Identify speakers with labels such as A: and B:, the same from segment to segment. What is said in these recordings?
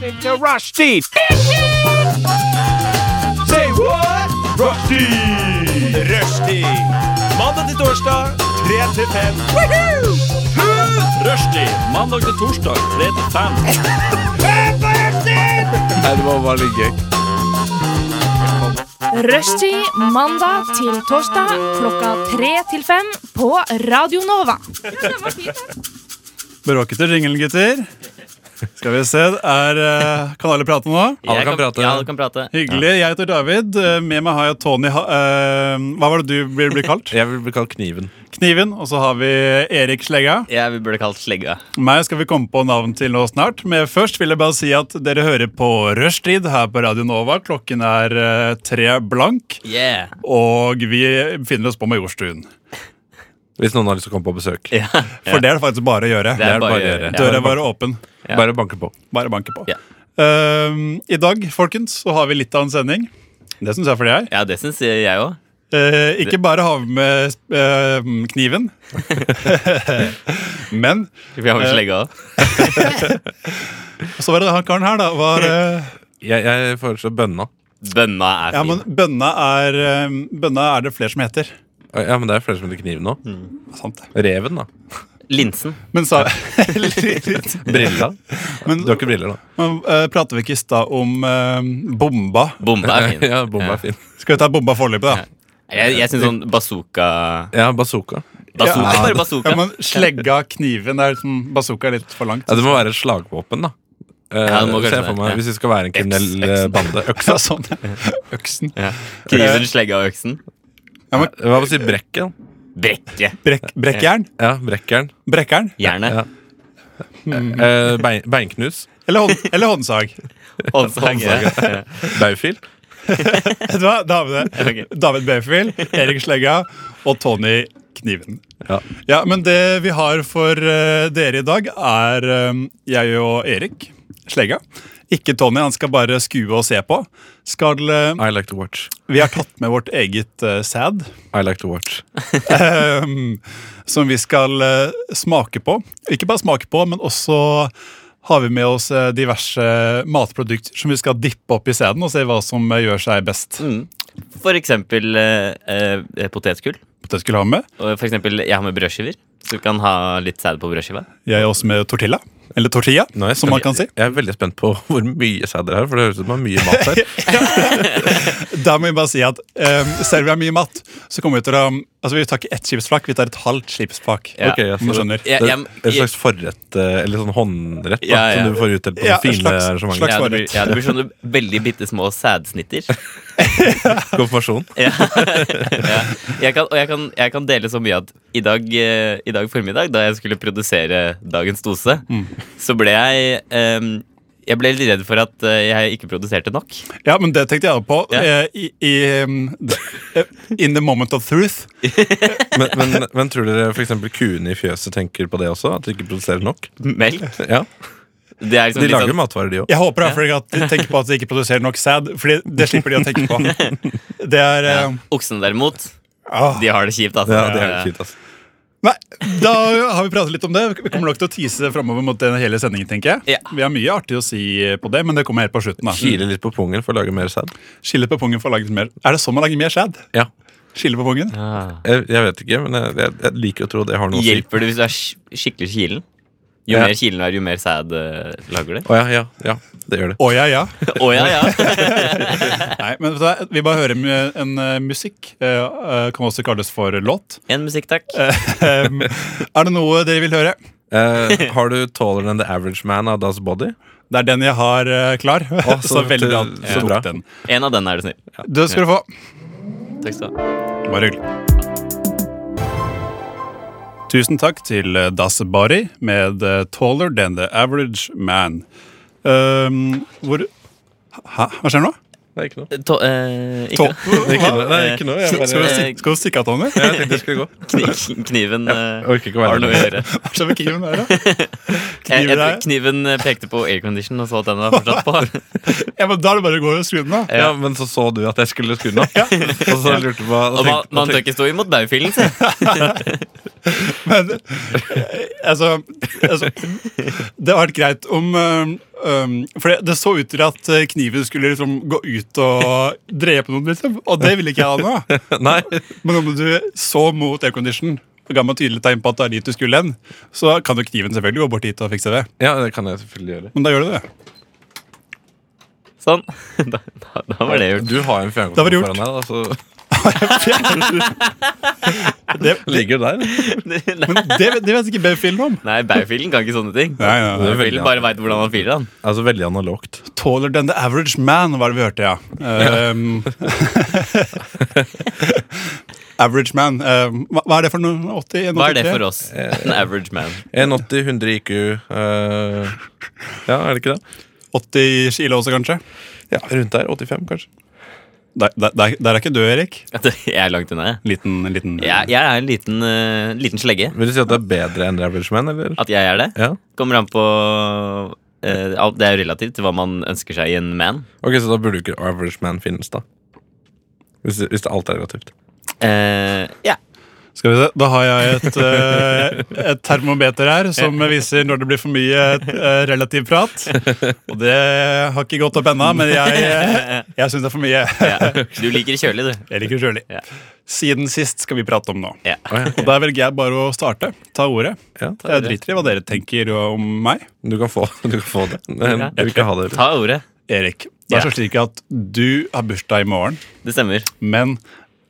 A: til rushtid. Say what? Rushtid! Rushtid. Mandag til torsdag, 3 til 5. Rushtid. Mandag til torsdag, 3 til 5.
B: Nei, det var veldig gøy.
C: Rushtid mandag til torsdag klokka tre til fem på Radio Nova.
D: Bråkete jingle, gutter. Skal vi se. Er, eh, kan alle prate nå?
B: Alle
E: Jeg
B: kan prate.
E: Ja, alle kan prate.
D: Hyggelig. Jeg heter David. Eh, Med meg har jeg Tony ha eh, Hva var det du blir, blir kalt?
B: Jeg vil bli kalt Kniven.
D: Kniven. Og så har vi Erik Slegga.
E: Jeg vil bli kalt slegga.
D: Meg skal vi komme på navn til nå snart. Men først vil jeg bare si at dere hører på Rushtid her på Radio Nova. Klokken er eh, tre blank,
E: Yeah.
D: og vi befinner oss på Majorstuen.
B: Hvis noen har lyst til å komme på besøk.
E: Ja.
D: For det er det faktisk bare å gjøre.
E: Det er bare å gjøre.
B: å
D: Døra
B: gjøre.
D: er bare åpen.
E: Ja.
B: Bare banke på.
D: Bare banke på.
E: Ja.
D: Ehm, I dag folkens, så har vi litt av en sending. Det syns jeg for det er.
E: Ja, det syns jeg òg.
D: Eh, ikke bare har vi med eh, kniven, men
E: Vi
D: Eh,
E: har jo slegga òg.
D: så var det han karen her, da. Var, eh,
B: Jeg, jeg foreslår bønna.
E: Bønna er
D: ja,
E: fin.
D: men Bønna er, eh, bønna er det flere som heter.
B: Ja, men det er flere som heter Kniv nå.
E: Mm.
D: Sant det.
B: Reven, da.
E: Linsen.
D: Men, sa,
B: Brilla.
D: men
B: Du har ikke briller, da.
D: men, eh, prater vi ikke i stad om eh, bomba?
E: Bomba er fin.
B: Ja, bomba er fin.
D: Skal vi ta bomba foreløpig, da?
E: Jeg, jeg syns sånn bazooka
B: Ja, bazooka.
E: Bazooka,
D: Ja.
E: bare bazooka.
D: Ja, men Slegga kniven er liksom bazooka er litt for langt.
B: Ja, det må være et slagvåpen, da. Eh,
E: Ja, det må kanskje
B: se for
E: være,
B: meg,
E: ja.
B: Hvis vi skal være en kriminell eh, bande. Øks.
D: Ja, sånn. Øksen.
E: Ja.
D: Eh.
E: Kniven, slegga og øksen.
B: Hva med å si brekket? da?
E: Brekke.
D: Brekk, brekkjern?
B: Ja, brekkjern.
D: Brekkjern?
E: Jernet.
B: Ja.
E: Mhm.
B: Eh, bein, beinknus.
D: Eller, hånd, eller håndsag?
E: Håndsag. Ja.
B: Baufil.
D: Vet du hva? Da har vi det.
E: Ok.
D: David Befield, Erik Slegga og Tony Kniven.
B: Ja.
D: Ja, Men det vi har for eh, dere i dag, er eh, jeg og Erik Slegga. Ikke Tony, han skal bare skue og se på. Skal, eh,
B: I like to watch.
D: vi har tatt med vårt eget eh, sæd,
B: I like to watch.
D: eh, som vi skal eh, smake på. Ikke bare smake på, men også har vi med oss eh, diverse matprodukter som vi skal dippe opp i sæden og se hva som eh, gjør seg best.
E: For eksempel eh, eh, potetgull.
D: Det skulle jeg ha med.
E: Og for eksempel, jeg har med brødskiver. Så du kan ha litt sæd på brødskiva.
D: Jeg er også med tortilla. Eller tortilla,
B: Nå er jeg
D: som man kan si.
B: Jeg er veldig spent på hvor mye sæd dere har, for det høres ut som det er mye mat her.
D: Da må vi bare si at um, selv om vi har mye mat, så kommer vi til å Altså, vi tar ikke ett skipsflak, vi tar et halvt skipsflak.
E: Ja.
B: Ok, jeg
D: Om du
B: skjønner.
D: skjønner.
E: Jeg-
B: Det
E: jeg-
B: er en slags forrett, eh, eller sånn håndrett, da,
E: Ja, ja.
B: som du får utdelt på
D: Ja,
B: ja, fine
D: slags-
B: arrangementer.
D: slags-
E: Ja, det blir, ja, det blir sånne veldig bitte små sædsnitter.
B: Konfirmasjon.
E: Ja. ja. Jeg kan, og jeg kan, jeg kan dele så mye at i dag, eh, i dag formiddag, da jeg skulle produsere dagens dose, så ble jeg ehm, Jeg ble litt redd for at eh, jeg ikke produserte nok.
D: Ja, men det tenkte jeg også på.
E: Ja.
D: eh, I, i, um, d- eh, in the moment of truth.
B: Men, men, men tror dere f.eks. kuene i fjøset tenker på det også? At de ikke produserer nok?
E: Melk.
B: Ja,
E: Det er liksom
B: De
E: litt
B: lager
E: sånn-
B: matvarer, de òg.
D: Jeg håper i hvert fall ikke at de tenker på at de ikke produserer nok sæd, Fordi det slipper de å tenke på. Det er eh,
E: Oksene derimot,
D: ah.
E: de har det kjipt. Altså.
B: Ja, det er litt kjipt, ass.
D: Nei, da har vi pratet litt om det. Vi kommer nok til å tease framover mot den hele sendingen, tenker jeg.
E: Ja.
D: Vi har mye artig å si på det, men det kommer helt på slutten. da
B: Kile litt på pungen for å lage mer sæd.
D: Skille på pungen for å lage mer Er det sånn man lager mer sæd?
B: Ja.
D: Skille på pungen?
E: Ah.
B: Jeg, jeg vet ikke, men jeg, jeg, jeg liker å tro det har noe å si.
E: Hjelper det hvis du er sk- skikkelig kilen? Jo
B: Ja.
E: mer kilen er, jo mer sæd eh, lager du.
B: Å ja, ja, ja, det gjør det.
D: Å ja, ja.
E: Å ja, ja.
D: Nei, men vet du hva, Vi bare hører mu- en eh, musikk. eh, eh, kan også kalles for låt.
E: En musikk, takk.
D: Em, er det noe dere vil høre?
B: Eh, har du 'Taller than the average man' av Das Body?
D: Det er den jeg har eh, klar. så,
B: så-
D: veldig bra. at
B: så
D: du
B: bra.
D: tok Den.
E: En av den er du snill.
D: Det skal du få.
E: Takk skal du ha.
D: Bare hyggelig. Tusen takk til eh, Das Bari med eh, 'Taller Than The Average Man'. Ehm, hvor Hæ? Hva skjer nå?
B: Nei, ikke noe.
E: To, eh,
D: To
E: ikke
B: Ikke noe. Nei, ikke noe. Jeg,
D: Skal
B: bare,
D: du stik- skal du stikke av, Tony?
B: jeg tenkte jeg skulle gå.
E: kni- kniven eh,
B: Jeg orker ikke å
E: har
B: være
E: noe å
B: der.
E: gjøre.
D: Hva skjer med kniven der, da?
E: Jeg,
D: Kniven
E: jeg,
D: der?
E: kniven eh, pekte på aircondition og så at den var fortsatt på.
D: Ja, men da er det bare å gå og skru den av.
B: Ja, men så så du at jeg skulle skru den opp. Og så lurte jeg på
E: Og man,
B: og
E: man tør
B: tenkte,
E: ikke stå imot baufilen, si.
D: Men eh, altså, altså Det hadde vært greit om eh, um, For det, det så ut til at eh, kniven skulle liksom gå ut og drepe noen, liksom. Og det ville ikke jeg ha nå.
B: Nei,
D: Men om du så mot aircondition og ga meg tydelig tegn på at det er dit du skulle hen, så kan jo kniven selvfølgelig gå bort dit og fikse det.
B: ja, det kan jeg selvfølgelig gjøre.
D: Men da gjør du det.
E: Sånn. Da, da, da var det gjort.
B: Du har jo en
D: Da var det
B: fjernkontroll
D: gjort.
B: foran deg, da, så
D: Det, det,
B: ligger du der.
E: Nei,
D: men det, det vet ikke Baufilen om.
E: Nei Baufilen kan ikke sånne ting.
D: Nei, nei, nei.
B: Det er veldig-
E: Baufilen bare veit hvordan han filer, han.
B: Altså veldig analogt.
D: Taller than the average man, var det vi hørte, ja. Ehm, average man. ehm, hva, hva er det for noe? 80?
E: Hva er det for oss? En average man.
B: 180, 100 IQ eh, Ja, er det ikke det?
D: 80 kilo også, kanskje?
B: Ja, Rundt der. 85, kanskje.
D: Der, der, der der er ikke du, Erik.
E: Jeg er langt unna, jeg.
D: Liten, liten
E: Jeg, jeg er en liten, eh, liten slegge.
B: Vil du si at det er bedre enn Average Man? Eller?
E: At jeg er det.
B: Ja.
E: Kommer an på eh, alt- Det er jo relativt til hva man ønsker seg i en man.
B: Ok, Så da burde ikke Average Man finnes, da. Hvis, hvis det alt er relativt.
E: Eh, ja.
D: Skal vi se, Da har jeg et, eh, et termometer her som viser når det blir for mye eh, relativ prat. Og det har ikke gått opp ennå, men jeg, eh, jeg syns det er for mye.
E: ja. Du liker kjølig, du.
D: Jeg liker kjølig.
E: Ja.
D: Siden sist skal vi prate om nå.
E: Ja.
B: Å,
D: Og der velger jeg bare å starte. Ta ordet.
B: ja. ja.
D: Jeg driter i hva dere tenker om meg.
B: Du, kan få, du kan få det. Men jeg vil ikke ha det.
E: Ta ordet.
D: Erik, det er så slik at du har bursdag i morgen,
E: Det stemmer.
D: men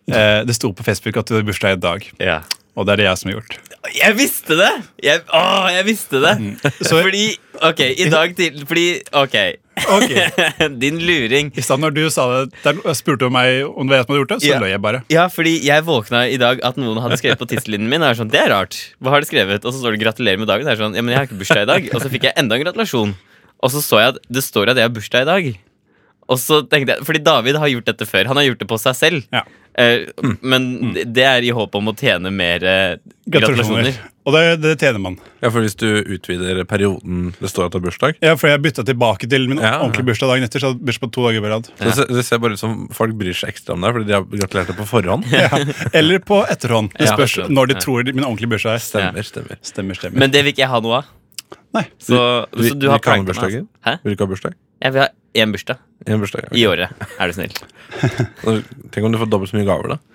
D: eh, det sto på Facebook at du har bursdag i dag.
E: Ja.
D: Og det er det jeg som har gjort.
E: Jeg visste det! Jeg, åh, jeg visste det!
D: Så-
E: Fordi Ok, i dag til Fordi Ok.
D: Ok,
E: Din luring.
D: I stedet når du sa det, der spurte du meg om det var jeg som hadde gjort det, så
E: Ja.
D: løy jeg bare.
E: Ja, fordi jeg våkna i dag at noen hadde skrevet på tidslinjen min. Og jeg er sånn, det er rart. Hva har de skrevet? Og så står det 'gratulerer med dagen'. Og jeg er sånn, ja, men jeg har ikke bursdag i dag. Og så fikk jeg enda en gratulasjon. Og så så jeg at det står at jeg har bursdag i dag. Og så tenkte jeg, Fordi David har gjort dette før. Han har gjort det på seg selv.
D: Ja.
E: Eh, Men det- det er i håp om å tjene mer eh, gratulasjoner.
D: Gratulasjoner. Og det, det tjener man.
B: Ja, for Hvis du utvider perioden det står at det er bursdag
D: Ja, for jeg bytta tilbake til min
B: Ja.
D: ordentlige bursdag dagen etter. Så jeg hadde bursdag på to dager på rad.
B: det, ser, det ser bare ut som folk bryr seg ekstra om deg fordi de har gratulert deg på forhånd.
D: Ja. Eller på etterhånd. Det
E: Ja,
D: spørs
E: etterhånd.
D: når de
E: Ja.
D: tror min ordentlige bursdag er.
B: Stemmer, stemmer.
D: Stemmer, stemmer.
E: Men det vil ikke jeg ha noe av.
D: Nei.
E: Så,
B: Vi-
E: så du har
B: vi kan
E: pranket
B: ha
E: meg, altså.
B: bursdager.
E: Hæ?
B: Vil du ikke ha bursdag?
E: Jeg vil ha én bursdag
B: En bursdag,
E: i
B: ja.
E: året, er du snill.
B: Tenk om du får dobbelt så mye gaver, da.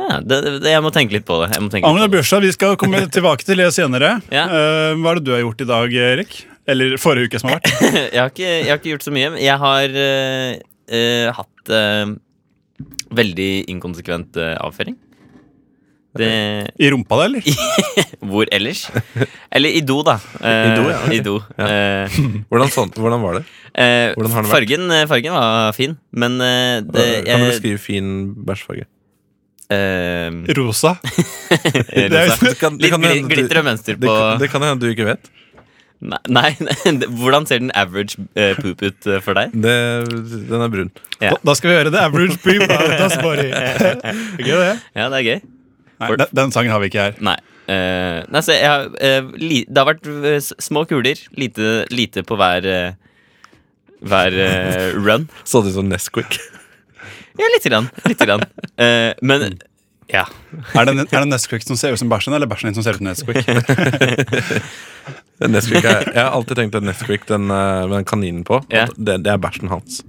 E: Ja, det, det, jeg må tenke litt på det. Jeg må tenke litt
D: Angela
E: på det.
D: Børstad, vi skal komme tilbake til det senere.
E: Ja.
D: Eh, hva er det du har gjort i dag, Erik? Eller forrige uke som har vært?
E: jeg, har ikke, jeg har ikke gjort så mye. men Jeg har eh, eh, hatt eh, veldig inkonsekvent eh, avføring. Det,
D: I rumpa, da, eller?
E: hvor ellers? Eller i do, da. Eh,
B: I do, ja, ok.
E: i do. Eh,
B: Hvordan, sånn, hvordan var det?
E: eh,
B: Hvordan har den vært?
E: fargen, eh, fargen var fin, men eh, det
B: kan du
E: jeg-
B: beskrive fin bæsjfarge?
E: eh,
D: Rosa.
E: eh,
D: Det er-
E: rosa.
B: Det kan- det
E: Litt
B: kan
E: gli-
B: hende du-
E: glitter og mønster
B: Det,
E: på
B: kan- det kan hende du ikke vet.
E: Nei, nei, Hvordan ser den average eh, poop ut eh, for deg?
B: Det, den er brun.
E: Ja.
D: Da, da skal vi høre The Average Beep Out Us Body. Er ikke det?
E: Ja, det er gøy.
D: Nei, den, den sangen har vi ikke her.
E: Nei. Eh, nei, så jeg har, eh, li, det har vært eh, s- små kuler. Lite, lite på hver eh, Hver eh, run.
B: Så det ut som Nesquik.
E: Ja, lite grann. Lite grann. Eh, men ja.
D: Er det, er det Nesquik som ser ut som bæsjen, eller bæsjen din som ser ut som Nesquik?
B: Nesquik er, jeg har alltid tenkt at Nesquik den, eh, med den kaninen på,
E: Ja.
B: at det, det er bæsjen hans.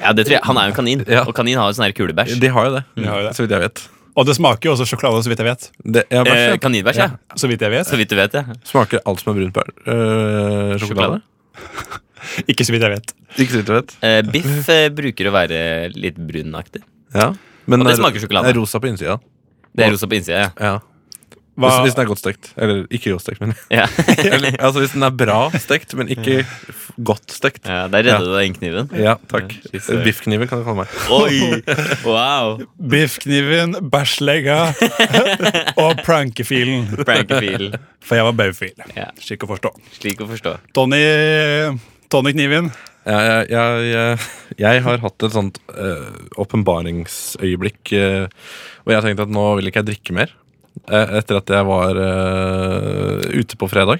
E: ja, det tror jeg. Han er jo en kanin,
B: Ja.
E: og kanin har jo sånn her kulebæsj.
B: De har jo det,
D: har jo det.
B: så vidt jeg vet.
D: Og det smaker jo også sjokolade, så vidt jeg vet.
B: Det, ja, bæsj,
E: Eh,
B: ja.
E: kaninbæsj, ja.
D: Så vidt jeg vet.
E: Så vidt du vet, ja.
B: Smaker alt som er brunt bær. eh, sjokolade?
E: Sjokolade.
D: Ikke så vidt jeg vet.
B: Ikke så vidt jeg vet.
E: Eh, biff eh, bruker å være litt brunaktig.
B: Ja. Men
E: Og det
B: er-
E: smaker sjokolade.
B: Er rosa på innsida.
E: Det er rosa på innsida,
B: Ja.
D: Hva,
B: Hvis, hvis den er godt stekt. Eller ikke godt stekt, men
E: ja. ja.
B: eller, Altså hvis den er bra stekt, men ikke f- godt stekt.
E: ja der redda du deg inn kniven.
B: Ja, takk.
E: Ja, fy søren.
B: Biffkniven kan du kalle meg.
E: Oi! Wow.
D: Biffkniven, bæsjlegga og prankefilen.
E: Prankefil.
D: For jeg var baufil.
E: Ja.
D: Slik å forstå.
E: Slik å forstå.
D: Tony, Tony Kniven.
B: Ja, jeg, jeg, jeg, jeg har hatt et sånt eh, åpenbaringsøyeblikk eh, hvor jeg tenkte at nå vil ikke jeg drikke mer. eh, etter at jeg var eh, ute på fredag.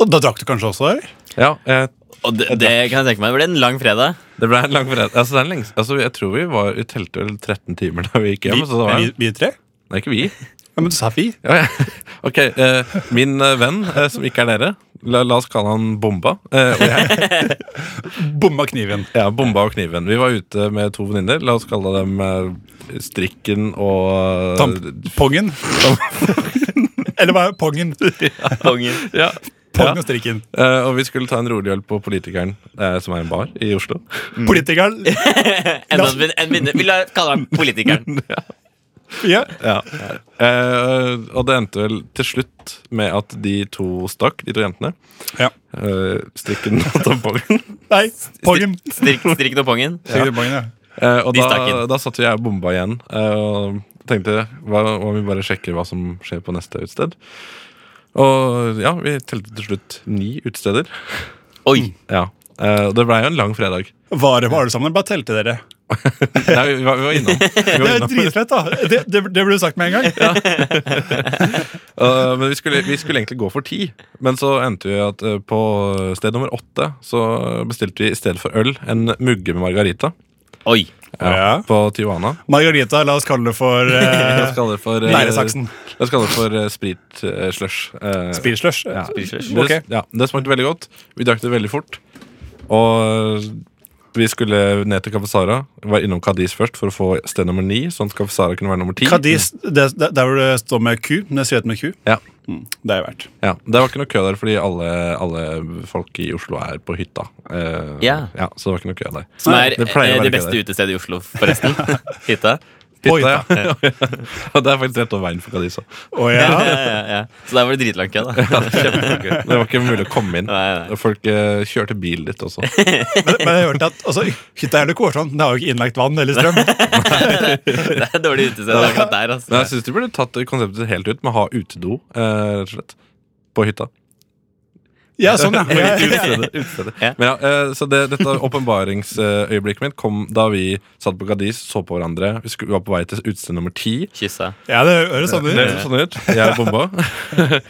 D: Og da drakk du kanskje også? eller?
B: Ja, eh,
E: Og det, det kan jeg tenke meg. Det ble en lang fredag.
B: det ble en lang fredag. Altså, det er en lengst, altså, jeg tror vi var i teltet vel 13 timer da vi gikk hjem. så det var,
D: vi, vi tre?
B: Nei, ikke vi.
D: Ja, men du sa vi.
B: Ja, ja. Ok, eh, min eh, venn, eh, som ikke er dere La, la oss kalle han Bomba. Eh, og jeg,
D: Bomma kniven.
B: ja, bomba og Kniven. Vi var ute med to venninner. La oss kalle dem eh, Strikken og eh,
D: Tampongen. Eller hva er pongen?
E: Kongen.
B: Ja.
D: Pongen og strikken.
B: Eh, og vi skulle ta en rolig øl på Politikeren, eh, som er en bar i Oslo.
D: Politikeren.
E: Enda en, en vinner. Vi la- kaller ham politikeren.
D: Ja.
B: Ja. Eh, og det endte vel til slutt med at de to stakk, de to jentene.
D: ja.
B: Eh, strikken og tampongen.
D: Nei, pongen.
E: Strikk, strikk og pongen.
D: Sikkert pongen, ja.
B: Eh, og
E: De stakk
B: da,
E: inn.
B: da satt jo jeg og bomba igjen. eh, og tenkte hva om vi bare sjekker hva som skjer på neste utested. Og ja, vi telte til slutt ni utesteder.
E: Oi.
B: Ja. Eh, og det blei jo en lang fredag.
D: Var det var det sammen, eller bare telte dere?
B: Nei, vi var, vi var innom. Vi
D: Det
B: var
D: er
B: innom.
D: dritlett, da. Det, det, det ble sagt med en gang.
B: Eh, men vi skulle, vi skulle egentlig gå for ti. Men så endte vi at eh, på sted nummer åtte så bestilte vi i stedet for øl en mugge med margarita.
E: Oi.
B: Ja,
D: Ja.
B: På Tijuana.
D: Margarita, la oss kalle det for
B: Jeg
D: eh,
B: skal det for, eh,
D: Læresaksen.
B: Jeg skal det for eh, sprit eh, slush. Eh,
D: Speedslush.
B: ja.
E: slush.
B: Det,
D: Ok.
B: ja, det smakte veldig godt. Vi drakk det veldig fort. Og vi skulle ned til Kaffesara. Var innom Kadis først for å få sted nummer ni. Sånn at Kaffesara kunne være nummer ti.
D: Kadis, det, det, der hvor det står med Q, men det er skrevet med Q.
B: Ja,
D: Det er verdt.
B: ja. Det var ikke noe kø der fordi alle, alle folk i Oslo er på hytta. Eh,
E: Ja.
B: så det var ikke noe kø der.
E: Som er
B: Det pleier
E: eh,
B: å være
E: det
B: gøy
E: beste
B: der.
E: utestedet i Oslo, forresten. Hytta.
D: På
B: Hytta, ja. Og det er faktisk rett over veien for Kadis. også.
D: Å ja.
E: Ja, ja, ja. Så der var det dritlang kø, da. Kjempelang kø.
B: Det var ikke mulig å komme inn.
E: Nei, nei.
B: Folk eh, kjørte bil dit også.
D: Men, men jeg hørte at altså, hytta er litt kårsom. Det har jo ikke innlagt vann eller strøm.
E: Det er et dårlig utested akkurat der.
B: Men jeg
E: altså
B: syns de burde tatt konseptet helt ut med å ha utedo, eh, rett og slett. På hytta.
D: Ja, sånn, ja. ja. ja.
B: Utestedet. utestedet.
E: Ja.
B: Men ja, eh, så det, dette åpenbaringsøyeblikket mitt kom da vi satt på Gadis, så på hverandre. Vi skulle- var på vei til utested nummer ti.
E: Kyssa.
D: ja det høres sånn
B: Det
D: ut.
B: høres sånn ut. Jeg er bomba.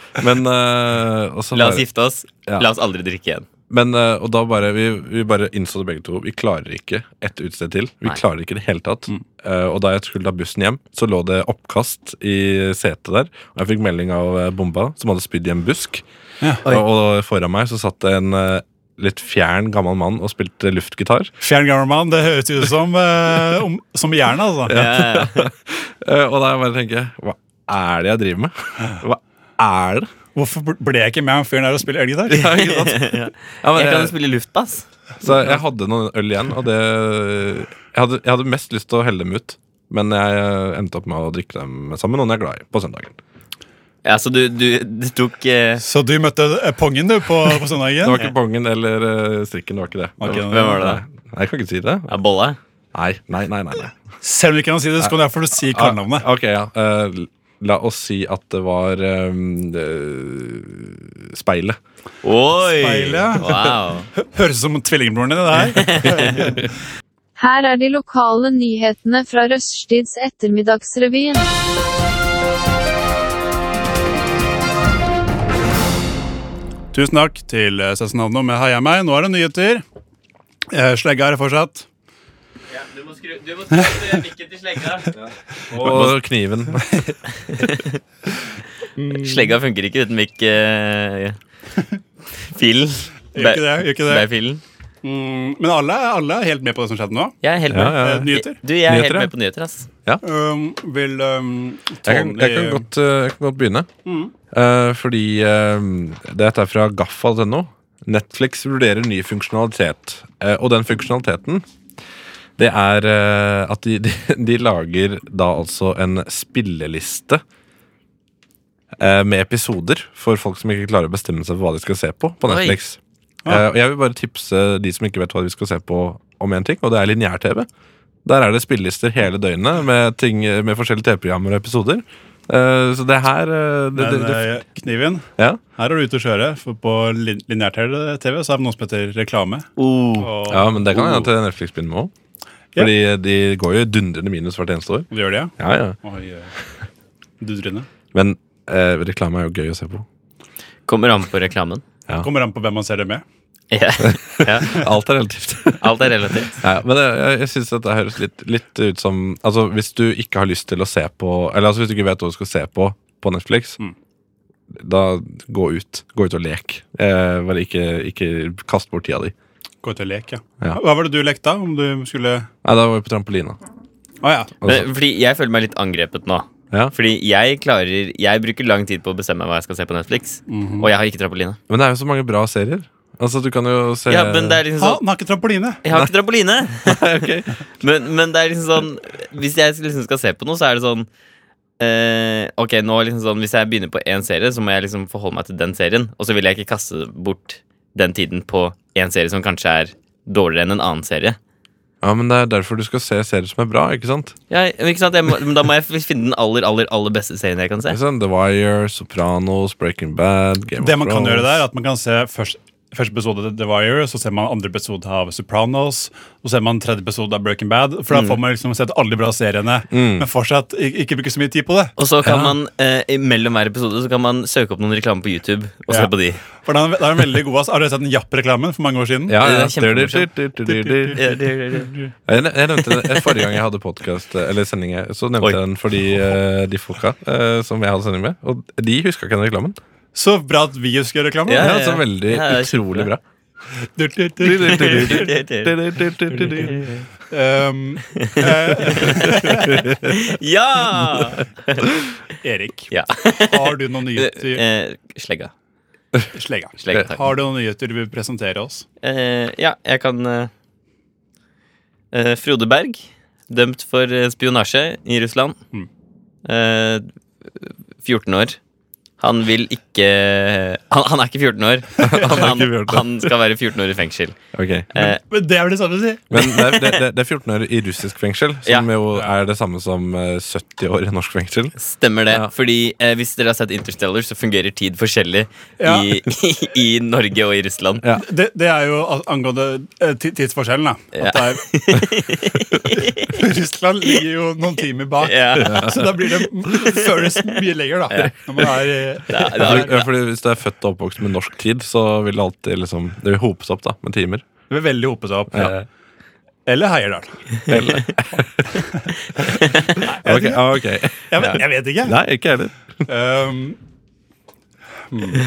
B: Men, eh, og så
E: La
B: bare-
E: oss gifte oss.
B: Ja.
E: La oss aldri drikke igjen.
B: men eh, og da bare vi, vi bare innså det begge to. Vi klarer ikke ett utested til. Vi
E: Nei.
B: klarer det ikke i det hele tatt. Eh, og da jeg skulle ta bussen hjem, så lå det oppkast i setet der. Og jeg fikk melding av eh, bomba, som hadde spydd i en busk.
E: Oi.
B: Og, og foran meg så satt det en eh, litt fjern gammel mann og spilte luftgitar.
D: Fjern Gammermann, det høres ut som, eh, om, som jern, altså.
E: Ja, ja, ja.
B: Eh, og da bare tenker jeg Hva er det jeg driver med? Hva er det?
D: Hvorfor bl- ble jeg ikke med han fyren der og spille elgitar?
B: Ja, ikke sant? Ja, men
E: Jeg kan jo
B: jeg,
E: spille luftbass.
B: så jeg hadde noen øl igjen, og det jeg hadde, jeg hadde mest lyst til å helle dem ut. Men jeg endte opp med å drikke dem sammen med noen jeg er glad i. på søndagen.
E: Ja, så du, du, du tok eh,
D: Så du møtte eh, Pongen, du, på, på
B: Det
D: søndagen?
B: var ikke bongen eller eh, strikken. det var ikke det.
D: Ok,
E: Hvem var det? da?
B: Nei, jeg kan ikke si det.
E: Ja, bolla?
B: Nei, nei, nei. nei, nei.
D: Selv om du ikke kan si det, så kan du iallfall si kallenavnet.
B: Ah, ok, ja. Eh, la oss si at det var ehm, eh, Speilet.
E: Oi!
D: Speilet.
E: Wow.
D: Høres ut som tvillingbroren din, det her.
F: Her er de lokale nyhetene fra Røststids ettermiddagsrevyen.
D: Tusen takk til eh, Sessen Havno med Heia meg. Nå er det nyheter. Eh, Slegga er det fortsatt.
E: Du må skru av mikken til slegga.
B: Og kniven.
E: Slegga funker ikke uten mikk... Eh, filen.
D: Gjør ikke det. Gjør ikke det.
E: filen.
D: Mm, men alle, alle er helt med på det som skjedde nå.
E: Jeg er helt
B: Ja,
E: med.
B: ja.
D: Eh, nyheter.
E: Du, jeg er
B: Nyheter,
E: helt
B: ja.
E: med på nyheter, ass.
D: Um, vil um,
B: Jeg kan, jeg kan, godt, eh, jeg kan godt begynne. Eh, fordi eh, dette er fra gaffa.no. Netflix vurderer ny funksjonalitet. Eh, og den funksjonaliteten, det er eh, at de, de, de lager da altså en spilleliste eh, med episoder for folk som ikke klarer å bestemme seg for hva de skal se på på
E: Oi.
B: Netflix. Eh, og jeg vil bare tipse de som ikke vet hva de skal se på, om én ting, og det er lineær-TV. Der er det spillelister hele døgnet med, ting, med forskjellige TV-programmer og episoder. Eh, så det her eh, det, det,
D: Men
B: det,
D: eh, Kniven,
B: ja.
D: her er du ute å kjøre. For på lin- lineær-TV så er det noe som heter reklame. Og
B: ja, men det kan hende at Netflix begynner med òg.
D: Oh. Ja.
B: Fordi eh, de går jo i dundrende minus hvert eneste år.
D: det gjør det, ja.
B: Ja, ja.
D: Oi, eh, du Trine.
B: Men eh, reklame er jo gøy å se på.
E: Kommer an på reklamen.
B: Ja.
D: Kommer an på hvem man ser det med.
E: Ja. ja.
B: Alt er relativt.
E: Alt er relativt.
B: Ja, men jeg, jeg- jeg syns dette høres litt, litt ut som Altså Hvis du ikke har lyst til å se på Eller altså hvis du ikke vet hva du skal se på på Netflix,
D: Mm.
B: da gå ut. Gå ut og lek. Eh, bare ikke, ikke kast bort tida di.
D: Gå ut og lek, ja.
B: Ja.
D: Hva var det du lekte, da? Om du skulle
B: Nei, da var vi på trampolina.
D: Å ja.
B: Altså,
E: Men, fordi jeg føler meg litt angrepet nå.
B: Ja.
E: Fordi jeg klarer Jeg bruker lang tid på å bestemme hva jeg skal se på Netflix.
D: Mhm.
E: Og jeg har ikke trampoline.
B: Men det er jo så mange bra serier. Altså Du kan jo se
E: Ja, men det er liksom
D: Ha,
E: sånn
D: han har ikke trampoline!
E: Jeg har ikke trampoline! men, men det er liksom sånn Hvis jeg liksom skal se på noe, så er det sånn eh, Ok, nå liksom sånn Hvis jeg begynner på én serie, så må jeg liksom forholde meg til den serien. Og så vil jeg ikke kaste bort den tiden på én serie som kanskje er dårligere enn en annen serie.
B: Ja, men det er derfor du skal se serier som er bra, ikke sant?
E: Ja, ikke sant? Jeg må, men da må jeg finne den aller, aller, aller beste serien jeg kan se.
B: Ikke sant? The Wire, Sopranos, Breaking Bad Game
D: Det
B: of
D: man kan
B: Thrones.
D: gjøre der, er at man kan se først, første episode av The Wire, så ser man andre episode av Sopranos, så ser man tredje episode av Breaking Bad. For
B: Mm.
D: da får man liksom sett alle de bra seriene, men fortsatt i- ikke bruke så mye tid på det.
E: Og så kan man eh, i- mellom hver episode Så kan man søke opp noen reklame på YouTube og se
D: Ja.
E: på de.
D: For den, den er veldig god, ass. Har du sett den Japp-reklamen for mange år siden?
B: ja, ja.
E: Det er kjempemorsomt.
B: Dyr, dyr, dyr, dyr, dyr. Jeg, ne- jeg nevnte det Forrige gang jeg hadde podcast, eh, eller sending, her, så nevnte
E: Oi.
B: jeg den for de, eh, de folka eh, som jeg hadde sending med. Og de huska ikke den reklamen.
D: Så bra at vi husker reklamen.
E: Ja,
B: Ja,
E: ja,
B: altså,
E: ja.
B: veldig
E: Ja, det er
B: utrolig bra.
D: Du, du, du, du, du, du. Um,
E: Ja!
D: Erik,
E: ja.
D: har du noen nyheter?
E: Eh, slegga.
D: Slegga.
E: Slegga, takk.
D: Har du noen nyheter du vil presentere oss?
E: Eh, ja, jeg kan eh, eh, Frode Berg, dømt for eh, spionasje i Russland. Eh, 14 år. Han vil ikke Han, han er ikke 14 år. Han, han, han skal være 14 år i fengsel.
B: Ok.
E: Eh,
D: Men det er det samme å si!
B: Men det er, det, det- det er 14 år i russisk fengsel, som
E: Ja.
B: jo er det samme som eh, 70 år i norsk fengsel.
E: Stemmer det.
B: Ja.
E: Fordi eh, hvis dere har sett Interstellar, så fungerer tid forskjellig
D: Ja.
E: i, i, i Norge og i Russland.
B: Ja.
D: Det, det er jo al- angående eh, ti- tidsforskjellen, da. At det er Russland ligger jo noen timer bak,
E: Ja.
D: så da blir det føles mye lenger, da. Når man er, eh,
E: Da, da,
B: Fordi, ja, fordi Hvis du er født og oppvokst med norsk tid, så vil det alltid liksom Det vil hopes opp da, med timer.
D: det blir veldig hopet opp.
B: Ja.
D: Eller Heierdal.
B: Eller Ok, ah, ok.
D: Jeg, vet- jeg vet ikke.
B: Nei, ikke heller.
D: Um, hmm.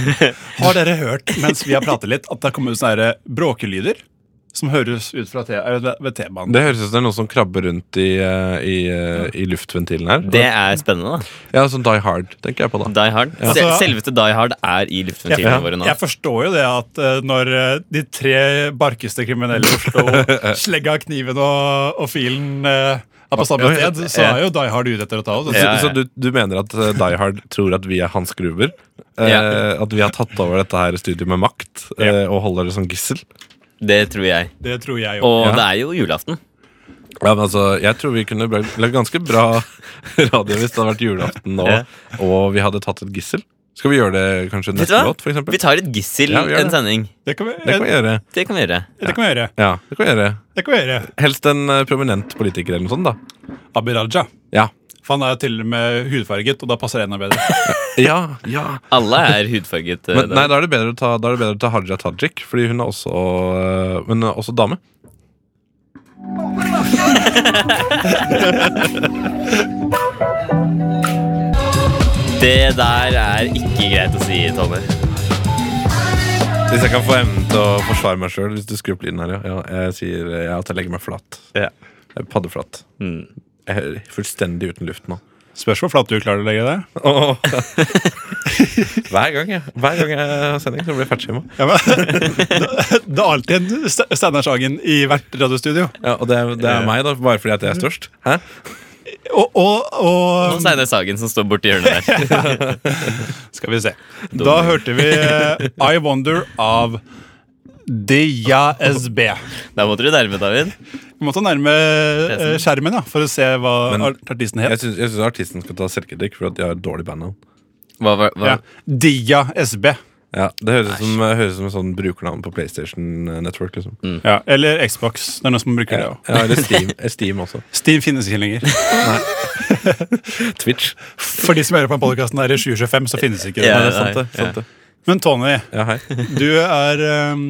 D: Har dere hørt mens vi har pratet litt, at det har kommet ut sånne her bråkelyder? Som høres ut fra te eh, ved T-banen.
B: Det høres ut som det er noen som krabber rundt i, eh, i, eh, i luftventilen her.
E: det er spennende, da.
B: Ja, sånn Die Hard, tenker jeg på da.
E: Die Hard. Se,
D: Altså-
E: selveste Die Hard er i luftventilene våre nå.
D: Jeg forstår jo det at eh, når eh, de tre barkeste kriminelle i Oslo slegga kniven og, og filen eh, er på samme
B: Ja, ja,
D: sted, så er jo Die Hard ute etter å ta oss.
B: Så,
E: Ja, ja.
B: så du, du mener at eh, Die Hard tror at vi er Hans Gruber? Eh,
E: Ja.
B: At vi har tatt over dette her studioet med makt eh, og holder det som gissel?
E: Det tror jeg.
D: Det tror jeg jo.
E: Og det er jo julaften.
B: Ja, men altså, Jeg tror vi kunne bra- lagd ganske bra radio hvis det hadde vært julaften nå,
E: Ja.
B: og vi hadde tatt et gissel. Skal vi gjøre det kanskje
E: Vet du
B: neste
E: hva?
B: låt, for eksempel?
E: Vi tar et gissel
B: Ja, vi gjør
E: en
B: det.
E: sending.
D: Det kan vi,
B: Det kan vi
D: eh,
B: gjøre.
E: Det kan vi gjøre.
D: det kan vi gjøre.
B: Ja, det kan vi gjøre.
D: Det kan vi gjøre.
B: Helst en eh, prominent politiker eller noe sånt, da.
D: Abid Raja.
B: Ja.
D: For han er jo til og med hudfarget, og da passer det enda bedre.
B: Ja, ja.
E: Alle er hudfarget. eh,
B: Men,
E: da.
B: nei, da er det bedre å ta, da er det bedre å ta Haja Tajik, fordi hun er også, øh, hun er også dame.
E: Det der er ikke greit å si, Tommy.
B: Hvis jeg kan få evnen til å forsvare meg sjøl hvis du skrur opp lyden her, ja. ja. Jeg sier eh, ja, at jeg legger meg flat. Jeg er Paddeflat.
E: Mm.
B: Jeg er fullstendig uten luft nå.
D: Spørs hvor flatt du klarer å legge det.
B: Åh. Hver gang jeg Hver gang jeg har sending, så blir jeg fartskjema.
D: Ja, men, det er alltid en St- Steinar Sagen i hvert radiostudio.
B: Ja, og det er, det er meg, da, bare fordi at jeg er størst. Hæ?
D: Og, og,
E: Og
D: og
E: Steinar Sagen som står borti hjørnet der.
D: Skal vi se. Da hørte vi eh, I Wonder av DJSB.
E: Der måtte du nærme, David.
D: Vi måtte nærme eh, skjermen ja, for å se hva
B: Men-
D: art- artisten
B: Jeg
D: het.
B: syns jeg syns artisten skal ta selvkritikk for at de har dårlig bandnavn.
E: Hva, hva, hva?
D: Ja. DJSB.
B: Ja, det høres ut som, høres ut som en sånn brukernavn på PlayStation Network. liksom
D: Ja, eller Xbox. Det er noen som bruker det
B: Ja,
D: òg.
B: eller Steam, Eh, Steam også.
D: Steam finnes ikke lenger.
B: Twitch.
D: For de som hører på den podcasten her i 2025, så finnes ikke det.
E: Ja,
B: Ja, det er
E: nei,
B: sant, det.
E: ja.
B: Sant det.
D: Men Tony,
B: Ja, hei.
D: du er eh,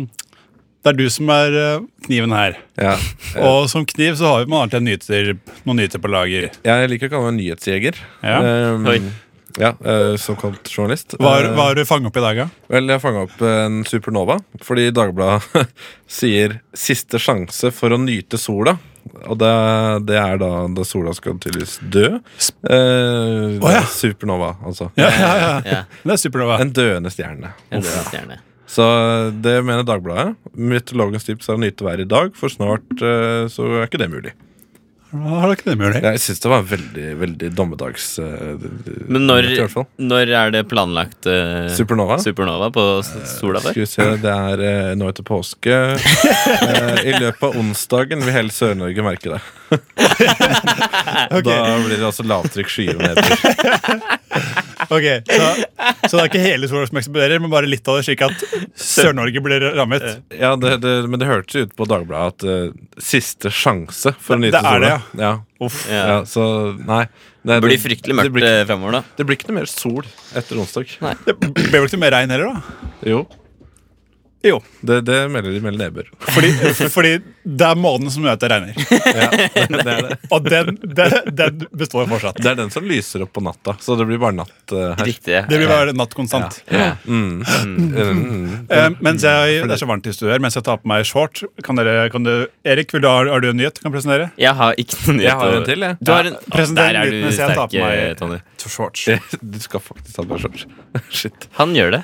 D: Det er du som er eh, kniven her.
B: Ja.
D: Og som kniv så har vi man alltid en nyter, noen nyter på lager.
B: Jeg liker å kalle meg nyhetsjeger.
D: Ja.
B: Um,
E: Oi.
B: ja, eh, Såkalt journalist.
D: Hva har-
B: Eh,
D: hva har du fanget opp i dag, da?
B: Vel, jeg fanga opp en supernova, fordi Dagbladet sier 'siste sjanse for å nyte sola'. Og det, det er da da sola skal tydeligvis dø. Eh, det
D: Å, ja.
B: er Supernova, altså.
D: Ja, ja, ja.
E: Ja,
D: Det er supernova.
B: En døende stjerne.
E: en død stjerne.
B: Så eh, det mener Dagbladet. Mytologens tips er å nyte været i dag, for snart eh, så er ikke det mulig.
D: Har du ikke det mulig?
B: Jeg syns det var veldig veldig dommedags... eh, d- d-
E: Men når,
B: nytt i hvert fall.
E: når er det planlagt eh,
B: Supernova? Eh,
E: supernova på s- sola
B: Skal
E: der?
B: vi se, det er eh, nå etter påske. Eh, I løpet av onsdagen vil hele Sør-Norge merke det.
D: Ok,
B: Da blir det altså lavtrykkskyer nedover.
D: ok. Så, så det er ikke hele sola som eksploderer, men bare litt av det, slik at Sør-Norge blir rammet.
B: Ja, det, det, men det hørtes jo ut på Dagbladet at eh, siste sjanse for å
D: Det-
B: nyte
D: det er
B: sola.
D: det,
B: ja.
D: Uff.
B: Ja.
E: Ja.
B: så nei. Det,
E: Det blir fryktelig
B: Det
E: mørkt
B: blir,
E: eh, fremover, da.
B: ikke- det blir ikke noe mer sol etter onsdag.
E: Nei.
D: Det blir vel ikke noe mer regn heller, da?
B: Jo,
D: Jo.
B: det, det melder de melder nedbør.
D: Fordi, fordi det er månen som gjør at det regner.
B: Ja, det, det, er det.
D: Og den, den, den består fortsatt.
B: det er den som lyser opp på natta, så det blir bare natt eh, her.
E: Riktig.
D: Det blir bare natt konstant.
E: Ja.
B: Mm.
D: Eh, mens jeg, det er så varmt i studio her, mens jeg tar på meg shorts kan dere, kan du, Erik, vil du, har, har du en nyhet du kan presentere?
E: Jeg har ikke noen nyhet.
B: Jeg har en
E: å-
B: til, jeg.
E: Du har en,
D: Ja, presenter den
E: der er
D: litt
E: du
D: mens jeg tar
E: sterk,
D: på meg-
E: eh, Tonje.
D: Shorts.
B: Du skal faktisk ha på deg shorts. Shit.
E: Han gjør det.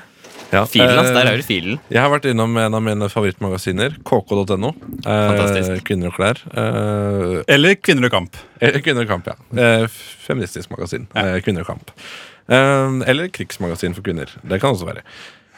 B: Ja.
E: Filen hans, der
B: Eh,
E: er jo filen.
B: Jeg har vært innom en av mine favorittmagasiner, kk.no. Eh,
E: Fantastisk.
B: kvinner og klær. Eh,
D: Eller Kvinner og kamp.
B: eller Kvinner og kamp, ja. Eh, feministisk magasin. Eh, kvinner og kamp. Eh, eller krigsmagasin for kvinner. Det kan også være.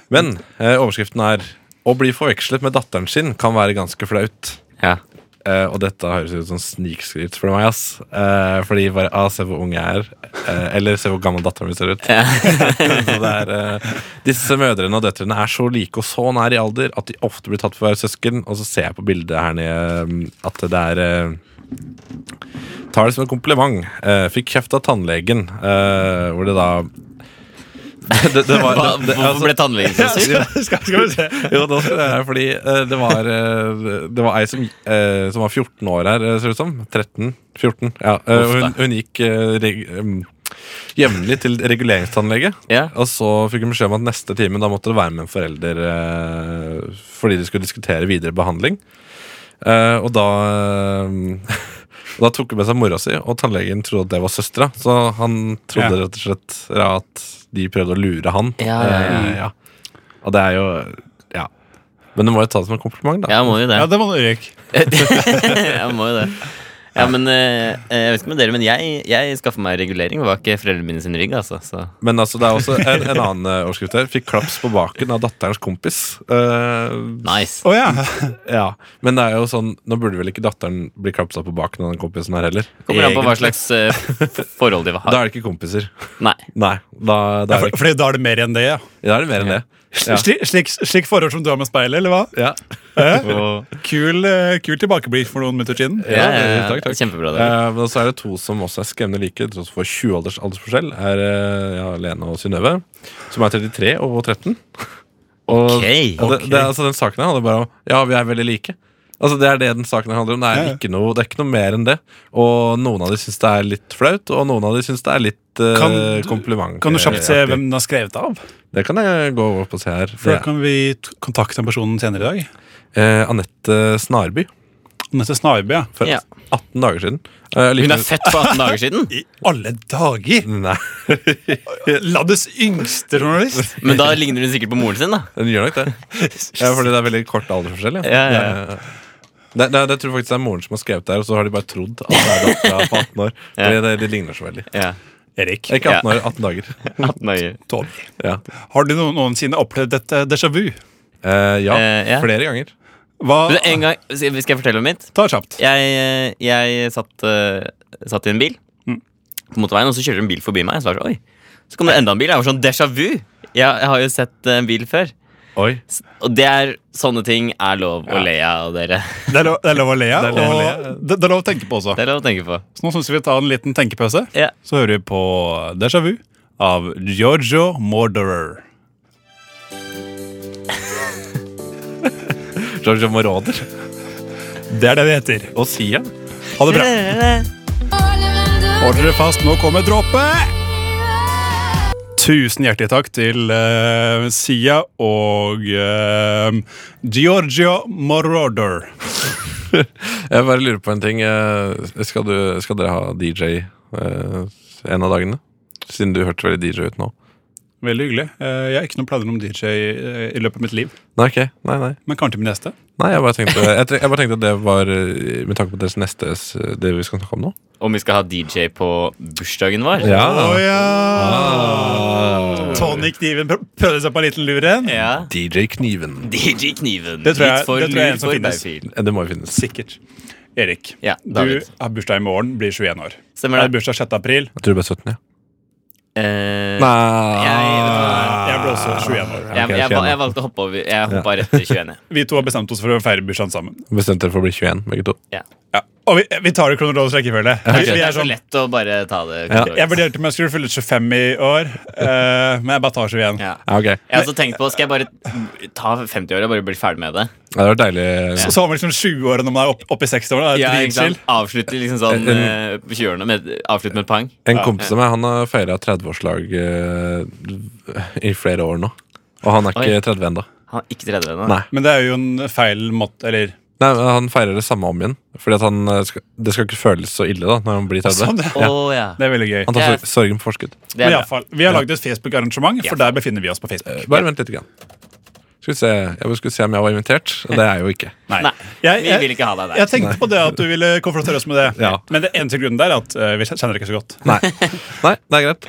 B: Men eh, overskriften er 'Å bli forvekslet med datteren sin kan være ganske flaut'.
E: Ja.
B: Eh, og dette høres ut som snikskryt for meg, ass. Eh, fordi bare ah, 'Se hvor ung jeg er'. Eh, eller 'Se hvor gammel datteren min ser ut'. så det er, eh, disse mødrene og døtrene er så like og så nær i alder at de ofte blir tatt for å være søsken. Og så ser jeg på bildet her nede mm, at det er eh, Tar det som en kompliment. Eh, fikk kjeft av tannlegen, eh, hvor det da det, det, det var,
E: Hva,
B: det, altså,
E: hvorfor ble tannlegen så syk?
D: Skal, skal vi se.
B: jo, da skal det være fordi eh, det var eh, Det var ei som, eh, som var 14 år her, eh, ser det ut som. 13? 14. Ja. eh, og hun, hun gikk eh, reg em, jevnlig til reguleringstannlege.
E: Ja.
B: Og så fikk hun beskjed om at neste time da måtte det være med en forelder eh, fordi de skulle diskutere videre behandling. Eh, og da eh, Da tok hun med seg mora si, og tannlegen trodde at det var søstera. Så han trodde
D: Ja.
B: rett og slett ja, at de prøvde å lure han.
E: Ja, ja, ja.
B: Eh, ja. Og det er jo Ja. Men du må jo ta det som en kompliment, da.
E: Ja, må jo det.
D: Ja, det var noe, Erik.
E: Jeg må jo det. Ja, men eh, Jeg vet ikke med dere, men jeg, jeg skaffa meg regulering bak foreldrene mine sin rygg. altså så.
B: Men altså, det er også en, en annen eh, overskrift her. Fikk klaps på baken av datterens kompis. Eh,
E: Nice.
D: Å ja.
B: ja. Men det er jo sånn, nå burde vel ikke datteren bli klapsa på baken av den kompisen her heller?
E: Kommer an på hva
B: Egentlig.
E: slags eh, forhold de
B: Da
E: har.
B: er det ikke kompiser.
E: Nei.
B: Nei. Da, da, er,
D: For,
B: det,
D: fordi da er det mer enn det, ja.
B: ikke- da er det mer enn det. Ja.
D: Slik, slik, slik forhold som du har med speilet, eller hva?
B: Ja.
E: Og,
D: Kul, eh, kul tilbakeblikk for noen minutter siden.
B: Eh,
E: ja, ja, ja,
B: takk, takk.
E: Kjempebra. Det.
B: Eh, men så er det to som også er skremmende like, til tross for 20 ålders aldersforskjell. Er eh, ja, Lene og Synnøve, som er 33 og 13. Og
E: Ok.
B: ja, det, det, er- altså, den saken her handler bare om Ja, vi er veldig like. Altså Det er det den saken her handler om. Det er,
D: Ja, ja.
B: ikke, noe, det er ikke noe mer enn det. Og noen av de syns det er litt flaut, og noen av de syns det er litt eh,
D: Kan du-
B: kompliment.
D: Kan du kjapt se hvem den har skrevet av?
B: Det kan jeg gå opp og se her.
D: For
B: Det
D: da kan vi t- kontakte den personen senere i dag.
B: er, eh, Anette Snarby.
D: Neste Snarby, ja.
B: For
E: Ja.
B: 18 dager siden. Eh,
E: Hun er
B: likevel-
E: født for 18 dager siden!
D: I alle dager!
B: Nei,
D: Landets yngste journalist!
E: Men da ligner hun sikkert på moren sin, da.
B: den gjør nok det. Ja, fordi det er veldig kort aldersforskjell. Ja.
E: Ja, ja, ja.
B: Det er- Nei, nei, det tror jeg faktisk det er moren som har skrevet det her, og så har de bare trodd at det er dattera på 18 år. Fordi det, det ligner så veldig.
E: Ja,
D: Erik.
B: Ikke 18 år, 18 dager.
E: 18 dager.
D: Tony.
B: Ja,
D: Har du noen- noensinne opplevd et eh, déjà vu?
B: Eh, ja
E: Eh, ja.
B: flere ganger.
D: Hva
E: Du, en gang, skal jeg fortelle om mitt?
D: Ta kjapt.
E: Jeg, jeg satt, eh, satt i en bil
D: Mm.
E: på motorveien, og så kjører en bil forbi meg. Og så var jeg sånn, oi, så kom det enda en bil. Jeg var sånn déjà vu! Jeg, jeg har jo sett eh, en bil før.
B: Oi.
E: S- Og det er, sånne ting er lov å le av, dere.
D: Det er lov, det er lov å le av.
B: Det er lov å le av.
D: og Det, det er lov å tenke på også.
E: Det er lov å tenke på.
D: Så nå syns vi vi tar en liten tenkepause.
E: Ja.
D: Så hører vi på Déjà vu av Giorgio Morderer.
B: Giorgio Moroder
D: Det er det det heter.
B: og Sia.
D: Ha det bra. Hold dere fast, nå kommer dråpet! Tusen hjertelig takk til eh, Sia og eh, Giorgio Moroder.
B: Jeg bare lurer på en ting. eh, Skal, du, skal dere ha DJ eh, en av dagene? Siden du hørte veldig DJ ut nå.
D: Veldig hyggelig. Eh, jeg har ikke noen planer om DJ eh, i løpet av mitt liv,
B: Nei, ok. Nei, nei.
D: men kanskje min neste.
B: nei jeg, bare tenkte, jeg, tre- jeg bare tenkte at det var eh, med tanke på deres neste s- Det vi skal snakke om nå.
E: Om vi skal ha DJ på bursdagen vår?
D: Å ja!
B: Ah.
D: Tony Kniven pr- prøvde seg på en liten lur en.
E: Ja.
B: DJ Kniven.
E: DJ Kniven.
D: Det tror jeg-
E: litt for
D: det tror jeg er en
E: lur
D: som
E: for
D: finnes.
E: Bergfil.
B: Eh, Det må jo finnes.
D: Sikkert. Erik,
E: Ja,
D: du
E: David.
D: har bursdag i morgen, blir 21 år.
E: Stemmer
D: Er
E: det?
D: bursdag 6. april.
B: Jeg tror det ble 17, ja.
E: Eh,
B: Nei Ah.
E: jeg,
D: Jeg ble også 21 år.
E: jeg,
B: Ok,
E: jeg, jeg,
B: skjønner.
E: jeg valgte å hoppe over. Jeg hoppa rett til 21. jeg.
D: Vi to har bestemt oss for å feire bursdagen sammen.
B: Bestemte dere for å bli 21, begge to?
E: Ja.
D: Ja. Og vi, vi tar det i kronologisk rekkefølge. Vi,
E: Det
D: vi
E: er
D: er
E: så
D: sånn,
E: lett å bare ta det.
B: Ja.
E: kronologisk.
D: jeg vurderte om jeg skulle fylle 25 i år, eh, men jeg bare tar 21.
E: Ja.
B: Ja, ok.
E: Jeg har også tenkt på, Skal jeg bare ta 50-åra og bare bli ferdig med det?
B: Ja, Det var deilig.
D: Så, så har man liksom 20-åra når man er opp, oppe i 60-åra. Det
E: Ja,
D: er
E: ikke sant?
D: dritchill.
E: Avslutte liksom sånn eh, på 20-årene med avslutte med et pang.
B: En kompis av meg han har feira 30-årslag eh, i flere år nå. Og han er
E: Oi.
B: ikke 30 ennå.
E: Han er ikke 30 ennå.
B: Nei.
D: Men det er jo en feil måte Eller
B: Nei, men Han feirer det samme om igjen. Fordi at han, eh, skal, Det skal ikke føles så ille da når han blir 30.
D: sånn, det.
E: Å ja.
D: det er veldig gøy.
B: Han tar sor- sorgen på forskudd.
E: Det
D: Men
E: er
D: i
E: bra.
D: alle fall, vi har lagd et Facebook-arrangement, for der befinner vi oss på Facebook.
B: Bare vent litt. Grann. Skal vi se, jeg skulle se om jeg var invitert. og Det er jeg jo ikke.
D: Nei.
E: Nei,
D: Jeg,
E: vi vil
D: jeg,
E: ikke ha
D: jeg
E: deg der.
D: tenkte på det at du ville konfrontere oss med det,
B: Ja.
D: men det eneste grunnen der er at eh, vi kjenner dere ikke så godt.
B: Nei, Nei det er greit.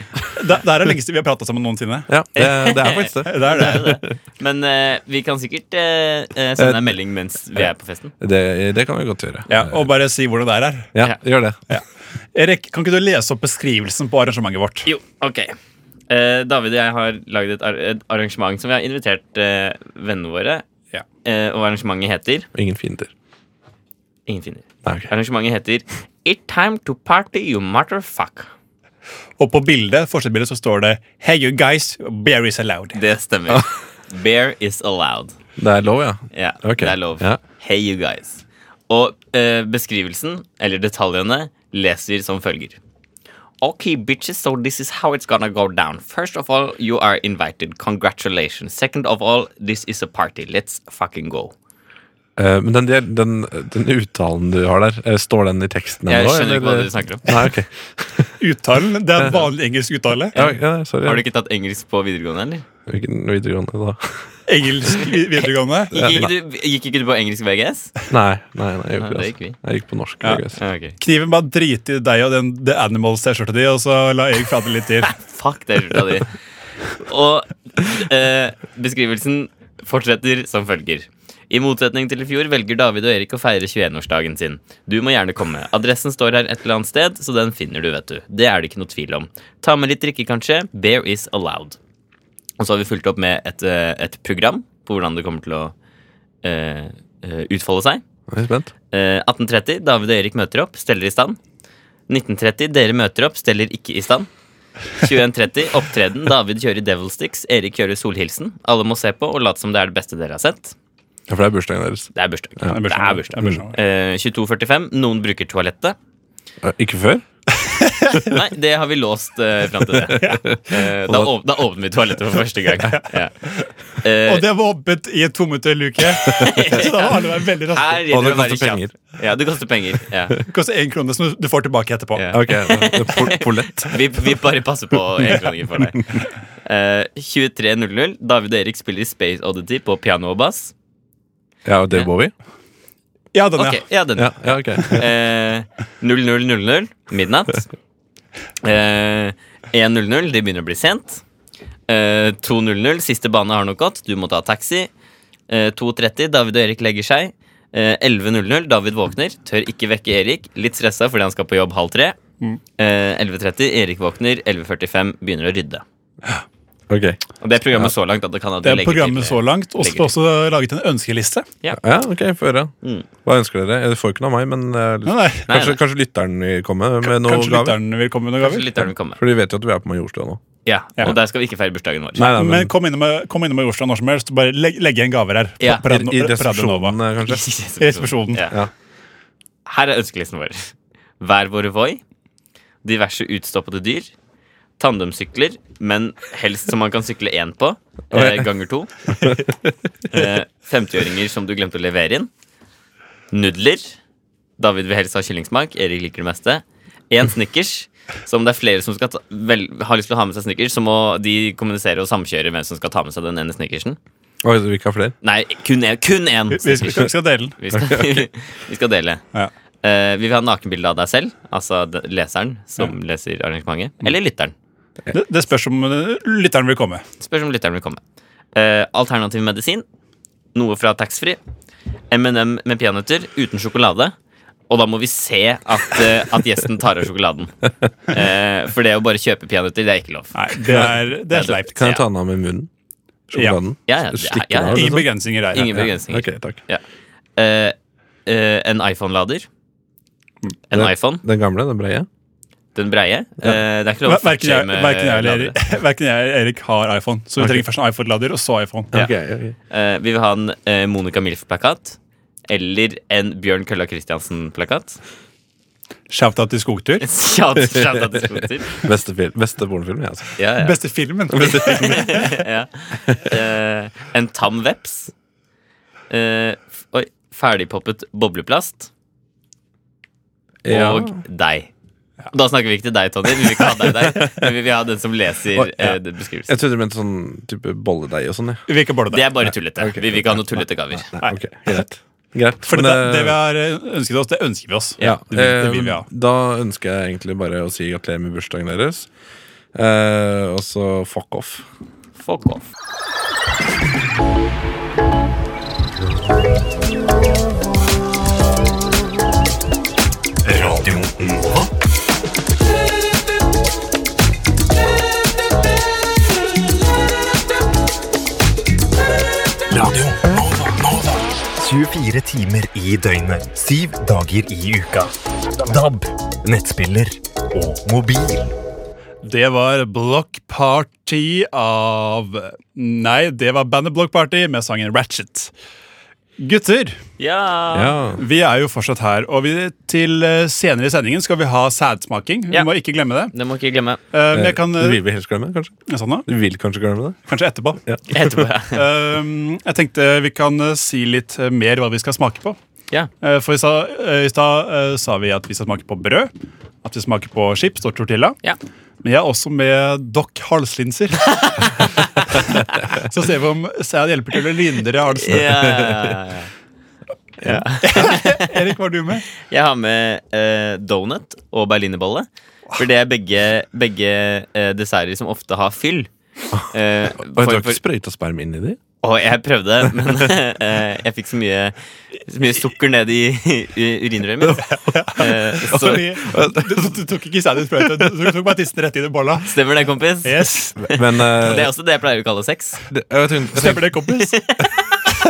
D: Det, det er det lengste vi har prata sammen noensinne.
B: Ja, det, det er faktisk det.
D: Det er det.
E: Men eh, vi kan sikkert eh, eh, sende deg en melding mens vi er på festen.
B: det. Det kan vi godt gjøre.
D: Ja, og bare si hvordan det er her.
B: Ja, gjør det.
D: Erik, kan ikke du lese opp beskrivelsen på arrangementet vårt?
E: Jo, ok. Eh, David og jeg har lagd et, ar et arrangement som vi har invitert eh, vennene våre.
D: Ja.
E: Eh, og arrangementet heter
B: Ingen fiender.
E: Ingen finner.
B: Nei, ok.
E: Arrangementet heter It time to party, you motherfuck.
D: Og på bildet, forsidebildet så står det Hey you guys, beer is allowed.
E: Det stemmer. Bear is allowed.
B: Det er lov, ja?
E: Ja,
B: Ok,
E: det er lov.
B: ja.
E: Hey, you guys. Og eh, beskrivelsen, eller detaljene, leser som følger. Okay, bitches, so this is how it's gonna go down. First of all, you are invited. Congratulations. Second of all, this is a party. Let's fucking go.
B: Eh, men den, del- den, den uttalen du har der, eh, står den i teksten?
E: Jeg
B: ennå,
E: skjønner ikke hva
B: eller?
E: dere snakker om.
B: Nei, ok
D: Uttalen, Det er en vanlig engelsk uttale.
B: ja, ja, Sorry.
E: Har du ikke tatt engelsk på videregående, eller?
B: Hvilken videregående da?
D: Engelsk vi- videregående.
E: Gikk ikke, du, gikk ikke du på engelsk VGS?
B: Nei, nei, nei jeg, gjorde
E: Nei, det gikk
B: ikke, det,
E: vi.
B: altså. jeg gikk på norsk.
D: Ja.
B: jeg guess.
E: Ja, ok.
D: Kniven bare driter i deg og den The Animals-T-skjorta di, og så la Erik prate litt til.
E: Fuck det skjorta di. Og eh, beskrivelsen fortsetter som følger. I motsetning til i fjor velger David og Erik å feire 21-årsdagen sin. Du må gjerne komme. Adressen står her et eller annet sted, så den finner du, vet du. Det er det ikke noe tvil om. Ta med litt drikke, kanskje. Bear is allowed. Og så har vi fulgt opp med et, eh, et program på hvordan det kommer til å eh, eh, utfolde seg.
B: Jeg er spent.
E: Eh, 18.30, David og Erik møter opp, steller i stand. 19.30, dere møter opp, steller ikke i stand. 21.30, opptreden. David kjører Devil Sticks, Erik kjører Solhilsen. Alle må se på og late som det er det beste dere har sett.
B: Ja, for det er bursdagen deres.
E: Det er bursdag.
D: Det er
E: Det
D: bursdagen.
E: er bursdag.
D: Det er bursdagen.
E: Eh, 22.45, noen bruker toalettet.
B: Eh, Ikke før?
E: Nei, det har vi låst eh, fram til det. Eh, da, åp da åpner vi toalettet for første gang. Ja. Eh,
D: Og det var åpent i et tommeter-luke. Så da må alle være veldig raske.
E: her gjelder
B: Og det
E: det å være
B: koster penger.
E: kjapp. Ja, det koster penger. Ja.
D: Det koster én krone som du får tilbake etterpå.
E: Ja.
B: Ok, det er pol- Polett.
E: Vi, vi bare passer på én kroning for deg. Eh, 23.00. David og Erik spiller Space Oddity på piano og bass.
B: Ja, og Dave Bowie?
D: Ja, den,
E: Ok,
D: ja.
E: ja, den.
B: Ja, ja ok.
E: Eh, 00.00. Midnatt. Eh, 1.00. Det begynner å bli sent. Eh, 2.00. Siste bane har nok gått. Du må ta taxi. Eh, 2.30. David og Erik legger seg. Eh, 11.00. David våkner. Tør ikke vekke Erik. Litt stressa fordi han skal på jobb halv tre.
B: Mm.
E: Eh, 11.30. Erik våkner. 11.45. Begynner å rydde.
B: Ok.
E: Og det er programmet så langt at det kan at
D: Det
E: vi
D: er
E: legger
D: programmet
E: til-
D: så langt. Og så
E: legger
D: får også laget en ønskeliste.
B: Ja, ok, Få høre.
E: Mm.
B: Hva ønsker dere? Dere får ikke noe av meg, men eh,
D: Nei, nei.
E: Nei,
B: kanskje,
E: nei.
B: kanskje lytteren vil komme med noe
D: Kanskje
B: gave?
D: lytteren vil komme med noen
E: Kanskje
D: gaver?
E: lytterne vil komme.
B: For de vet jo at vi er på Majorstua nå.
E: Ja,
D: Ja.
E: Og der skal vi ikke feire bursdagen vår.
B: Nei, nei,
D: Men
B: men
D: kom innom, kom innom i Oslo når som helst. og Bare legg, legge igjen gaver her. På,
E: Ja,
D: på Radio-
B: i, i
D: på Radio Nova.
B: resepsjonen, eh, kanskje.
E: I
D: resepsjonen.
E: Ja.
B: Ja.
E: Her er ønskelisten vår. Hver våre Voi. Diverse utstoppede dyr. Tandemsykler, men helst som man kan sykle én på. Eh, ganger to. Eh, 50-åringer som du glemte å levere inn. Nudler. David vil helst ha kyllingsmak. Erik liker det meste. Én Snickers. Så om det er flere som skal ta, vel, har lyst til å ha med seg Snickers, så må de kommunisere og samkjøre hvem som skal ta med seg den ene Snickersen.
B: Oi, du vil ikke ha flere?
E: Nei, kun én. Kun én
D: Vi, vi, skal, vi skal dele den.
E: vi skal, vi skal dele.
D: Ja.
E: Eh, vi vil ha nakenbilde av deg selv, altså d- leseren som leser arrangementet.
D: Mm.
E: Eller lytteren.
D: Det, det spørs om eh, lytteren vil komme.
E: Spørs om lytteren vil komme. Eh, alternativ medisin. Noe fra taxfree. M&M med peanøtter uten sjokolade. Og da må vi se at, eh, at gjesten tar av sjokoladen. Eh, for det å bare kjøpe peanøtter, det er ikke lov.
D: Nei, det er, det er sleipt.
B: Kan jeg ta den av med munnen? Sjokoladen?
E: Ja, ja, det er- ja,
B: Stikke
E: ja.
B: den av?
D: Ingen
B: liksom?
D: begrensninger der.
E: Ingen begrensninger.
B: Ok, takk.
E: Eh, eh, en iPhone-lader.
D: Mm.
E: En
B: Ja.
E: iPhone.
B: Den gamle, den breie?
E: Den breie. Eh, det er ikke lov å
D: Verken jeg,
E: fuckshame
D: hverken jeg, eller
E: ladere.
D: Erik- hverken jeg eller Erik har iPhone, så vi
B: Ok.
D: trenger først en iPhone-lader og så iPhone.
E: Ja.
B: Ok, ok.
E: Eh, vi vil ha en eh, Monica Milf-plakat. Eller en Bjørn Kølla Kristiansen-plakat.
D: Shout-out til Skogtur.
E: Shout- shout out til Skoter.
B: Beste, fil- beste pornofilm, ja. Altså.
E: ja, ja.
D: Beste filmen.
E: ja. Eh, en tam veps. Eh, f- oi, ferdigpoppet bobleplast.
B: Ja.
E: Og deg. Da snakker vi ikke til deg, Tonje. Vi vil ikke ha deg der. Men vi vil ha den som leser
B: Oi, ja.
E: eh, den beskrivelsen.
B: Jeg trodde du mente sånn type bolledeig og sånn. Ja.
D: Vi ikke bolle
E: Det
D: det.
E: er bare tullete.
B: ok.
E: Vi vil ikke ha noen tullete gaver.
B: Nei, ok, greit. greit.
D: For det,
B: men, eh,
D: det vi har eh, ønsket oss, det ønsker vi oss.
B: ja,
D: Det, vil, det
B: eh,
D: vil vi ha.
B: Da ønsker jeg egentlig bare å si gratulerer med bursdagen deres. Eh, og så fuck off.
E: Fuck off.
G: Radio Nova. Nova. 24 timer i døgnet, 7 dager i uka. DAB, nettspiller og mobil.
D: Det var Block Party av Nei, det var bandet Block Party med sangen Ratchet. Gutter,
E: Ja.
B: Ja.
D: vi er jo fortsatt her, og vi, til eh, senere i sendingen skal vi ha sædsmaking. Vi
E: Ja.
D: må ikke glemme det.
E: Det må ikke glemme.
D: Eh, Men jeg kan
B: Du
D: eh,
B: vil vel helst glemme det, kanskje?
D: sånn da,
B: Du vil kanskje glemme det?
D: Kanskje etterpå.
E: Etterpå. ja.
D: Eh, jeg tenkte vi kan eh, si litt eh, mer hva vi skal smake på.
E: Ja.
D: Eh, For i sa- eh, i stad eh, sa vi at vi skal smake på brød, at vi smaker på chips og tortilla.
E: Ja.
D: Men jeg er også med dokk halslinser. Så ser vi om sæd hjelper til å lindre halsen.
E: Ja.
D: Erik, var du med?
E: Jeg har med eh, donut og berlinerbolle. For det er begge, begge eh, desserter som ofte har fyll. Eh,
B: Og
E: for,
B: jeg har ikke
E: for,
B: sprøyta sperm inn i de?
E: og jeg prøvde, men eh, jeg fikk så mye, så mye sukker ned i, i urinrøret mitt. Eh, så
D: Fordi, du, du, du tok ikke sæd i sprøyta, du, du tok bare tissen rett inn i bolla.
E: stemmer det, kompis?
D: Yes,
B: Men eh,
E: Det er også det jeg pleier å kalle sex.
B: det- jeg, tenkte, jeg,
D: Stemmer det, kompis?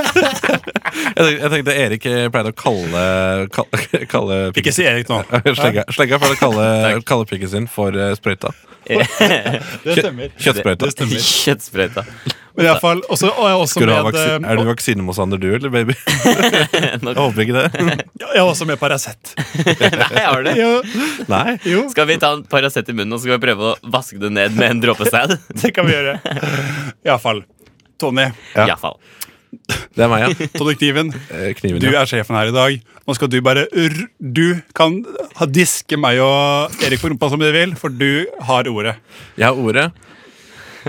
B: tenkte, jeg tenkte Erik eh, pleide å kalle, kalle, kalle
D: Ikke si Erik nå.
B: Slegga slegga pleide å kalle, kalle pikken sin for eh, sprøyta.
D: Det stemmer.
B: Kjøttsprøyta.
E: Kjøttsprøyta.
D: Men i alle fall, også, og jeg er også
B: Skal du ha
D: med,
B: vaksi-
D: eh,
B: er du vaksinemotstander, du, eller baby? Jeg håper ikke det.
D: jeg er også med Paracet.
E: Nei, jeg har det.
D: Ja,
B: Nei.
D: jo.
E: Skal vi ta en Paracet i munnen og så skal vi prøve å vaske det ned med en dråpe sæd?
D: Det kan vi gjøre. Iallfall. Tony,
B: Ja.
E: I hvert fall.
B: Det er meg, ja.
D: Tony Kniven,
B: Eh, Kniven,
D: du
B: ja.
D: er sjefen her i dag. Nå skal du bare r- Du kan ha diske meg og Erik på rumpa som du vil, for du har ordet.
B: Jeg har ordet.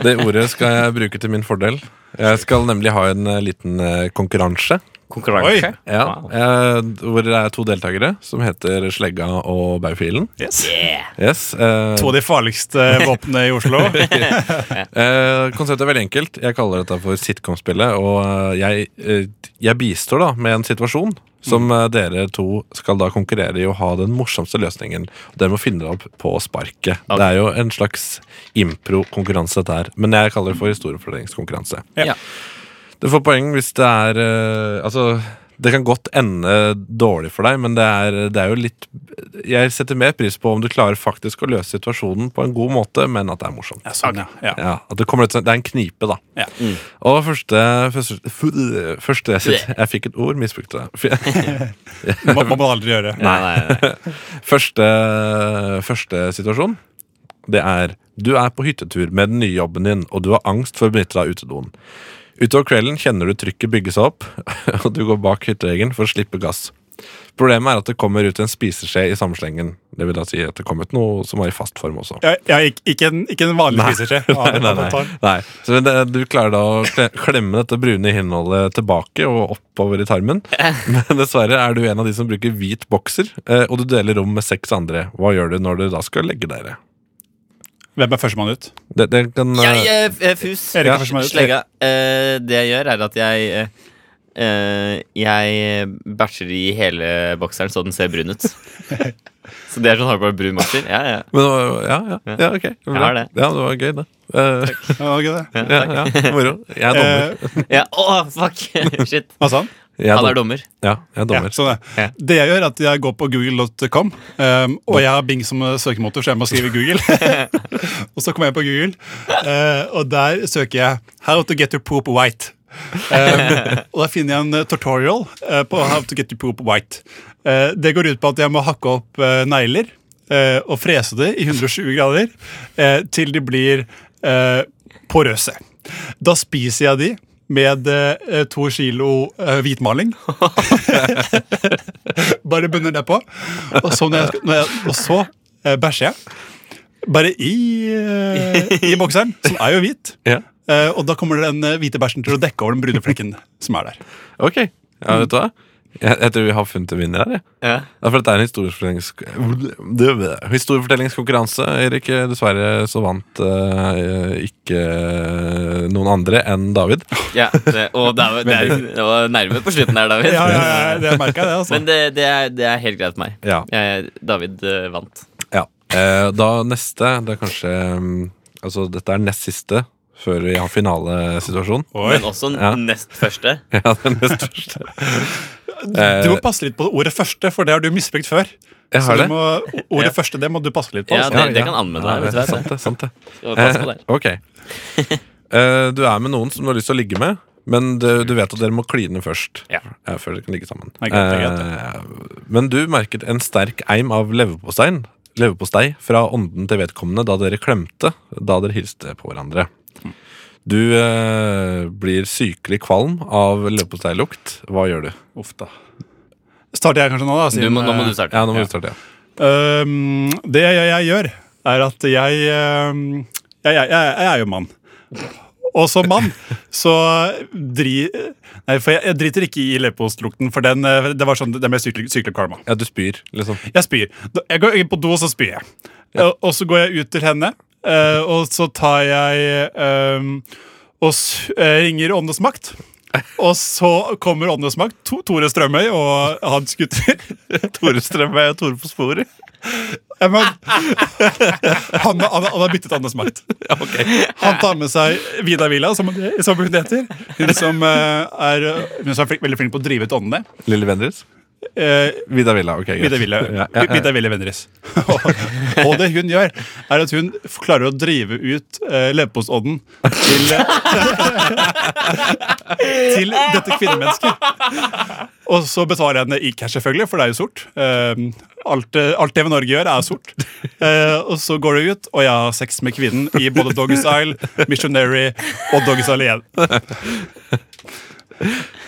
B: Det ordet skal jeg bruke til min fordel. Jeg skal nemlig ha en eh, liten eh, konkurranse.
E: Konkurranse.
D: Oi.
B: Ja,
E: Wow.
B: eh, hvor det er to deltakere som heter Slegga og Baufilen.
E: Yeah.
B: Yes, eh,
D: To av de farligste våpnene i Oslo.
B: eh, konseptet er veldig enkelt. Jeg kaller dette for sitcom-spillet. Og eh, jeg, eh, jeg bistår da med en situasjon som eh, dere to skal da konkurrere i å ha den morsomste løsningen. Dere må finne det opp på sparket.
E: Ok.
B: Det er jo en slags impro-konkurranse, dette her. Men jeg kaller det for historiefortellingskonkurranse.
E: Ja.
B: Du får poeng hvis det er eh, Altså, Det kan godt ende dårlig for deg, men det er, det er jo litt Jeg setter mer pris på om du klarer faktisk å løse situasjonen på en god måte, men at det er morsomt.
D: Ja, sånn, ja. ja.
B: Ja, at det, kommer ut, sånn- det er en knipe, da.
D: Ja.
B: Og første, første, fu- første jeg, sit, jeg fikk et ord, misbrukte det.
D: Man, man må aldri gjøre det.
E: Nei, nei, nei.
B: Første, første situasjon Det er Du er på hyttetur med den nye jobben din Og du har angst for å benytte deg av utedoen Utover kvelden kjenner du trykket bygge seg opp Og du går bak hytteeggen for å slippe gass Problemet er at det kommer ut en spiseskje i sammenslengen Det vil da si at det kom ut noe som var i fast form også
D: Ja, ja, ikke, ikke, en, ikke en vanlig spiseskje.
B: Nei, nei, nei. nei. Så det, du klarer da å kle- klemme dette brune innholdet tilbake og oppover i tarmen. Men dessverre er du en av de som bruker hvit bokser, eh, og du deler rom med seks andre. Hva gjør du når du da skal legge dere?
D: Hvem er førstemann ut?
B: Det, det kan eh,
E: Jeg, eh, f- eh, fus.
D: Erik
B: Ja,
D: er førstemann ut.
E: Slegga. Eh, det jeg gjør, er at jeg eh, eh, Jeg bæsjer i hele bokseren så den ser brun ut. så det er sånn hardcore brun bokser. Ja, ja.
B: Men, det var- ja, ja, ja, ok. Bra.
E: har det.
B: Ja, det var gøy, det. Eh,
D: Ja, det var gøy, det.
E: ja, takk.
B: ja, ja, moro. Jeg er dommer.
D: Eh,
E: ja. Å, fuck! Shit.
D: hva sa han?
B: Jeg
E: Han
B: er
E: er
B: dommer.
E: dommer.
B: Ja, jeg er
D: Ja,
B: dommer.
D: sånn det.
E: Ja.
D: det jeg gjør, er at jeg går på google.com, um, og jeg har Bing som eh, søkemotor, så jeg må skrive Google. og så kommer jeg på Google, eh, og der søker jeg 'How to get your poop white'. Um, og da finner jeg en eh, tutorial eh, på 'How to get your poop white'. Eh, det går ut på at jeg må hakke opp eh, negler eh, og frese det i 120 grader eh, til de blir eh, porøse. Da spiser jeg de med eh, to kilo eh, hvitmaling. Bare bunner det på. Og så, når jeg, skal- når jeg, og så eh, bæsjer jeg. Bare i, eh, i bokseren, som er jo hvit.
B: Ja.
D: Eh, og da kommer den eh, hvite bæsjen til å dekke over den brune flekken som er der.
B: Ok, ja, vet du hva? Jeg, jeg tror vi har funnet en vinner her, jeg.
E: Ja.
B: Det er fordi det er en historiefortellingskonkurranse. Historiefortellingskonkurranse, Erik. Dessverre så vant eh, ikke noen andre enn David.
E: ja det, og det, er- det, er- det var nærme på slutten der, David.
D: Ja, ja, ja, det merker jeg, det. altså
E: Men det, det, er, det er helt greit for meg.
B: Ja.
E: Jeg, David eh, vant.
B: ja. Eh, da neste Det er kanskje mm, Altså, dette er nest siste før vi har finalesituasjon.
D: Oi.
E: Men også
B: Ja.
E: nest første.
B: Ja, det er nest første.
E: Eh,
D: Du må passe litt på ordet første, for det har du misbrukt før. Så
B: Jeg har
D: du
B: det.
D: må, ordet første det må du passe litt på.
E: Ja,
D: Altså.
E: det, det kan anmelde
B: Ja,
E: deg.
B: det er
E: vet du sånn.
B: sant det. Sant det.
E: Så pass på det.
B: Eh, ok. Eh, du er med noen som du har lyst til å ligge med, men du, du vet at dere må kline først.
E: Ja.
B: før dere kan ligge sammen.
D: Det er greit, det er
B: Eh, men du merket en sterk eim av leverpostein, leverpostei fra ånden til vedkommende da dere klemte, da dere hilste på hverandre.
D: Mm.
B: Du eh, blir sykelig kvalm av leverposteilukt. Hva gjør du?
D: Uff da. Starter jeg kanskje nå, da?
E: Du må, nå må du starte.
B: Ja, nå må du starte. Ja.
D: Øhm, Ehm, det jeg, jeg gjør, er at jeg, øhm, jeg, jeg, jeg, jeg er jo mann. Og som mann så dri... Nei, for jeg, jeg driter ikke i leverpostlukten, for den, øh, det var sånn, den ble sykelig sykelig karma.
B: ja, du spyr, liksom.
D: Jeg spyr. Da- Jeg går inn på do, og så spyr jeg. Og- Og så går jeg ut til henne, eh, og så tar jeg ehm, Og s- eh, ringer Åndenes makt. Og så kommer Åndenes makt, to, Tore Strømøy og hans gutter.
B: Tore Strømøy og Tore på sporet.
D: Ja, men, han, han, han har byttet Åndenes makt. Han tar med seg Vida Villa, som, som hun heter. Hun som eh, er, hun som er flink, veldig flink på å drive ut åndene.
B: Lille Vendris.
D: Eh,
B: Vidar Villa. ok, greit.
D: Vidar Ville,
B: Ja, ja, ja.
D: Vidar Ville Vendris. og det hun gjør, er at hun f- klarer å drive ut uh, leverpostånden til Til dette kvinnemennesket. Og så betaler jeg henne i cash, selvfølgelig, for det er jo sort. Ehm, alt, eh, alt TV Norge gjør, er sort. Eh, og så går det ut, og jeg har sex med kvinnen i både Doggystyle, Missionary og Doggystyle igjen.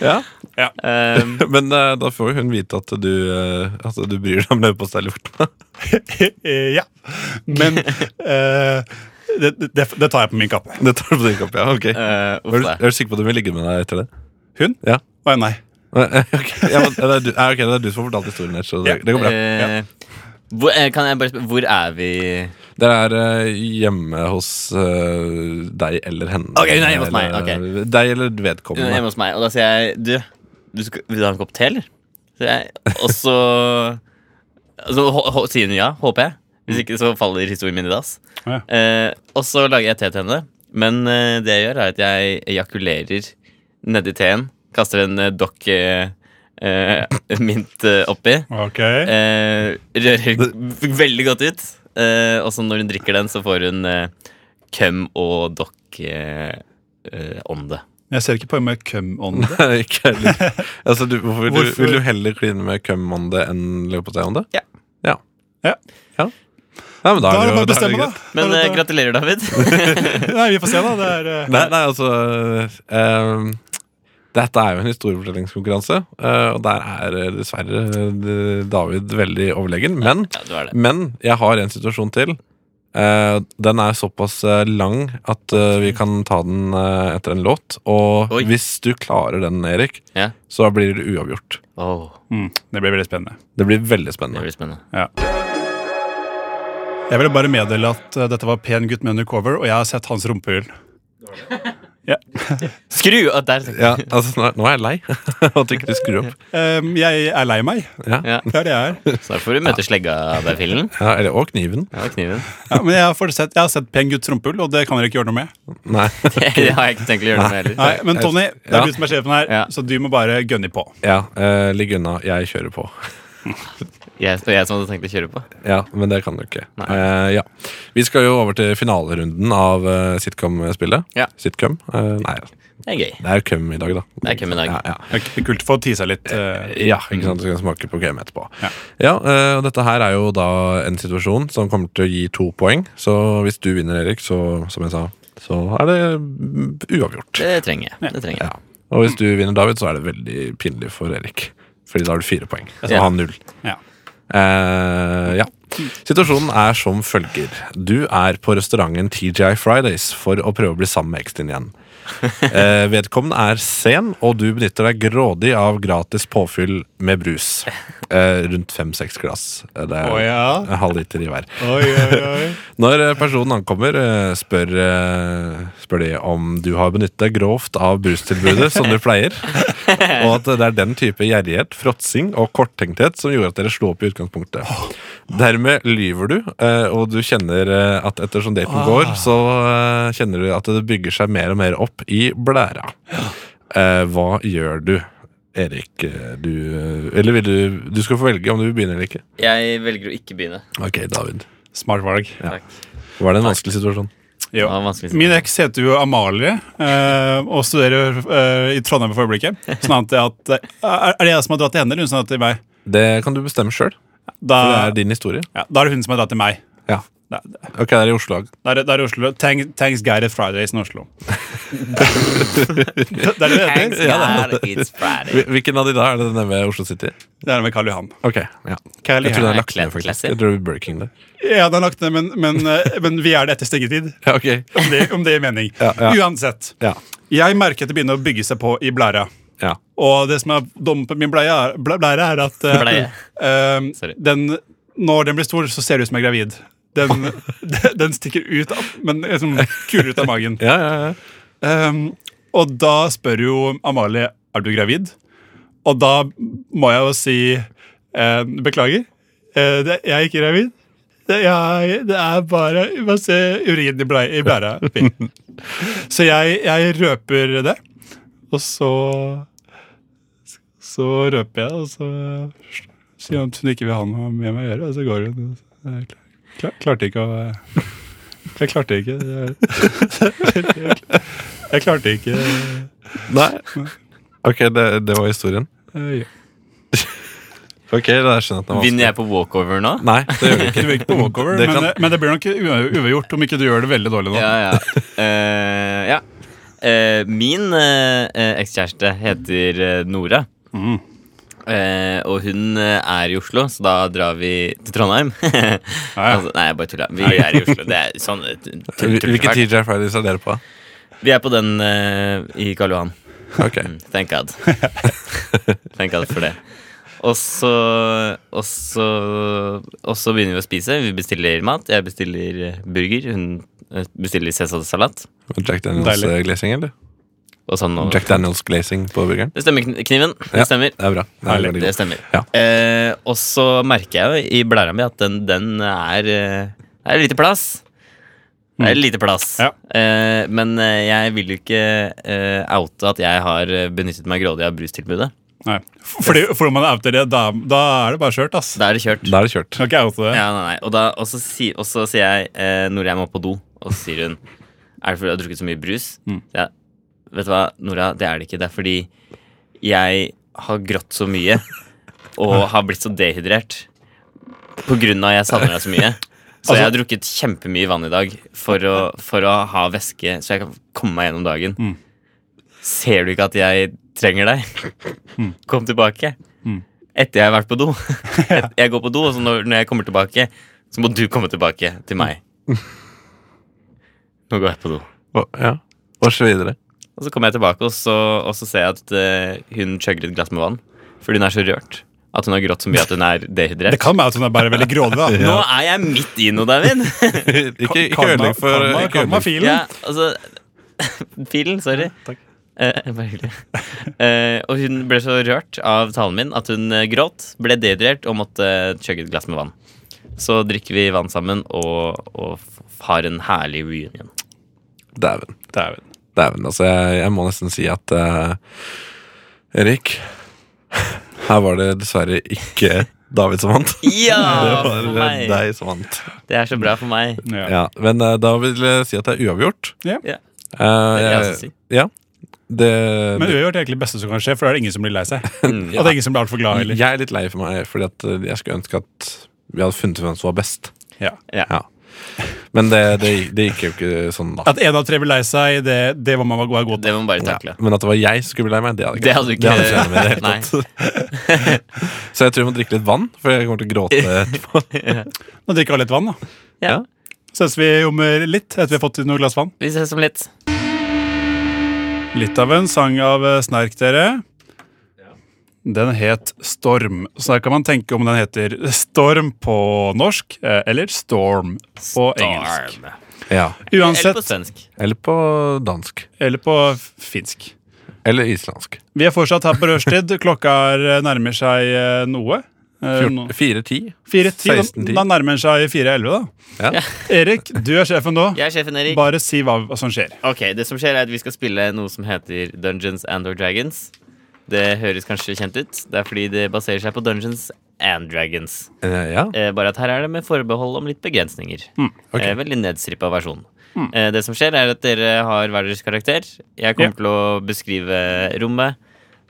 B: Ja.
D: Ja.
E: Um,
B: Men eh, da får jo hun vite at du, eh, at du bryr deg om leverposteilukten.
D: Eh, ja. Men eh, det, det, det tar jeg på min kappe.
B: Det tar du på din kopp, ja. Ok.
E: eh, uff,
B: Er du,
E: da.
B: er du sikker på at hun vil ligge med deg etter det?
D: Hun?
B: Ja.
D: Å ja, nei.
B: Eh, Ok, ja, men, det, er du, eh, ok, det er du som har fortalt historien her, så det,
D: Ja.
B: det går bra.
E: Eh, hvor, eh, kan jeg bare spørre, hvor er vi
B: Dere er eh, hjemme hos eh, deg eller henne.
E: Ok, hun er hjemme hos meg,
B: Eller, eh, Deg
E: Hun
B: eller
E: er hjemme
B: vedkommende.
E: hos meg, og da sier jeg Du, du skal, vil du ha en kopp te, eller? Sier jeg. Og så altså, hå- hå- sier hun ja, håper jeg. Hvis ikke så faller historien min i dass.
D: Ja.
E: Eh, og så lager jeg te til henne. Men eh, det jeg gjør, er at jeg ejakulerer nedi teen. Kaster en eh, dokk eh, eh, mint eh, oppi.
D: Ok.
E: Eh, rører v- veldig godt ut. Eh, og så når hun drikker den, så får hun eh, køm og dokk eh, eh, om det.
D: Jeg ser ikke poenget med cum-ånd.
B: Nei, ikke heller. Altså, du, hvorfor, vil Du,
D: Hvorfor?
B: vil du heller kline med kømmonde enn leverposteimonde?
E: Ja.
B: Ja.
D: Ja.
B: Ja. Nei, men da,
D: Da er det
B: jo-
D: bare å
B: da er
D: bestemme,
B: greit.
D: da.
E: Men
D: Da
E: eh,
D: er det-
E: gratulerer, David.
D: Nei, vi får se, da. Det er, eh,
B: Nei, nei altså eh, Dette er jo en historiefortellingskonkurranse, eh, og der er eh, dessverre eh, David veldig overlegen. Men,
E: ja, du er det.
B: men jeg har en situasjon til. Eh, den er såpass eh, lang at eh, vi kan ta den eh, etter en låt. Og
E: Oi.
B: hvis du klarer den, Erik,
E: Ja.
B: så blir det uavgjort.
E: Åh,
D: mm, det blir veldig spennende.
B: Det blir veldig
E: det
B: spennende.
E: blir spennende.
D: Jeg ville bare meddele at eh, dette var Pen gutt med undercover, og jeg har sett hans rumpehull.
E: Skru! av der,
B: Ja, altså, nå, nå er jeg lei av at ikke du skrur opp.
D: Em, Ehm, jeg er lei meg.
B: Ja.
E: ja.
D: Det er det jeg er.
E: Snart får du møte slegga av deg, Fillen.
B: Ja, eller, og kniven.
E: Ja, kniven.
D: Ja, men jeg har, fått sett, jeg har sett Pen gutts rumpehull, og det kan dere ikke gjøre noe med.
B: Nei.
E: Det har jeg ikke tenkt å gjøre noe med heller.
D: Nei, Men Tony, det
B: Ja.
D: er du som er sjefen her,
E: Ja.
D: så du må bare gønne på.
B: Ja, eh, ligg unna. Jeg kjører på.
E: Jeg, det var jeg som hadde tenkt å kjøre på.
B: Ja, men det kan du ikke. Eh, ja. Vi skal jo over til finalerunden av eh, sitcom-spillet.
E: Ja.
B: Sitcom? Eh, nei,
E: Det er gøy.
B: det er jo cum i dag, da.
E: Det er cum i dag.
B: Ja, ja.
D: Det er kult for å tease litt. eh,
B: Ja, ikke sant? Så kan jeg smake på krem etterpå.
D: Ja.
B: eh, og Dette her er jo da en situasjon som kommer til å gi to poeng. Så hvis du vinner, Erik, så som jeg sa, så er det mm, uavgjort.
E: Det trenger jeg. Det trenger jeg.
B: Ja. Og hvis du vinner, David, så er det veldig pinlig for Erik. Fordi da har du fire poeng. Så
E: Ja.
B: han null.
D: Ja.
B: Eh, ja. Situasjonen er som følger. Du er på restauranten TGI Fridays for å prøve å bli sammen med eksen din igjen. Eh, vedkommende er sen, og du benytter deg grådig av gratis påfyll med brus. Eh, rundt fem-seks glass. Eh, Det er
D: Å ja.
B: en halv liter i hver.
D: Oi, oi, oi.
B: Når eh, personen ankommer, eh, spør, eh, spør de om du har benyttet deg grovt av brustilbudet som du pleier, og at det er den type gjerrighet, fråtsing og korttenkthet som gjorde at dere slo opp i utgangspunktet. Dermed lyver du, eh, og du kjenner eh, at ettersom daten går, så eh, kjenner du at det bygger seg mer og mer opp i blæra. Eh, Hva gjør du? Erik, eh, du, eh, eller vil du, du skal få velge om du vil begynne eller ikke.
E: Jeg velger å ikke begynne.
B: Ok, David.
D: Smart valg.
E: Takk.
B: Var det en vanskelig situasjon?
E: Det
D: Jo.
E: var vanskelig.
D: Min eks heter jo Amalie eh, og studerer eh, i Trondheim for øyeblikket. Sånn at, det at eh, er, er det jeg som har dratt til henne, eller hun som har dratt til meg?
B: Det kan du bestemme sjøl.
D: Da,
B: For det er din historie.
D: ja, da er det hun som har dratt til meg.
B: Ja.
D: Da, da,
B: Ok, det er i Oslo.
D: er, det- da er det Oslo. Thanks, thanks Gareth Fridays i Oslo. det er det det
E: Thanks,
D: heter.
E: God, it's Friday.
B: Hvil- Hvilken av de da? Er det denne ved Oslo City?
D: Det er det med Karl Johan.
B: Ok, ja.
D: Karl
B: Jeg tror det
D: Johan.
B: er lagt ned,
E: Classic.
B: faktisk. Jeg tror det er Burger King der.
D: Ja, den er lagt ned, men, men, eh, men vi er det etter stengetid.
B: Ja, ok.
D: Om det, om det gir mening.
B: Ja, ja.
D: Uansett.
B: Ja.
D: Jeg merker at det begynner å bygge seg på i blæra.
B: ja.
D: Og det som er dumt på min bleie, er, ble, blære er at eh,
E: Bleie.
D: eh,
E: Sorry.
D: den, når den blir stor, så ser det ut som jeg er gravid. Den, den stikker ut, av, men liksom kuler ut av magen.
B: ja, ja, ja.
D: Eh, og da spør jo Amalie er du gravid. Og da må jeg jo si eh, beklager. eh, det, jeg er ikke gravid. Det, jeg, det er bare masse urin i, blei, i blæra. mi.» Så jeg, jeg røper det, og så Så røper jeg, og så sier hun at hun ikke vil ha noe med meg å gjøre, og så går hun. og Jeg klar, klar, klarte ikke å Jeg klarte ikke. Jeg, jeg klarte ikke
B: Nei. Ok, det, det var historien.
D: eh,
B: Ok, da skjønner jeg at den var
E: Vinner jeg på walkover nå?
B: Nei, det gjør
D: Du
B: du ikke.
D: er ikke på walkover,
B: Det
D: men,
B: kan-
D: men det blir nok ua- uavgjort om ikke du gjør det veldig dårlig nå.
E: Ja, ja. Eh, ja. Eh, min eh, eh, ekskjæreste heter eh, Nora. Eh, og hun eh, er i Oslo, så da drar vi til Trondheim. altså, nei, jeg bare tulla. Vi er i Oslo. Det er sånn eh, tull- tull-
B: Hvilke
E: tullefælt.
B: TJ Fridays er dere på?
E: Vi er på den eh, i Karl Johan.
B: Ok,
E: Mm, Thank God. Thank God for det. Og så, og, så, og så begynner vi å spise. Vi bestiller mat. Jeg bestiller eh, burger. Hun eh, bestiller Cæsarsalat.
B: Jack Daniels
D: Deilig.
B: eh, glazing, eller?
E: Og sånn og
B: Jack Daniels glazing på burgeren?
E: Det stemmer, kn- Kniven.
B: Ja.
E: Det stemmer.
B: Det er bra. Det er
D: Herlig.
B: veldig
E: Det
B: godt.
E: stemmer.
B: Ja.
E: Eh, og så merker jeg jo i blæra mi at den, den er eh, Det er lite plass. Det
B: Mm.
E: er lite plass.
D: Ja.
E: Eh, men eh, jeg vil jo ikke eh, oute at jeg har eh, benyttet meg grådig av brustilbudet.
D: Nei. Fordi, fordi man outer det, da, da er det bare kjørt, ass.
E: Da er det kjørt.
B: Da er det kjørt.
D: Kan ikke oute det.
E: Ja, nei, nei. Og, da, og, så si, og så sier jeg eh, Nora, jeg må på do. Og så sier hun Er det fordi du har drukket så mye brus?
D: Mm.
E: Så jeg, vet du hva, Nora, det er det ikke. Det er fordi jeg har grått så mye og har blitt så dehydrert. På grunn av at jeg savner deg så mye. Så
D: Altså-
E: jeg har drukket kjempemye vann i dag for å, for å ha væske, så jeg kan komme meg gjennom dagen.
D: Mm.
E: Ser du ikke at jeg trenger deg?
D: Mm.
E: Kom tilbake. Etter jeg har vært på do. Et- Jeg går på do, og så når, når jeg kommer tilbake, så må du komme tilbake til meg. Nå går jeg på do.
B: Og, ja. og så videre.
E: Og så kommer jeg tilbake, og så, og så ser jeg at eh, hun chugger et glass med vann. Fordi hun er så rørt. At hun har grått så mye at hun er
D: Det
E: dehydrert.
D: kan være at hun er bare veldig grådig, da.
E: Nå er jeg midt i noe, David!
B: Ikke, ikke
D: Karma-
B: ødelegg for
D: karma-
B: ikke ødelegg.
D: karmafilen.
E: Ja, altså Pilen, sorry. Eh, bare hyggelig. Eh, og hun ble så rørt av talen min at hun eh, gråt, ble dehydrert og måtte eh, chugge et glass med vann. Så drikker vi vann sammen og, og f- har en herlig reunion.
B: Dæven.
D: Dæven.
B: Dæven, altså jeg, jeg må nesten si at eh, Erik Her var det dessverre ikke David som vant.
E: Ja!
B: det
E: For
B: var eh,
E: meg.
B: deg som vant.
E: Det er så bra for meg.
D: Ja.
B: Ja, men eh, da vil jeg si at det er uavgjort.
D: Ja.
E: Ja.
B: Eh,
E: det jeg skal
B: jeg-
E: si.
B: Ja. Det,
D: Men uavgjort er egentlig det beste som kan skje, for da er det ingen som blir lei seg.
E: Mm,
D: Og det er ingen som blir altfor glad heller.
B: jeg er litt lei for meg, fordi at eh, jeg skulle ønske at vi hadde funnet hvem som var best.
D: Ja.
B: Ja. Men det, det, det gikk jo ikke sånn, da.
D: At en av tre blir lei seg, det, det var man var god til.
E: Det må man bare
B: Ja.
E: takle.
B: Men at det var jeg som skulle bli lei meg, det hadde
E: Det hadde du ikke.
B: jeg ikke med i det hele
E: Nei.
B: tatt. Så jeg tror jeg må drikke litt vann, for jeg kommer til å gråte etterpå.
D: Nå drikker vi litt vann, da.
E: Ja.
D: Ses vi om eh, litt etter vi har fått noen glass vann.
E: Vi ses om litt.
D: Litt av en sang av eh, Snark, dere. Den het Storm. Så her kan man tenke om den heter Storm på norsk, eh, eller Storm på engelsk.
E: Darn.
B: Ja.
E: Eller på
D: Uansett,
E: svensk.
B: Eller på dansk.
D: eller på finsk.
B: Eller islandsk.
D: Vi er fortsatt her på rushtid. Klokka er, eh, nærmer seg eh, noe. Eh, nå-
B: 4-10.
D: 4.10.
B: 16.10.
D: Da nærmer den seg 4.11, da.
B: Ja.
D: Erik, du er sjefen nå.
E: Jeg er sjefen Erik.
D: Bare si hva hva som skjer.
E: Ok, Det som skjer, er at vi skal spille noe som heter Dungeons and or Dragons. Det høres kanskje kjent ut. Det er fordi det baserer seg på Dungeons and Dragons.
B: Eh, Ja.
E: Eh, bare at her er det med forbehold om litt begrensninger.
B: ok.
E: eh, veldig nedstrippa versjon. Eh, det som skjer, er at dere har hver deres karakter. Jeg kommer
D: Ja.
E: til å beskrive rommet.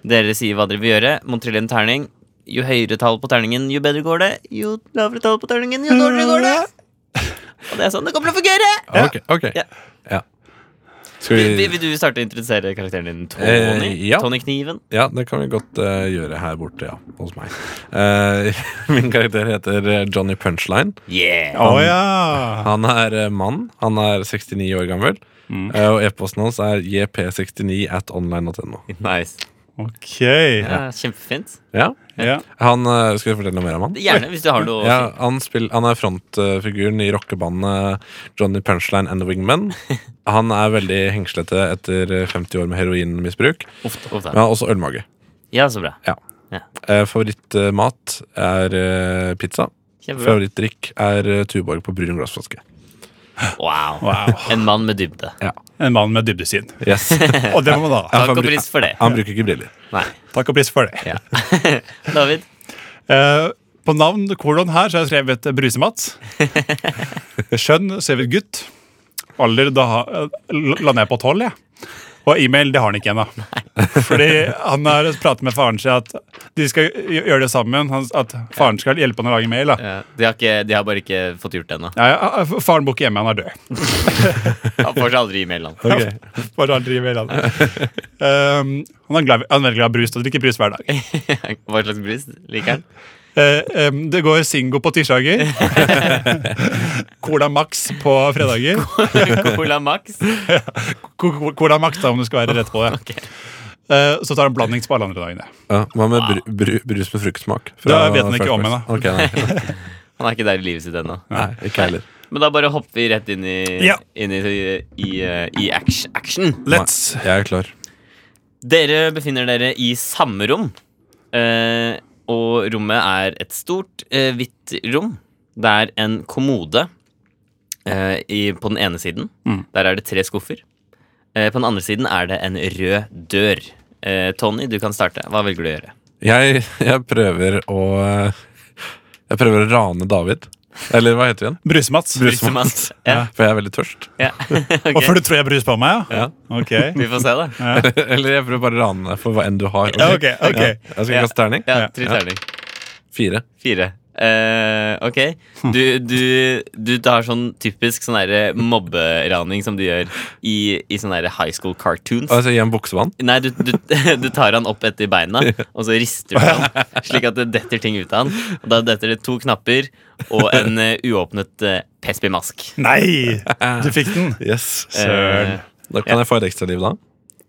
E: Dere sier hva dere vil gjøre. Må trille en terning. Jo høyere tall på terningen, jo bedre går det. Jo lavere tall på terningen, jo dårligere går det.
D: Mm.
E: Og det er sånn det kommer til å fungere.
B: Ok. ok.
E: Ja.
B: Ja. Skal
E: Vil, vil-
B: vi
E: vil du starte å introdusere karakteren din, Tony?
B: Eh, ja.
E: Tony Kniven?
B: Ja, det kan vi godt eh, gjøre her borte, ja. Hos meg. Eh, min karakter heter eh, Johnny Punchline.
E: Yeah!
D: Å ja!
B: Han er eh, mann. Han er 69 år gammel. Eh, og e-posten hans er jp69 at online.no.
E: Nice.
D: Ok.
E: Ja, kjempefint.
B: Ja.
D: Ja.
B: Han, eh, skal jeg fortelle noe mer om han?
E: Gjerne, hvis du har noe.
B: Ja, han, spill, han er frontfiguren i rockebandet Johnny Punchline and the Wingmen. Han er veldig hengslete etter 50 år med heroinmisbruk.
E: Ofte. Ofte.
B: Men han har også ølmage.
E: Ja, så bra.
B: Eh, Favorittmat er eh, pizza.
E: Kjempebra.
B: Favorittdrikk er eh, Tuborg på brun glassflaske.
E: Wow.
D: Wow.
E: En mann med dybde.
D: En mann med dybdesyn.
B: Yes.
D: Og det må man ha.
E: Takk
B: han
E: og
B: bru-
E: pris for det.
B: Han bruker ikke briller.
E: Nei.
D: Takk og pris for det.
E: Ja. David?
D: Eh, på navn kolon her så har jeg skrevet Brusematt. Skjønn så har vi gutt. Alder da ha- eh, l- lander jeg på tolv, jeg. Og e-mail det har han ikke ennå. Fordi han har pratet med faren sin at de skal gj- gjøre det sammen. han- At faren skal hjelpe han å lage mail. Da.
E: De, har ikke, de har bare ikke fått gjort det ennå.
D: Ja, ja, f- faren bor ikke hjemme, han er død.
E: Han får seg aldri e-mail. han.
D: Bare aldri e-mail han. Um, han, er glad, han er veldig glad i brus og drikker brus hver dag.
E: Hva slags brus liker han?
D: Eh, em, det går Singo på tirsdager. Cola Max på fredager.
E: Cola Max?
D: Co- co- Cola Max, da, om du skal være rett på det. Eh, Så tar han blandings på alle andre dagene.
B: Ja, hva med bru, bru, brus med fruktsmak?
D: Det vet han ikke om ennå.
B: Ok, nei,
E: Han er ikke der i livet sitt ennå.
B: nei, ikke heller.
E: Men da bare hopper vi rett inn i,
D: Ja.
E: inn i, i, eh, i action. action.
D: Let's
B: Nei, jeg er klar.
E: Dere befinner dere i samme rom. Eh, og rommet er et stort, eh, hvitt rom. Det er en kommode eh, i, på den ene siden. Der er det tre skuffer. Eh, på den andre siden er det en rød dør. Eh, Tony, du kan starte. Hva velger du å gjøre?
B: Jeg, jeg prøver å eh, Jeg prøver å rane David. Eller hva heter vi igjen?
D: Brusemats.
E: Brusematt. Ja,
B: For jeg er veldig tørst.
E: ja.
D: Og
E: Ok,
D: for du tror jeg bruser på meg, ja? Ok.
E: Vi får se, da.
B: Eller jeg prøver bare å rane deg for hva enn du har.
D: Ja, ok, ok.
B: Ja, Jeg skal kaste terning.
E: Ja, tre terning.
B: Fire.
E: Fire. Eh, ok. Du, du, du tar sånn typisk sånn derre mobberaning som du gjør i, i sånne derre high school cartoons.
B: Altså, gi en buksevann.
E: Nei, du, du, du tar han opp etter beina, og så rister du han, slik at det detter ting ut av han. Og da detter det to knapper og en eh, uåpnet uh, Pesby-mask.
D: Nei! Du fikk den.
B: Yes.
E: Søren.
B: Da kan jeg få et ekstra liv, da.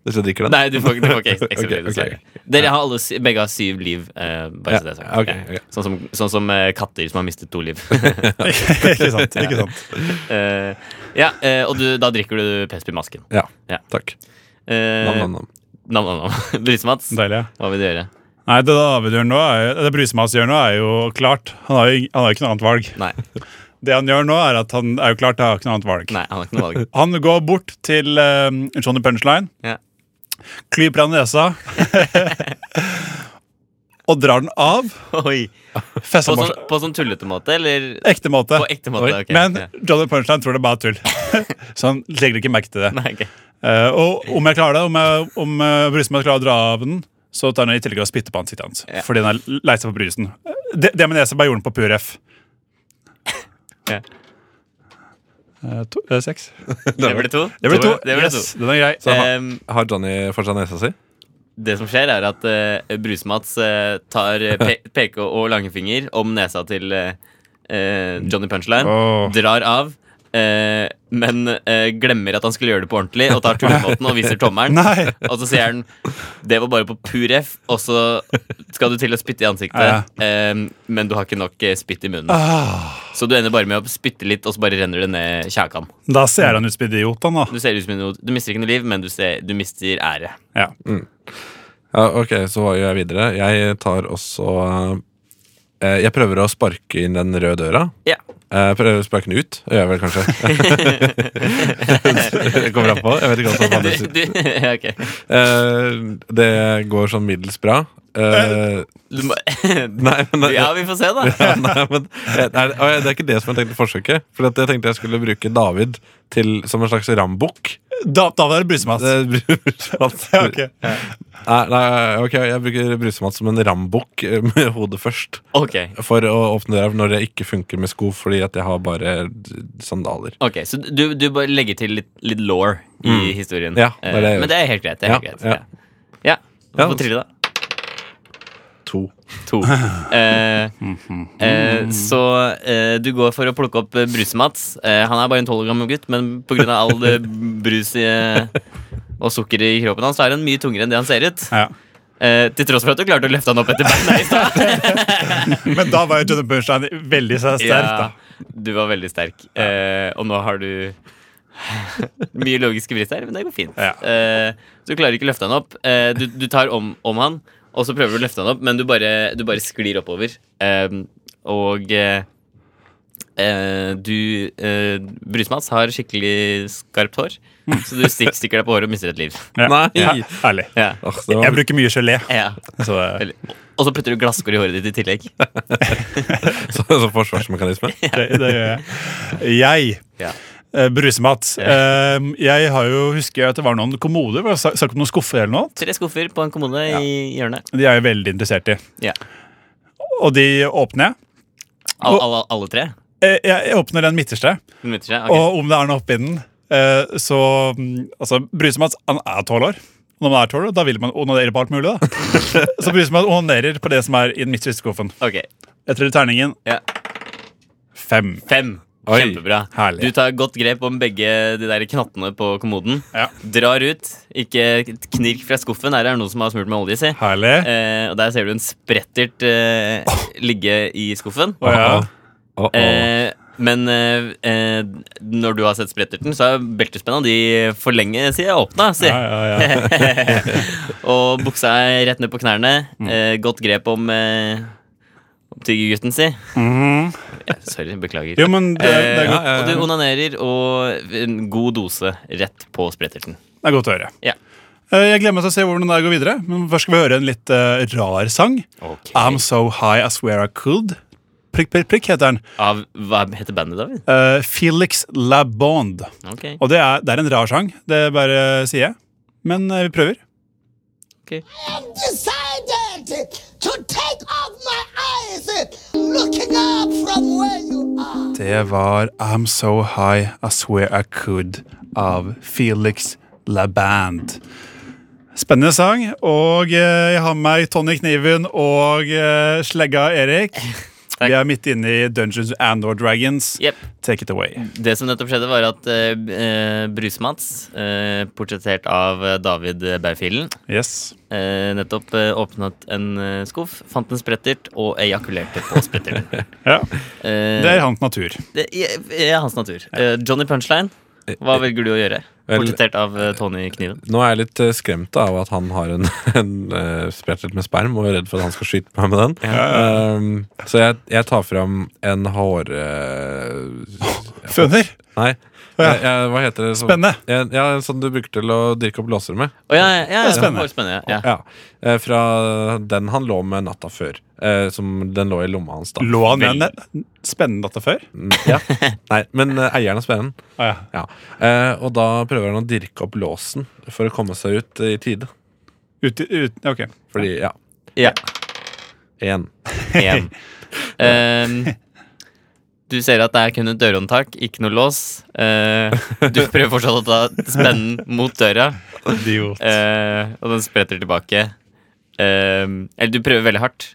B: Hvis jeg drikker
E: Eh,
B: den.
E: Nei, du får, du får ikke ekstra, ekstra
B: Ok,
E: liv,
B: ok.
E: dessverre. Dere har alle, sy- begge har syv liv. eh, bare så det er sagt.
B: Ja, ok,
E: Ja.
B: ok.
E: Sånn som, sånn som eh, katter som har mistet to liv.
D: ikke sant. ikke sant
E: Eh, ja, eh, Og du, da drikker du Pesby-masken.
B: Ja.
E: Ja.
B: Takk.
E: Eh,
B: Nam, nam, nam.
E: Nam, nam, nam. Brise-Mats,
D: Deilig. ja.
E: hva vil du gjøre?
D: Nei, Det David gjør nå er jo, det Brusemats gjør nå, er jo klart. Han har jo, ing- han har jo ikke noe annet valg.
E: Nei,
D: Det han gjør nå, er at han er jo klart, han har ikke noe annet valg.
E: nei, han har ikke noe valg.
D: Han går bort til eh, Johnny Punchline,
E: Ja.
D: klyper han i nesa og drar den av.
E: Oi.
D: Fester
E: På
D: den
E: sånn,
D: bort-
E: på sånn tullete måte, eller
D: Ekte måte.
E: på ekte måte? ok.
D: Men
E: Ja.
D: Johnny Punchline tror det bare er tull. Så han legger ikke merke til det.
E: Nei, ok.
D: Eh, og om jeg klarer det, om, jeg, om eh, brusemøtet klarer å dra av den, så tar han i tillegg og spytter på ansiktet hans.
E: Ja.
D: Fordi han er lei seg for brusen. Det, det med nesa bare gjorde han på pur F.
E: Ja.
D: Eh, to, eh, seks.
E: Det ble to.
D: Det ble to.
E: Det ble
D: yes, Den er grei.
E: to.
B: har-
E: Ehm,
B: Har Johnny fortsatt nesa si?
E: det som skjer, er at eh, Bruse-Mats eh, tar eh, pe peke og langefinger om nesa til eh, eh, Johnny Punchline,
D: Åh.
E: drar av, eh, men eh, glemmer at han skulle gjøre det på ordentlig, og tar tullemåten og viser tommelen.
D: Nei.
E: Og så sier han det var bare på pur F, og så skal du til å spytte i ansiktet,
D: Ja.
E: ehm, men du har ikke nok eh, spytt i munnen.
D: Ah,
E: Så du ender bare med å spytte litt, og så bare renner det ned kjakan.
D: da ser han ut som idioten, da.
E: Du ser ut som en idiot. Du mister ikke noe liv, men du, ser, du mister ære.
D: Ja.
B: Ja, ok, så hva gjør jeg videre? Jeg tar også eh, Jeg prøver å sparke inn den røde døra.
E: Ja.
B: Eh, prøver å sparke den ut, gjør jeg vel kanskje. det kommer an på. Jeg vet ikke hva som
E: Du,
B: fattes ut.
E: du, ja, ok.
B: Eh, det går sånn middels bra. Eh,
E: du må,
B: nei, men
E: ja, vi får se, da.
B: ja, nei, men eh, nei, å, ja, Det er ikke det som jeg tenkte å forsøke. For at jeg tenkte jeg skulle bruke David til, som en slags rambukk.
D: Da, da var det brusemats.
B: Det brusemats.
D: Ja, ok.
B: Nei, nei, ok, jeg bruker brusemats som en rambukk eh, med hodet først.
E: Ok,
B: For å åpne døra når det ikke funker med sko fordi at jeg har bare d- sandaler.
E: ok, Så du, du bare legger til litt, litt law i historien.
B: Mm. Ja, det er det jeg
E: Eh,
B: gjør.
E: Men det er helt greit. Det er helt
B: Ja,
E: greit. Ja. ja. Du
B: Ja.
E: får trille, da.
B: To.
E: To. Eh, eh, så eh, du går for å plukke opp eh, Bruse-Mats. Eh, han er bare en tolv år gammel gutt, men pga. all det brus i, eh, og sukker i kroppen hans, så er han mye tungere enn det han ser ut.
D: Ja.
E: Eh, til tross for at du klarte å løfte han opp etter beina i stad.
D: Men da var jo Johnny Punchline veldig sterk, da.
E: du var veldig sterk. Eh, og nå har du mye logiske brister, men det går fint.
D: Ja.
E: Eh, du klarer ikke å løfte han opp. Eh, du, du tar om, om han, og så prøver du å løfte han opp, men du bare, du bare sklir oppover. Eh, og eh, eh, du eh, Brusmats har skikkelig skarpt hår, så du stikk, stikker deg på håret og mister et liv.
D: Ja.
B: Nei.
D: Ja, ærlig.
E: Ja.
B: Åh, det
D: Jeg
B: var,
D: bruker mye gelé.
E: Ja.
D: Så det,
E: Eller- Og så putter du glasskår i håret ditt i tillegg.
B: så, så forsvarsmekanisme.
D: det, det gjør jeg. Jeg
E: Ja.
D: eh, Brusemats. Eh, jeg har jo, husker jeg at det var noen kommoder. Var det sa- snakk om noen skuffer eller noe?
E: Tre skuffer på en kommode i hjørnet.
D: De er jeg veldig interessert i.
E: Ja.
D: Og de åpner jeg.
E: Alle, alle, alle tre?
D: Eh, jeg. Jeg åpner den midterste,
E: Hun møter seg? Ok.
D: og om det er noe oppi den, eh, så mm, Altså, Brusemats han er tolv år. Når man er tolv år, da vil man onanere på alt mulig, da. så Brusemats onanerer på det som er i den midterste skuffen.
E: Ok.
D: Jeg triller terningen
E: Ja.
D: fem.
E: Fem.
B: Oi.
E: Kjempebra.
D: Herlig.
E: Du tar godt grep om begge de der knattene på kommoden.
D: Ja.
E: Drar ut. Ikke knirk fra skuffen. Her er det noen som har smurt med olje, si.
D: Herlig.
E: Eh, og der ser du en sprettert eh, ligge i skuffen.
D: Og ja.
B: Åh, åh.
E: Eh, men eh, eh, når du har sett spretterten, så er beltespenna de for lenge siden åpna. Si.
D: Ja, ja, ja.
E: og buksa er rett ned på knærne.
D: Mm.
E: Eh, godt grep om, eh, om tyggegutten si.
D: Mm-hmm.
E: Ja, sorry, beklager.
D: Jo, men det, det, er
E: Eh,
D: godt,
E: Og du onanerer og en god dose rett på spretterten.
D: det er godt å høre.
E: Ja.
D: Eh, Jeg gleder meg til å se hvordan det går videre, men først skal vi høre en litt eh, rar sang.
E: Ok.
D: I'm So High I Swear I Could. Prikk, prikk, prikk heter den.
E: Av, hva heter bandet, David?
D: Eh, Felix Labond.
E: Ok,
D: Og det er, det er en rar sang, det bare sier jeg. Men eh, vi prøver.
E: ok.
H: decided to take off my eyes and looking up from where you are.
D: Det var I'm So High I Swear I Could av Felix LaBand. Spennende sang, og eh, jeg har med meg Tony Kniven og eh, slegga Erik. Vi er midt inne i Dungeons and or Dragons.
E: Jep.
D: Take it away.
E: Det som nettopp skjedde, var at eh, eh, Bruse-Mats, eh, portrettert av eh, David Baufilen,
D: Yes.
E: eh, nettopp eh, åpnet en eh, skuff, fant en sprettert og ejakulerte på spretterten.
D: Ja.
E: Eh,
D: Det er hans natur.
E: det er er hans natur. Eh, Johnny Punchline,
D: Eh,
E: hva velger du å gjøre?
B: Vel-
E: Portrettert av eh, Tony Kniven.
B: Nå er jeg litt eh, skremt av at han har en, en eh, sprettert med sperm, og er redd for at han skal skyte meg med den. Um, så jeg, jeg tar fram en hår... eh,
D: Føner.
B: nei,
D: ja.
B: jeg, jeg, hva heter det? Så-
D: Spenne.
B: En, ja, en sånn du bruker til å dirke opp låser med.
E: Å, ja, ja, ja, ja,
D: Det er spennende.
E: det var spennende. Ja.
B: Ja, eh, Fra den han lå med natta før. eh, Som den lå i lomma hans da.
D: Lå han med en spennende datter før?
B: Mm, Ja. Nei, men eh, eieren av spennen.
D: Å ja.
B: Ja. Eh, Og da prøver han å dirke opp låsen for å komme seg ut eh, i tide.
D: Ut, ut, ok.
B: Fordi, ja,
E: Ja.
B: én.
E: Igjen. Ehm, du ser at det er kun et dørhåndtak, ikke noe lås. Eh, du prøver fortsatt å ta spennen mot døra,
D: Idiot.
E: eh, og den spretter tilbake. Ehm, eller du prøver veldig hardt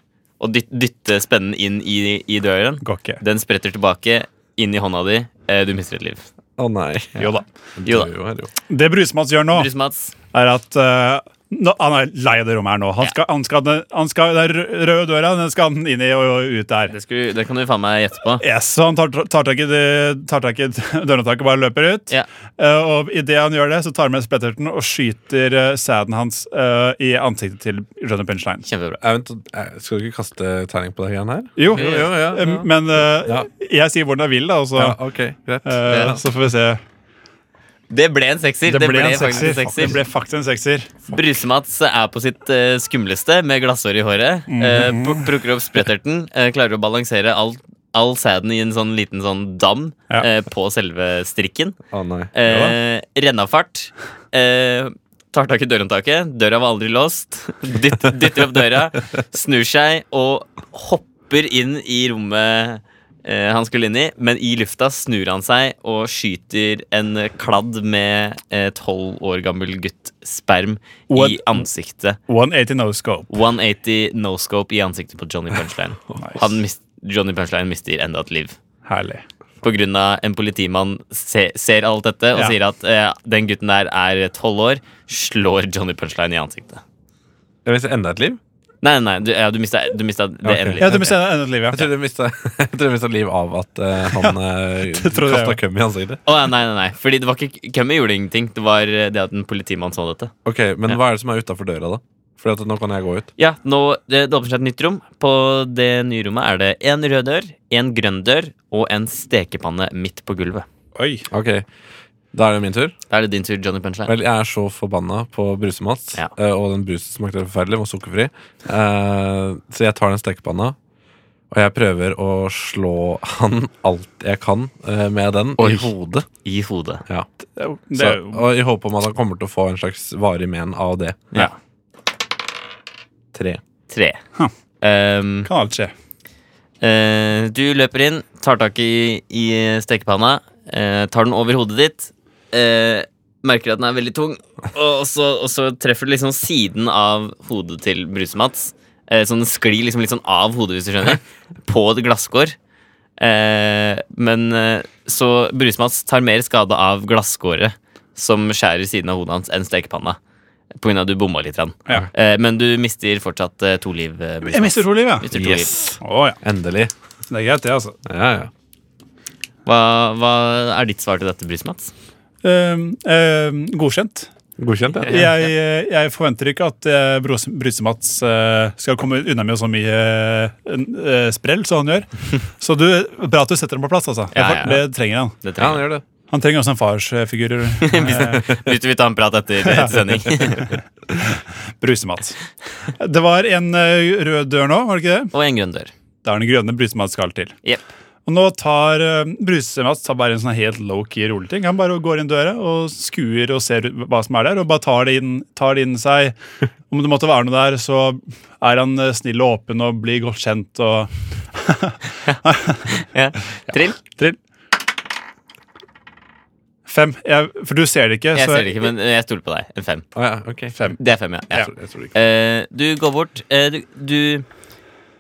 E: å dyt, dytte spennen inn i, i døren.
D: Går ikke.
E: Den spretter tilbake, inn i hånda di. Eh, du mister et liv.
B: Å nei.
D: Jo da.
E: Jo da.
B: Du er jo-
D: Det Brusmats gjør nå,
E: Bruse-Mats.
D: er at eh, nå- han er lei av det rommet her nå. Han skal, han skal, han skal, Den rø- røde døra den skal han inn i og, og ut der.
E: Det, skulle- det kan du faen meg gjette på.
D: Yes, så han tar, tar tak i det- tar tak i dørhåndtaket og bare løper ut.
E: Ja.
D: Eh, og idet han gjør det, så tar han med spretterten og skyter uh, sæden hans eh, i ansiktet til Johnny Punchline.
E: Kjempebra.
B: Jeg vet ikke, eh, Skal du ikke kaste terning på det greiene her?
D: Jo,
E: Jo, jo,
B: ja,
D: eh,
B: ja.
D: men eh,
B: Ja.
D: jeg sier hvordan jeg vil, da, og så,
B: Ja, ok, greit.
D: eh,
E: Ja.
D: så får vi se.
E: Det ble en sekser. Det, ble, faktisk en sekser.
D: Det ble faktisk en sekser.
E: Brusemats er på sitt eh, skumleste med glassår i håret. Eh, pluk- plukker opp spretterten, eh, klarer å balansere all, all sæden i en sånn liten sånn dam
D: Ja.
E: eh, på selve strikken.
B: Å nei.
E: Eh, Rennafart. Eh, tar tak i dørhåndtaket. Døra var aldri låst. Dytter, dytter opp døra, snur seg og hopper inn i rommet eh, han skulle inn i, men i lufta snur han seg og skyter en kladd med eh, tolv år gammel gutt sperm
D: What?
E: i ansiktet.
D: 180 no scope.
E: 180 no scope i ansiktet på Johnny Punchline. Han mis Johnny Punchline mister enda et liv.
D: Herlig.
E: På grunn av en politimann se, ser alt dette og
D: Ja.
E: sier at eh, den gutten der er tolv år, slår Johnny Punchline i ansiktet.
B: Jeg mistet enda et liv.
E: Nei, nei, du, ja, du mista det endelige.
B: ok.
D: Ja, du må se enda et liv, ja.
B: Jeg trodde jeg mistet- jeg trodde jeg mistet liv av at eh, han
D: trodde jeg
B: kasta
D: også.
B: køm i ansiktet.
E: Å, ja, nei, nei, nei, fordi det var ikke Kemmer gjorde ingenting. Det var eh, det at en politimann så dette.
B: Ok, Men hva er det som er utafor døra, da? Fordi at nå kan jeg gå ut.
E: Ja, nå, Det, det åpner seg et nytt rom. På det nye rommet er det en rød dør, en grønn dør og en stekepanne midt på gulvet.
D: Oi.
B: Ok, Da er det min tur.
E: Da er det din tur, Johnny Punchline.
B: Vel, jeg er så forbanna på brusemats,
E: Ja.
B: eh, og den brusen smakte forferdelig, var sukkerfri. Eh, Så jeg tar den stekepanna, og jeg prøver å slå han alt jeg kan eh, med den i
E: Oi.
B: hodet.
E: I hodet.
B: Ja
D: Det er jo- det
B: Så,
D: er jo
B: og i håp om at han kommer til å få en slags varig men av det.
E: Ja.
B: Tre.
E: Tre.
D: Huh.
E: Um,
D: Kan alt skje.
E: Eh, du løper inn, tar tak i, i stekepanna, eh, tar den over hodet ditt. eh, merker at den er veldig tung, og så, og så treffer du liksom siden av hodet til Bruse-Mats. Eh, så den sklir liksom litt sånn av hodet, hvis du skjønner, på et glasskår. Eh, men eh, så Bruse-Mats tar mer skade av glasskåret som skjærer siden av hodet hans, enn stekepanna. På grunn av at du bomma litt. grann.
D: Ja.
E: Eh, men du mister fortsatt eh, to liv. eh, Bruse-Mats.
D: Jeg mister to liv, ja.
E: Mister to liv.
B: Yes!
D: Å ja.
B: Endelig.
D: Det er greit, det, altså.
B: Ja, ja.
E: Hva, hva er ditt svar til dette, Brysmats?
D: Ehm, ehm, godkjent.
B: Godkjent, ja.
D: Jeg, eh, jeg forventer ikke at eh, Brus- Brusemats eh, skal komme unna med så mye eh, en- eh, sprell som han gjør. Så du, bra at du setter ham på plass, altså. Det,
E: Ja, ja, ja.
D: det trenger han.
E: Det
B: ja, han
E: trenger jeg.
B: gjør det.
D: Han trenger også en farsfigur. Eh,
E: Hvis du vil ta en prat etter, etter sending.
D: brusemat. Det var en eh, rød dør nå, var det ikke det?
E: Og en grønn dør.
D: Der den grønne brusemat skal til.
E: Jepp.
D: Og nå tar eh, brusemat tar bare en sånn helt low-key rolig ting. Han bare går inn døra og skuer og ser ut hva som er der, og bare tar det inn, tar det inn seg. Om det måtte være noe der, så er han eh, snill og åpen og blir godt kjent og
E: Ja. Trill?
D: Trill. Fem. Jeg, for du ser det ikke.
E: Jeg
D: så-
E: ser det ikke, men jeg stoler på deg. En fem.
B: Å ja, ok.
D: Fem.
E: Det er fem, ja. ja.
B: Jeg tror- Jeg tror ikke.
E: Eh, du går bort. eh, du, du,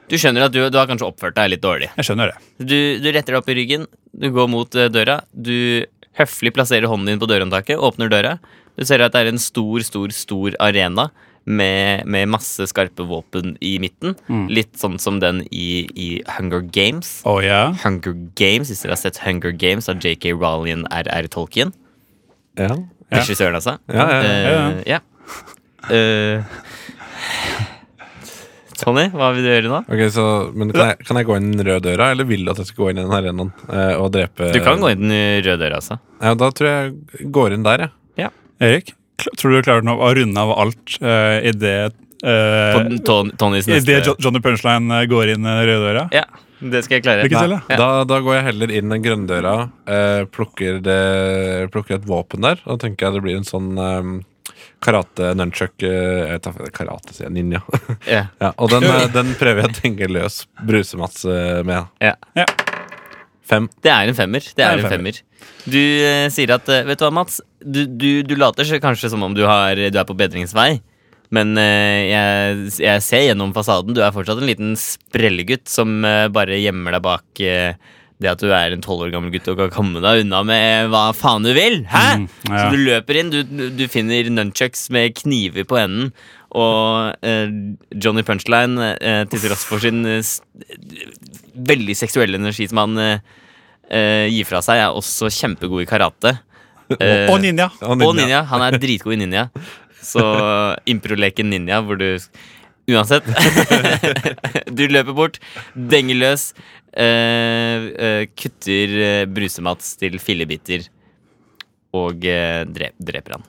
E: du skjønner at du, du har kanskje oppført deg litt dårlig.
D: Jeg skjønner det.
E: Du, du retter deg opp i ryggen, du går mot eh, døra. Du høflig plasserer hånden din på dørhåndtaket, åpner døra. Du ser at det er en stor, stor, stor arena med, med masse skarpe våpen i midten. Litt sånn som den i, i Hunger Games.
D: Å ja.
E: Hunger Games, Hvis dere har sett Hunger Games av JK Rowling RR Tolkien.
B: Ja.
D: Ja.
E: Regissøren, altså.
B: Ja, ja, ja,
D: ja.
E: Eh, ja. Eh, Tony, hva vil du gjøre nå?
B: Ok, så, men kan jeg, kan jeg gå inn den røde døra, eller vil du at jeg skal gå inn i den arenaen eh, og drepe
E: Du kan gå inn den røde døra, altså.
B: Ja, da tror jeg jeg går inn der, jeg.
D: Erik, kl- tror du du klarer nå å runde av alt uh, i det eh,
E: På den- Ton- Tonys
D: i det
E: neste
D: Jo- Johnny Punchline eh, går inn eh, røde døra?
E: Ja, det skal jeg klare.
D: Lykke til, da.
E: Ja.
B: Da, da går jeg heller inn den grønne døra, eh, plukker, det, plukker et våpen der, og tenker jeg det blir en sånn eh, karate nunchuck eh, jeg tar, Karate, sier jeg. Ninja.
E: Ja.
B: ja, og den, eh, den prøver jeg å tenke løs brusemats eh, med.
E: Ja.
D: Ja.
B: Fem.
E: Det er en femmer. Det er en femmer. Du eh, sier at eh, Vet du hva, Mats? Du, du, du later så- kanskje som om du, har, du er på bedringsvei. Men eh, jeg, jeg ser gjennom fasaden. Du er fortsatt en liten sprellegutt som eh, bare gjemmer deg bak eh, det at du er en tolv år gammel gutt og kan komme deg unna med hva faen du vil. Hæ?
D: Mm, ja.
E: Så du løper inn, du, du finner nunchucks med kniver på enden. Og eh, Johnny Punchline, eh, til tross for sin eh, s- veldig seksuelle energi som han eh, eh, gir fra seg, er også kjempegod i karate. Eh,
D: Og ninja!
B: Og
E: og ninja. Han er dritgod i ninja. Så improleken ninja, hvor du Uansett. du løper bort, denger løs, eh, eh, kutter eh, brusemats til fillebiter og eh, drep, dreper han.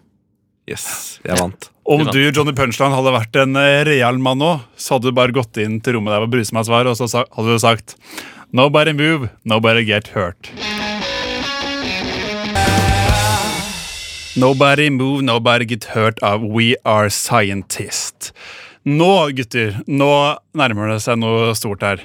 B: Yes, jeg vant.
D: Om du Johnny Punchline, hadde vært en eh, real mann nå, så hadde du bare gått inn til rommet der hvor brusemass var, og så sa- hadde du sagt Nobody move, nobody get hurt. Nobody move, nobody get hurt av We Are Scientist. Nå, gutter, nå nærmer det seg noe stort her.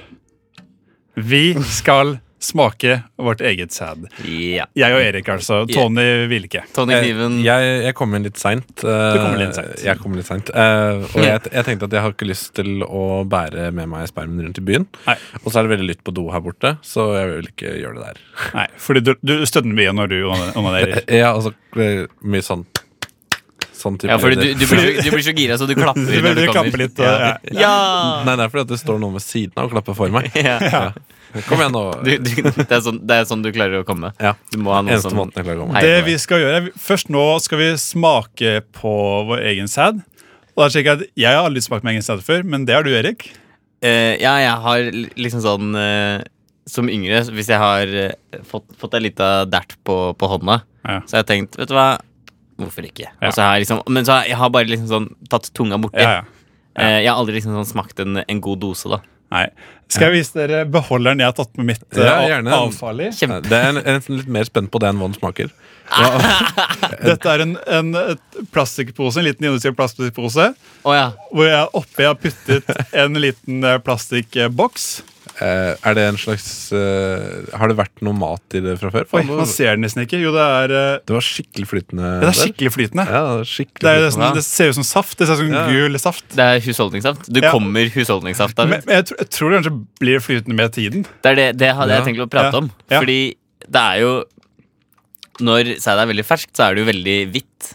D: Vi skal smake vårt eget sæd.
E: Ja.
D: Jeg og Erik, altså. Tony vil ikke.
E: Tony Kniven.
B: Eh, Jeg, jeg, jeg kom inn litt seint.
D: kom inn litt sent.
B: Jeg kom inn litt seint. eh, og jeg, jeg tenkte at jeg har ikke lyst til å bære med meg spermen rundt i byen.
D: Nei.
B: Og så er det veldig lytt på do her borte, så jeg vil ikke gjøre det der.
D: Nei, fordi du, du stønner mye når du onanerer.
B: Ja, altså eh, mye sånn Sånn type
E: Ja, fordi du,
B: lyder.
E: du, blir, så- du blir så gira, så du klapper
D: Du
E: når du
D: vil klappe
E: kommer.
D: litt. og- Ja.
E: Ja!
B: Nei, det er fordi at det står noen ved siden av og klapper for meg.
E: ja.
B: Kom igjen, nå.
E: Du, du, det, er sånn, det er sånn du klarer å komme.
B: Ja.
E: Du må ha noe sånn-
B: Eneste
E: som
B: måten jeg klarer å komme.
E: heier
D: Det
E: på
D: vi
E: deg.
D: skal gjøre, Først nå skal vi smake på vår egen sæd. Og da sjekker Jeg at jeg har aldri smakt min egen sæd før, men det har du, Erik.
E: Eh, ja, jeg har li- liksom sånn eh, Som yngre, hvis jeg har eh, fått, fått ei lita dert på, på hånda,
D: Ja.
E: så har jeg tenkt Vet du hva, hvorfor ikke?
D: Ja.
E: Og så har jeg liksom, men så har jeg- jeg har bare liksom sånn tatt tunga borti.
D: Ja, ja.
E: Eh, jeg har aldri liksom sånn smakt en, en god dose, da.
D: Nei. Skal jeg vise dere beholderen jeg har tatt med mitt eh,
B: Ja,
D: av-
B: gjerne.
D: avfall i?
E: Kjempe.
B: Det er en- jeg er nesten litt mer spent på det enn hva den smaker.
D: Dette er en, en et plastikkpose, en liten industriell plastikkpose
E: Å ja.
D: hvor jeg oppi har puttet en liten eh, plastikkboks.
B: Eh, er det en slags eh, Har det vært noe mat i det fra før?
D: Oi,
B: Faen,
D: man
B: det,
D: ser den nesten ikke. Jo, det er, eh,
B: det var skikkelig flytende.
D: det
B: der.
D: er skikkelig flytende.
B: Ja, det er skikkelig
D: Det, er, jo det,
B: flytende.
D: som, det ser ut som saft. Det ser ut som
B: Ja.
D: gul saft.
E: Det er husholdningssaft. Du
D: Ja.
E: kommer husholdningssaft, David.
D: Men, men jeg, tror, jeg tror det kanskje blir flytende med tiden.
E: Det er det, det hadde jeg
B: Ja.
E: tenkt å prate
D: Ja.
E: om.
D: Ja.
E: Fordi det er jo Når sæd er veldig ferskt, så er det jo veldig hvitt.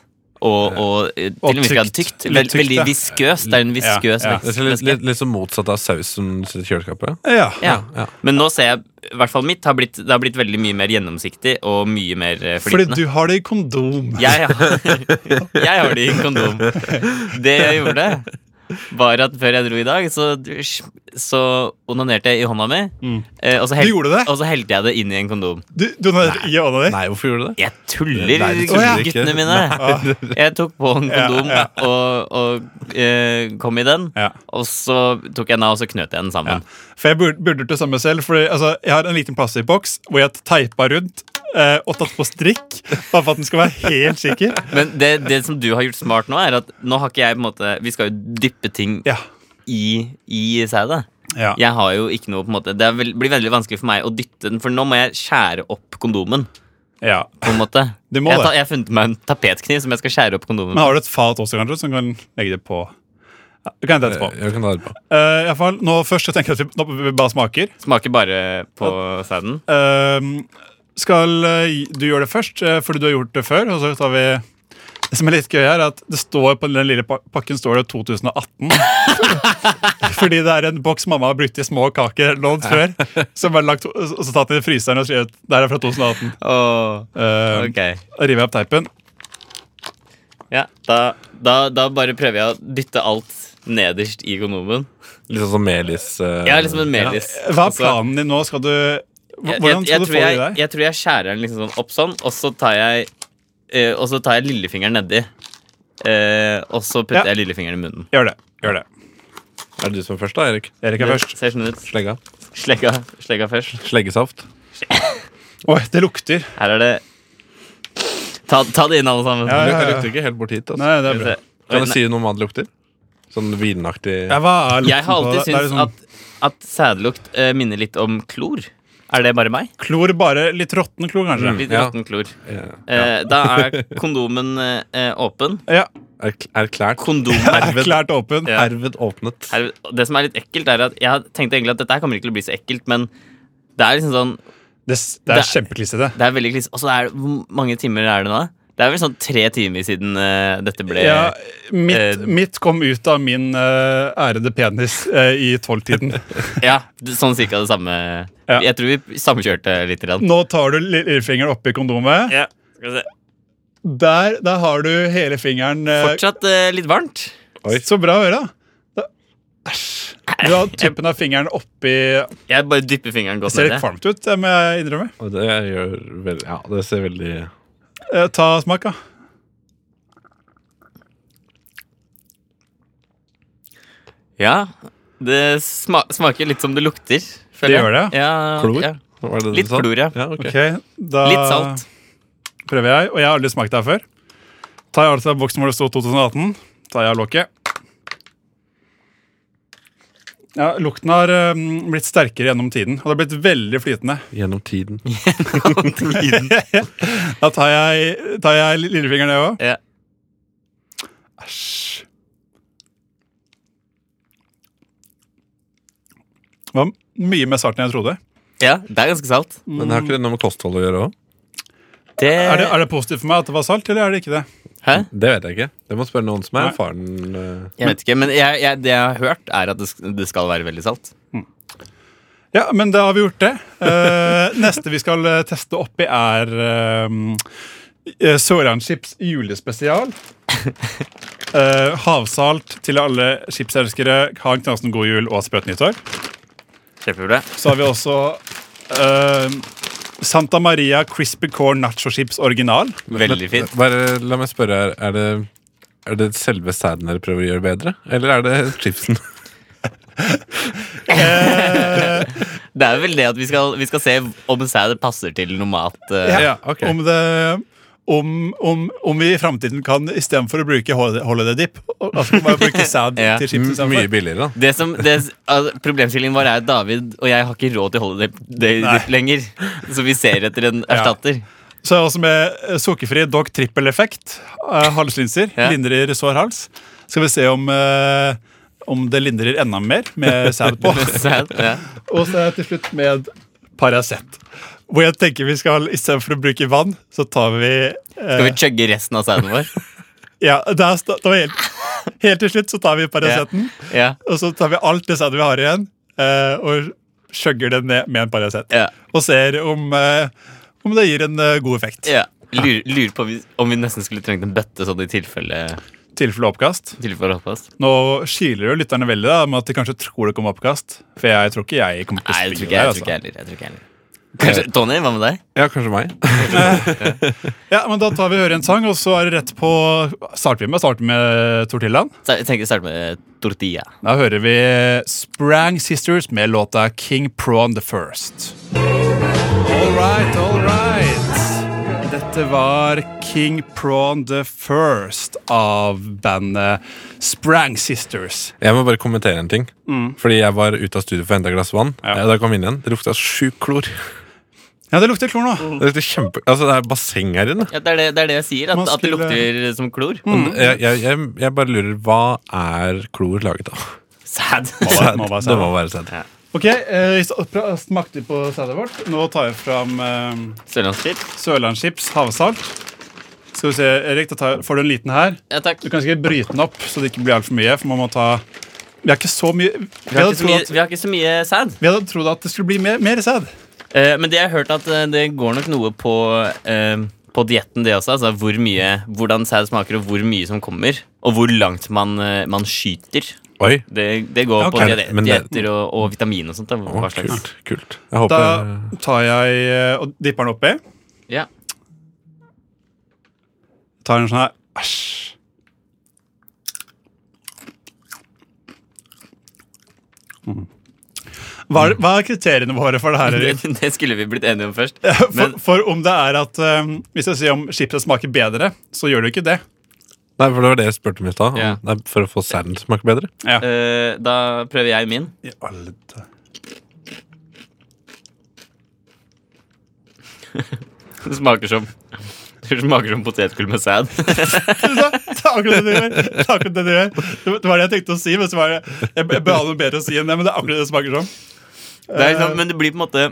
E: Og, og eh, til og med ikke
D: tykt.
E: tykt. Vel,
D: Litt tykt,
E: veldig
D: ja.
E: viskøst. Det er en viskøs
D: Ja, ja.
B: Det ser litt,
E: vekst.
B: litt, litt som motsatt av sausen i kjøleskapet.
D: Ja.
E: Ja.
B: ja.
E: Men nå ser jeg, i hvert fall mitt, har blitt, det har blitt veldig mye mer gjennomsiktig og mye mer eh,
D: Fordi
E: flytende.
D: du har det i kondom.
E: Jeg, har- jeg har det i kondom. Det jeg gjorde. var at før jeg dro i dag, så, så onanerte jeg i hånda mi. eh, Og så,
D: Mm. Du gjorde det?
E: og så helte jeg det inn i en kondom.
D: Du, du har i hånda di?
B: Nei, hvorfor gjorde du det?
E: Jeg tuller,
B: Nei, du
D: tuller
B: ikke.
E: guttene mine. Jeg tok på en kondom
D: Ja,
E: og, og eh, kom i den.
D: Ja.
E: Og så tok jeg den av, og så knøt jeg den
D: Ja.
E: sammen.
D: For jeg burde, burde gjort det samme selv. Fordi, altså, jeg har en liten plastikkboks hvor jeg teipa rundt eh, og tatt på strikk. Bare for at den skal være helt sikker.
E: Men det, det som du har gjort smart nå, er at nå har ikke jeg på en måte Vi skal jo dyppe ting
D: Ja.
E: i, i sædet.
D: Ja.
E: Jeg har jo ikke noe på en måte Det er vel- blir veldig vanskelig for meg å dytte den, for nå må jeg skjære opp kondomen.
D: ja.
E: På en måte
D: Du må
E: jeg,
D: det.
E: ta, jeg har funnet meg en tapetkniv som jeg skal skjære opp kondomen
D: Men
E: med.
D: har du et fat også, kanskje, som kan legge det på? Ja, du kan hente etterpå.
B: Jeg kan ta det på.
D: Eh, i hvert fall, nå først så tenker jeg at vi, nå, vi bare smaker.
E: Smaker bare på sæden.
D: Ehm, skal eh, du gjøre det først, eh, fordi du har gjort det før? Og så tar vi Det som er litt gøy, her er at det står på den lille pa- pakken står det 2018. fordi det er en boks mamma har brukt i små kaker lånt før. Som er lagt, og så tatt den i fryseren og skrevet det her er fra 2018.
E: Åh,
D: Ehm,
E: ok
D: Da river jeg opp teipen.
E: Ja, da, da, da bare prøver jeg å dytte alt nederst i kondomen.
B: Litt sånn som melis. eh,
E: Jeg er liksom en melis.
D: Hva er
E: Altså,
D: planen din nå? Skal du
E: jeg-
D: Hvordan
E: jeg- jeg
D: skal du
E: tror
D: få det i
E: jeg-
D: deg?
E: Jeg tror jeg skjærer den liksom sånn opp sånn, og så tar jeg, eh, og så tar jeg lillefingeren nedi. Eh, og så putter
D: Ja.
E: jeg lillefingeren i munnen.
D: Gjør det. gjør det
B: Er det du som er først, da, Erik?
D: Erik er først.
E: Ser sånn ut.
B: Slegga.
E: Slegga, slegga først.
B: Sleggesaft.
D: Oi, det lukter.
E: Her er det Ta, ta det inn, alle sammen.
D: Ja,
B: Det
D: ja, ja.
B: lukter ikke helt bort hit. Altså.
D: Nei, det er
E: Skal vi
D: bra.
E: se.
B: Kan
E: Oi,
B: du
E: nei.
B: si noe om hva det lukter? Sånn vinaktig
D: Ja, hva er lukten
E: Jeg har alltid
D: på det? Det er
E: syntes
D: liksom-
E: at, at sædlukt eh, minner litt om klor. Er det bare meg?
D: Klor, bare litt råtten klor, kanskje.
E: Litt
B: Ja.
E: råtten klor.
B: eh,
E: Eh, da er kondomen eh, åpen.
D: Ja,
B: erk- Erklært.
E: Kondomer
D: Erklært åpen.
E: Ja.
B: Herved åpnet.
E: her, Det som er litt ekkelt, er at jeg tenkte egentlig at dette her kommer ikke til å bli så ekkelt, men det er liksom sånn
D: Det, det er
E: Det-
D: kjempeklissete.
E: Det er veldig klis- Og så er det Hvor mange timer er det nå? Det er vel sånn tre timer siden eh, dette ble
D: Ja, mitt,
E: eh,
D: mitt kom ut av min eh, ærede penis eh, i tolvtiden.
E: Ja, det- sånn cirka det samme.
D: Ja.
E: Jeg tror vi samkjørte litt. Grann.
D: Nå tar du lill- lillefingeren oppi kondomet.
E: Ja, skal vi se.
D: Der, der har du hele fingeren. eh,
E: Fortsatt eh, litt varmt.
B: Oi.
D: så bra å høre. Da- Æsj. Du har tuppen av fingeren oppi Det
E: Jeg bare dypper fingeren godt
D: ser
E: ned.
D: litt kvalmt ut, det må jeg innrømme.
B: Og det gjør veldig Ja, det ser veldig
D: Eh, ta smak, da.
E: Ja, det sma smaker litt som det lukter. føler
D: Det
E: jeg.
D: gjør det,
E: Ja,
B: Klor?
E: Ja.
B: Var det det
E: Litt
B: du sa?
E: klor, ja.
B: ja ok.
D: Ok, da
E: Litt salt.
D: prøver jeg, og jeg har aldri smakt det her før. Tar jeg altså boksen hvor det står 2018, tar jeg av lokket. Ja, lukten har øhm, blitt sterkere gjennom tiden, og det har blitt veldig flytende.
B: Gjennom tiden.
D: Da tar jeg, tar jeg lillefingeren ned òg.
E: Ja.
D: Det var mye mer salt enn jeg trodde.
E: ja, det er ganske salt.
B: Men har ikke det noe med kosthold å gjøre òg?
E: Det,
D: Er det, er det positivt for meg at det var salt, eller er det ikke det?
E: Hæ?
B: Det vet jeg ikke. Det må spørre noen som er
D: Nei.
B: erfaren. eh,
E: Jeg vet ikke, men jeg, jeg, det jeg har hørt, er at det, sk- det skal være veldig salt.
D: Ja, men da har vi gjort det. Eh, neste vi skal eh, teste oppi, er um, Soranchips julespesial. Eh, havsalt til alle chipselskere. Ha en knasen god jul og et sprøtt nyttår.
E: Kjempebra.
D: Så har vi også eh, Santa Maria Crispy Corn Nacho Chips original.
E: Veldig fint.
B: Bare la meg spørre her. Er det, er det selve sæden dere prøver å gjøre bedre, eller er det chipsen?
E: Det er vel det at vi skal, vi skal se om sæd passer til noe mat. eh.
B: Ja, ok.
D: Om det om, om, om vi i framtiden kan istedenfor å bruke hol- holiday dip, altså bare bruke sæd
E: Ja.
D: til chips istedenfor.
B: Mye billigere, da.
E: Det som, det, altså, problemstillingen vår er at David og jeg har ikke råd til Holiday Day Dip lenger. Så vi ser etter en erstatter.
D: Så er jeg også med eh, sukkerfri dog trippel effekt. eh, Halslinser.
E: Ja.
D: Lindrer sår hals. Skal vi se om, eh, om det lindrer enda mer med sæd på.
E: Sæd, ja.
D: Og så er jeg til slutt med Paracet. Hvor jeg tenker vi skal istedenfor å bruke vann, så tar vi
E: Skal
D: eh,
E: vi chugge resten av sæden vår?
D: Ja, det er, sta- det var helt, helt til slutt så tar vi Paraceten,
E: Ja.
D: og så tar vi alt det sædet vi har igjen, eh, og skjøgger det ned med en Paracet.
E: Ja.
D: Og ser om, eh, om det gir en eh, god effekt.
E: ja. Lurer, lurer på om vi- om vi nesten skulle trengt en bøtte sånn i tilfelle
D: tilfelle oppkast.
E: Tilfelle oppkast.
D: Nå kiler jo lytterne veldig da, med at de kanskje tror det kommer oppkast. For jeg tror ikke jeg kommer til
E: Nei,
D: å
E: jeg tror
D: spille
E: ikke jeg,
D: der.
E: jeg tror ikke
D: Altså. Eh.
E: jeg heller. Jeg tror ikke jeg heller. Kanskje, Tony, hva med deg?
B: Ja, kanskje meg.
D: altså. Ja, men Da tar vi og hører en sang, og så er det rett på Starter vi med, starter vi med Tortillaen?
E: Så Jeg tenker å starte med tortilla.
D: Da hører vi Sprang Sisters med låta King Prawn the First. All right, all right. Dette var King Prawn the First av bandet Sprang Sisters.
B: Jeg må bare kommentere en ting. Fordi jeg var ute av studio for å hente et glass vann.
D: Ja.
B: Eh, Da jeg kom inn igjen, Det lukta sjukt klor.
D: Ja, det lukter klor nå.
B: Det, lukter kjempe, altså, det er basseng her inne.
E: Ja, det, er det, det er det jeg sier, at,
D: Man
E: at det
D: skulle- Mm.
E: lukter som klor.
B: Jeg, jeg, jeg, jeg bare lurer Hva er klor laget av?
E: Sad.
D: Det må være sæd.
B: Det må være sæd.
D: Ok, eh, pra- smakte på sædet vårt. Nå tar jeg fram eh,
E: Sørlandsskip.
D: Sørlandschips havsalt. Skal vi se, Erik, da tar, jeg- får du en liten her.
E: Ja, takk.
D: Du kan sikkert bryte den opp, så det ikke blir altfor mye. For man må ta Vi har ikke så mye Vi
E: Vi har
D: hadde
E: ikke så
D: trodd
E: mye,
D: at,
E: vi har ikke så mye sad.
D: vi hadde trodd at det skulle bli mer, mer sæd.
E: Eh, men det jeg har hørt at eh, det går nok noe på, eh, på dietten, det også. Altså hvor mye, hvordan sæd smaker, og hvor mye som kommer. Og hvor langt man, eh, man skyter.
B: Oi.
E: Det, det går
B: Ok,
E: på diet-
B: men det-
E: dietter og, og vitamin og sånt. Da,
B: Å,
E: hva slags.
B: kult. kult. Jeg håper
D: Da tar jeg eh, og dipper den oppi.
E: Ja.
D: Tar en sånn her. Æsj. Mm. Hva er, hva er kriteriene våre for det her?
E: Mm. Det,
D: Erik?
E: det skulle vi blitt enige om først.
D: For,
E: Men-
D: for om det er at eh, Hvis jeg sier om chipset smaker bedre, så gjør det jo ikke det.
B: Nei, for det var det jeg spurte om i stad.
E: Ja.
B: Nei, For å få sæden til å smake bedre.
E: Eh, da prøver jeg min.
D: I alle da-
E: Det smaker som Det smaker som potetgull med sæd.
D: Det er akkurat det du gjør. Det er akkurat det du gjør. Det var det jeg tenkte å si, men så var det Jeg, jeg bør ha noe bedre å si enn det, men det er akkurat det det smaker som.
E: Det er liksom, men det blir på en måte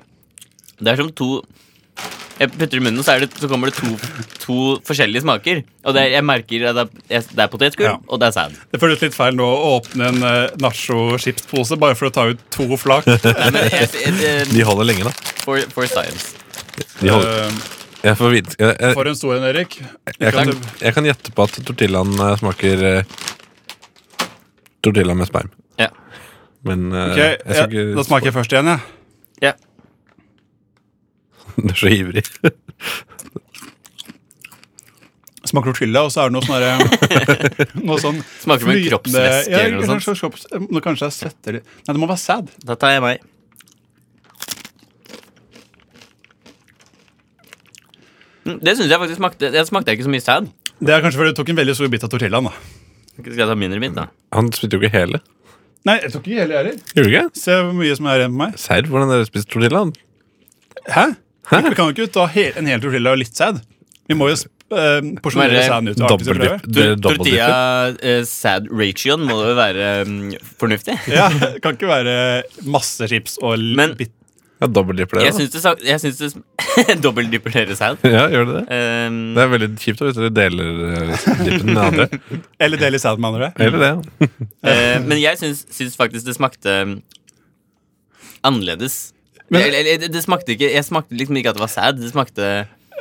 E: Det er som to Jeg putter det i munnen, og så, er det, så kommer det to, to forskjellige smaker. Og det er, jeg merker at det er, jeg- det er potetgull,
D: Ja.
E: og det er sæd.
D: Det føles litt feil nå å åpne en eh, nacho-chipspose bare for å ta ut to flak. Eh,
E: Nei, men jeg, jeg, jeg,
B: De holder lenge, da.
E: for, for science.
B: De holder.
D: Eh,
B: Jeg, får vite. Jeg, jeg,
D: For en stor en, Erik.
B: jeg, kan, jeg kan gjette på at tortillaen eh, smaker eh, Tortilla med sperm.
E: Ja.
B: Men eh,
D: Ok,
B: jeg skal
D: ja,
B: ikke
D: Da smaker jeg først igjen, jeg.
E: ja.
B: Du er så ivrig.
D: Smaker tortilla, og så er det noe sånn herre- Noe sånn
E: Smaker som en
D: flytende-
E: kroppsvæske
D: ja,
E: eller noe sånt.
D: kanskje- kropps- Nå kanskje jeg svetter litt. Nei, det må være sæd.
E: Da tar jeg meg. Mm, Det syns jeg faktisk smakte Det smakte ikke så mye sæd.
D: Det er kanskje fordi du tok en veldig stor bit av tortillaen. da
E: Skal jeg ta mindre bit, da?
B: Han spiste jo ikke hele.
D: Nei, jeg tok ikke hele, jeg heller.
B: Gjorde du ikke?
D: Se hvor mye som er igjen på meg.
B: Serr, hvordan dere spiste tortilla?
D: Hæ? Vi kan jo ikke ta he en hel tortilla og litt sæd. Vi må jo sp- eh, porsjonere
E: Bare
D: sæden ut. og arktisk
B: Dobbeldypp.
D: brød.
B: dere dobbeldypper.
E: Tortilla-sad-ratioen eh, må jo være mm, fornuftig.
D: Ja, det kan ikke være masse chips og l-
E: Men-
D: bit
B: Ja, dobbeldypper
E: Jeg
B: dere, da.
E: syns det, sa- jeg syns det sm- Dobbeldypper dere sæd.
B: Ja, gjør det det?
E: Ehm,
B: Det er veldig kjipt da, hvis dere deler eh, dippen med andre.
D: Eller del i sæd med andre.
B: Eller det.
E: eh, men jeg syns, syns faktisk det smakte mm, annerledes.
D: Men-
E: Eller- eller, det, det smakte ikke Jeg smakte liksom ikke at det var sæd. Det smakte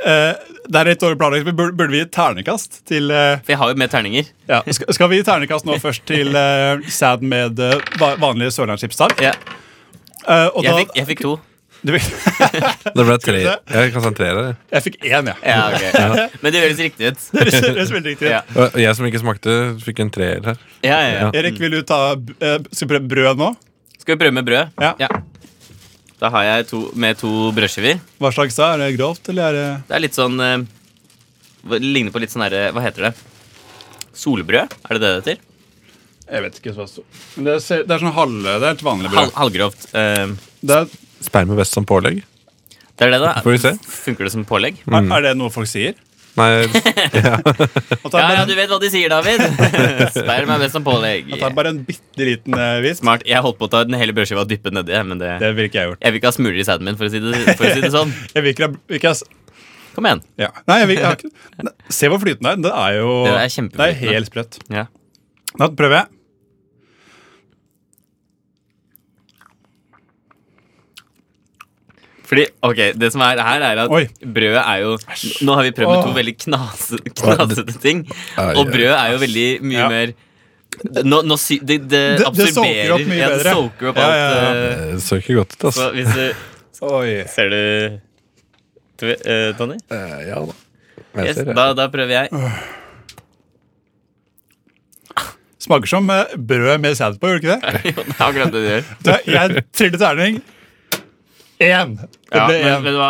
D: Eh, det er litt dårlig planlagt. men Burde, burde vi gi ternekast til eh,
E: For jeg har jo med terninger.
D: ja, skal, skal vi gi ternekast nå først til eh, sæd med eh, va- vanlig sørlandschipsdag?
E: Ja,
D: Eh, og
E: jeg,
D: da-
E: fikk, jeg fikk to.
D: Du, fikk-
B: Det ble tre. Jeg kan sentrere det.
D: jeg fikk én, ja.
E: Ja, ok Men det høres riktig ut.
D: Det høres veldig riktig ut.
E: Ja.
B: Og jeg som ikke smakte, fikk en treer her.
E: Ja, ja, ja.
D: Erik, vil du ta eh, Skal vi prøve brød nå?
E: Skal vi prøve med brød?
D: Ja.
E: Da har jeg to, med to brødskiver.
D: Hva slags da? Er det grovt, eller er det
E: Det er litt sånn eh, hva- Det ligner på litt sånn herre Hva heter det? Solbrød? Er det det det heter?
D: Jeg vet ikke hva så Men det, ser, det er sånn halve Det er helt vanlig
E: Hal,
D: brød.
E: halvgrovt. Ehm,
D: Det er,
B: Sperme best som pålegg?
E: det er det, da.
B: Får vi se.
E: Funker det som pålegg?
D: er, er det noe folk sier?
B: Nei,
D: At det
E: Ja,
D: er
E: ja,
D: bare,
E: du vet hva de sier, David. Sperm er best som pålegg.
D: at det er bare en bitte liten eh, visp?
E: Smart. Jeg holdt på å ta den hele brødskiva og dyppe nedi, men det,
D: Det ville ikke jeg gjort.
E: jeg vil ikke ha smuler i sæden min, for å, si det, for å si det sånn.
D: Jeg vil ikke, ha- vil ikke ha s-
E: Kom igjen.
D: ja. Nei, jeg vil, jeg har ikke Ne, Se hvor flytende det er. Det er jo
E: Det er kjempeflytende.
D: Det er helt sprøtt.
E: Ja.
D: Da prøver jeg.
E: Fordi, ok, Det som er her, er at
D: Oi.
E: brødet er jo Nå har vi prøvd med to
D: Åh.
E: veldig knasete, knasete ting.
B: Ai,
E: Og brød er jo veldig mye
D: Ja.
E: mer nå, nå sy, det, det
D: Det- det
E: absorberer
D: soaker opp mye
E: ja, det
D: bedre.
E: soaker opp
D: Ja,
E: alt.
D: ja, ja.
E: eh,
B: Det så ikke godt ut,
E: Så
B: altså.
E: hvis du
D: Oi.
E: Ser du Tve- eh, Tony?
B: Eh, Ja da. Jeg
E: Yes,
B: ser
E: da,
B: det.
E: da prøver jeg.
D: Smaker som eh, brød med sæd på, gjør det ikke det?
E: Jo, det er akkurat det du gjør.
D: Du, jeg triller terning. Én. Det
E: Ja,
D: ble
E: men
D: én.
E: vet du hva?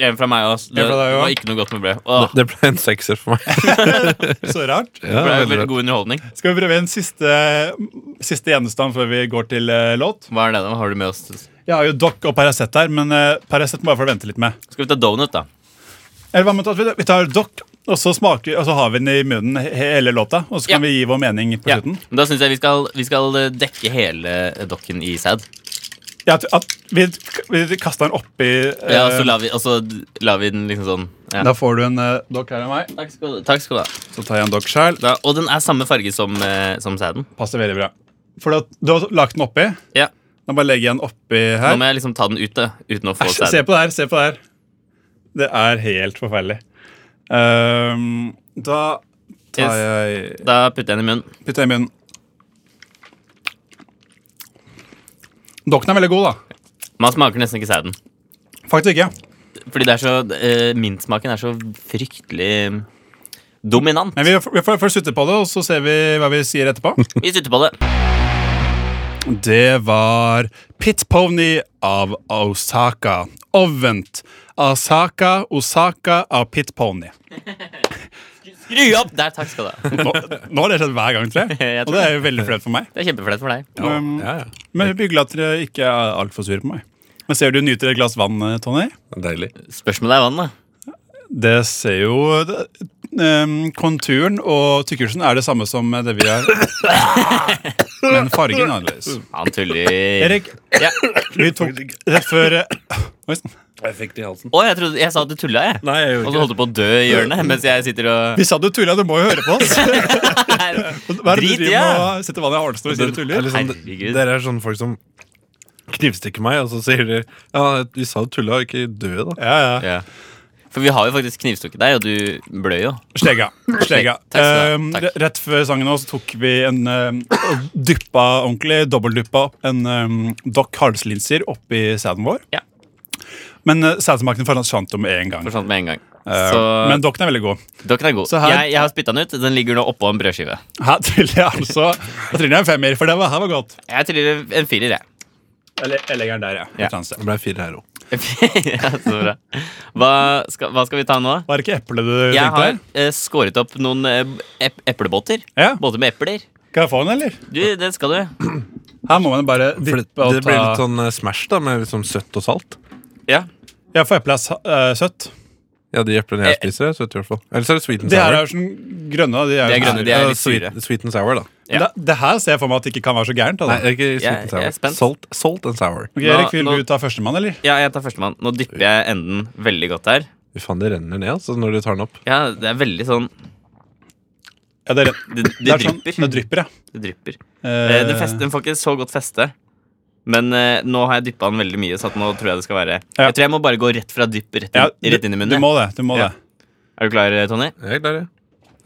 E: En fra meg også. Det,
D: En fra deg
E: det var
D: også.
E: ikke noe godt med brød. Åh,
B: Det ble en sekser for meg.
D: Så rart.
E: det ble
B: Ja, veldig
E: veldig
B: bra.
E: god underholdning.
D: Skal vi prøve en siste, siste gjenstand før vi går til eh, låt?
E: Hva er det da? Har du med oss?
D: Jeg har jo Doc og Paracet her, men eh, Paracet må jeg få vente litt med.
E: Skal vi ta donut, da?
D: Eller hva med at vi- Vi tar Doc, og så, smaker, og så har vi den i munnen he- hele låta. Og så kan
E: Ja.
D: vi gi vår mening på
E: Ja.
D: slutten.
E: Men Da syns jeg vi skal, vi skal eh, dekke hele eh, dokken i sæd.
D: Ja, at, at vi, vi kaster den oppi eh,
E: Ja, og så lar vi, og så d- lar vi den liksom sånn. Ja.
D: Da får du en eh, Doc her av meg.
E: Takk skal du- Takk skal du ha.
D: Så tar jeg en Doc sjæl.
E: Da, og den er samme farge som, eh, som sæden.
D: Passer veldig bra. For at du har lagt den oppi.
E: Ja.
D: Da bare legger jeg den oppi
E: Nå
D: her.
E: må jeg liksom ta den ut, da, uten å få
D: Æsj, se
E: sæden.
D: på det her, se på det her. Det er helt forferdelig. Ehm, da tar
E: Yes.
D: jeg
E: Da putter jeg den i munnen.
D: Putter jeg i munnen. Dokken er veldig god, da.
E: Man smaker nesten ikke sæden.
D: Faktisk ikke.
E: Fordi det er så eh, mintsmaken er så fryktelig dominant.
D: Men vi, vi får først slutte på det, og så ser vi hva vi sier etterpå.
E: Vi sitter på det.
D: Det var Pit Pony av Osaka. Ovent. Asaka Osaka av Pit Pony.
E: Skru opp! Der, takk skal du ha.
D: Nå, nå har det skjedd hver gang, tror jeg.
E: Jeg
D: Og
E: tror
D: det er jo veldig flaut for meg.
E: Det er kjempeflaut for deg.
D: Um,
B: Ja, ja.
D: Men hyggelig at dere ikke er altfor sure på meg. Men Ser du nyter et glass vann, eh, Tony?
B: Deilig.
E: Spørsmålet er vann, da.
D: Det ser jo det, ehm, Konturen og tykkelsen er det samme som det vi har. Men fargen er annerledes.
E: Han tuller.
D: Erik,
E: Ja.
D: vi tok rett før eh, Oi sann.
B: Jeg fikk det i halsen.
E: Å, jeg trodde jeg sa at du tulla, jeg.
B: Nei, jeg
E: Og
B: gjorde
E: så
B: ikke
E: holdt du på å dø i hjørnet mens jeg sitter og
D: Vi sa du tulla, du må jo høre på oss. Hva er det
E: Drit,
D: du driver med
E: ja.
D: å sette vann i halsen når du sier du
B: Det er
D: tuller?
B: liksom,
E: Herregud.
B: Dere er sånne folk som knivstikker meg, og så sier de Ja, de sa du tulla, ikke dø, da.
D: Ja, ja.
E: ja. For vi har jo faktisk knivstukket deg, og du bløy jo.
D: Slega. Slega.
E: Takk skal du ha.
D: Ehm,
E: Takk.
D: re- rett før sangen nå så tok vi en ehm, og dyppa ordentlig, dobbeltdyppa opp en um, Doc Harleslinser oppi sæden vår.
E: Ja.
D: Men uh, sædsmaken forsvant jo med en gang.
E: Forsvant med en gang.
D: Ehm,
E: Så
D: Men Docen er veldig god.
E: dokken er god.
D: Så her-
E: Jeg, jeg har spytta den ut. Den ligger nå oppå en brødskive.
D: Her triller jeg altså Jeg triller en femmer, for det var, her var godt.
E: Jeg triller en firer, jeg.
D: Eller jeg legger den der, ja. Et
E: Ja.
D: eller annet sted.
B: Det ble fire her òg.
E: ja, så bra. Hva skal, hva skal vi ta nå?
D: Var det ikke eple du
E: Jeg
D: tenkte?
E: har eh, skåret opp noen eh, ep eplebåter.
D: Ja,
E: Båter med epler.
D: Kan jeg få den, eller?
E: Du, det skal du.
D: Her må man bare
B: Det,
D: dyppe og
B: det blir litt
D: ta
B: sånn eh, Smash, da, med liksom søtt og salt.
E: Ja.
D: Ja, for eple er sa- eh, søtt.
B: Ja, de eplene jeg
E: Eh,
B: spiser, er søte i hvert fall. Eller så er det sweet and
D: Det her
B: sour.
D: er jo sånn grønne. De er,
E: De er
D: jo- sånn-
E: grønne, de er
B: Ja,
E: litt
B: sweet, sweet and sour, da.
E: Ja.
D: Det, det her ser jeg for meg at det ikke kan være så gærent. da, da.
B: Nei, ikke sweet
E: Jeg-
B: and
E: jeg er
B: sour.
E: spent.
B: salt, salt and sour.
D: Ok,
E: Nå-
D: Erik, Vil
E: nå-
D: du ta førstemann, eller?
E: ja, jeg tar førstemann. Nå dypper jeg enden veldig godt her.
B: Fy faen, det renner ned altså, når du tar den opp.
E: Ja, det er veldig sånn
D: Ja, det, er,
E: Det, det,
D: det er sånn-
E: drypper.
D: det drypper, ja.
E: det drypper.
D: Eh,
E: Eh, Den, fest, den får ikke så godt feste. Men eh, nå har jeg dyppa den veldig mye, så at nå tror jeg det skal være
D: Ja.
E: Jeg tror jeg må bare gå rett fra dypp rett,
D: Eh, ja,
E: inn- rett inn i munnen.
D: Du
E: jeg.
D: må det. du må
E: Ja.
D: det.
E: Er du klar, eh, Tony?
B: Jeg er klar, jeg.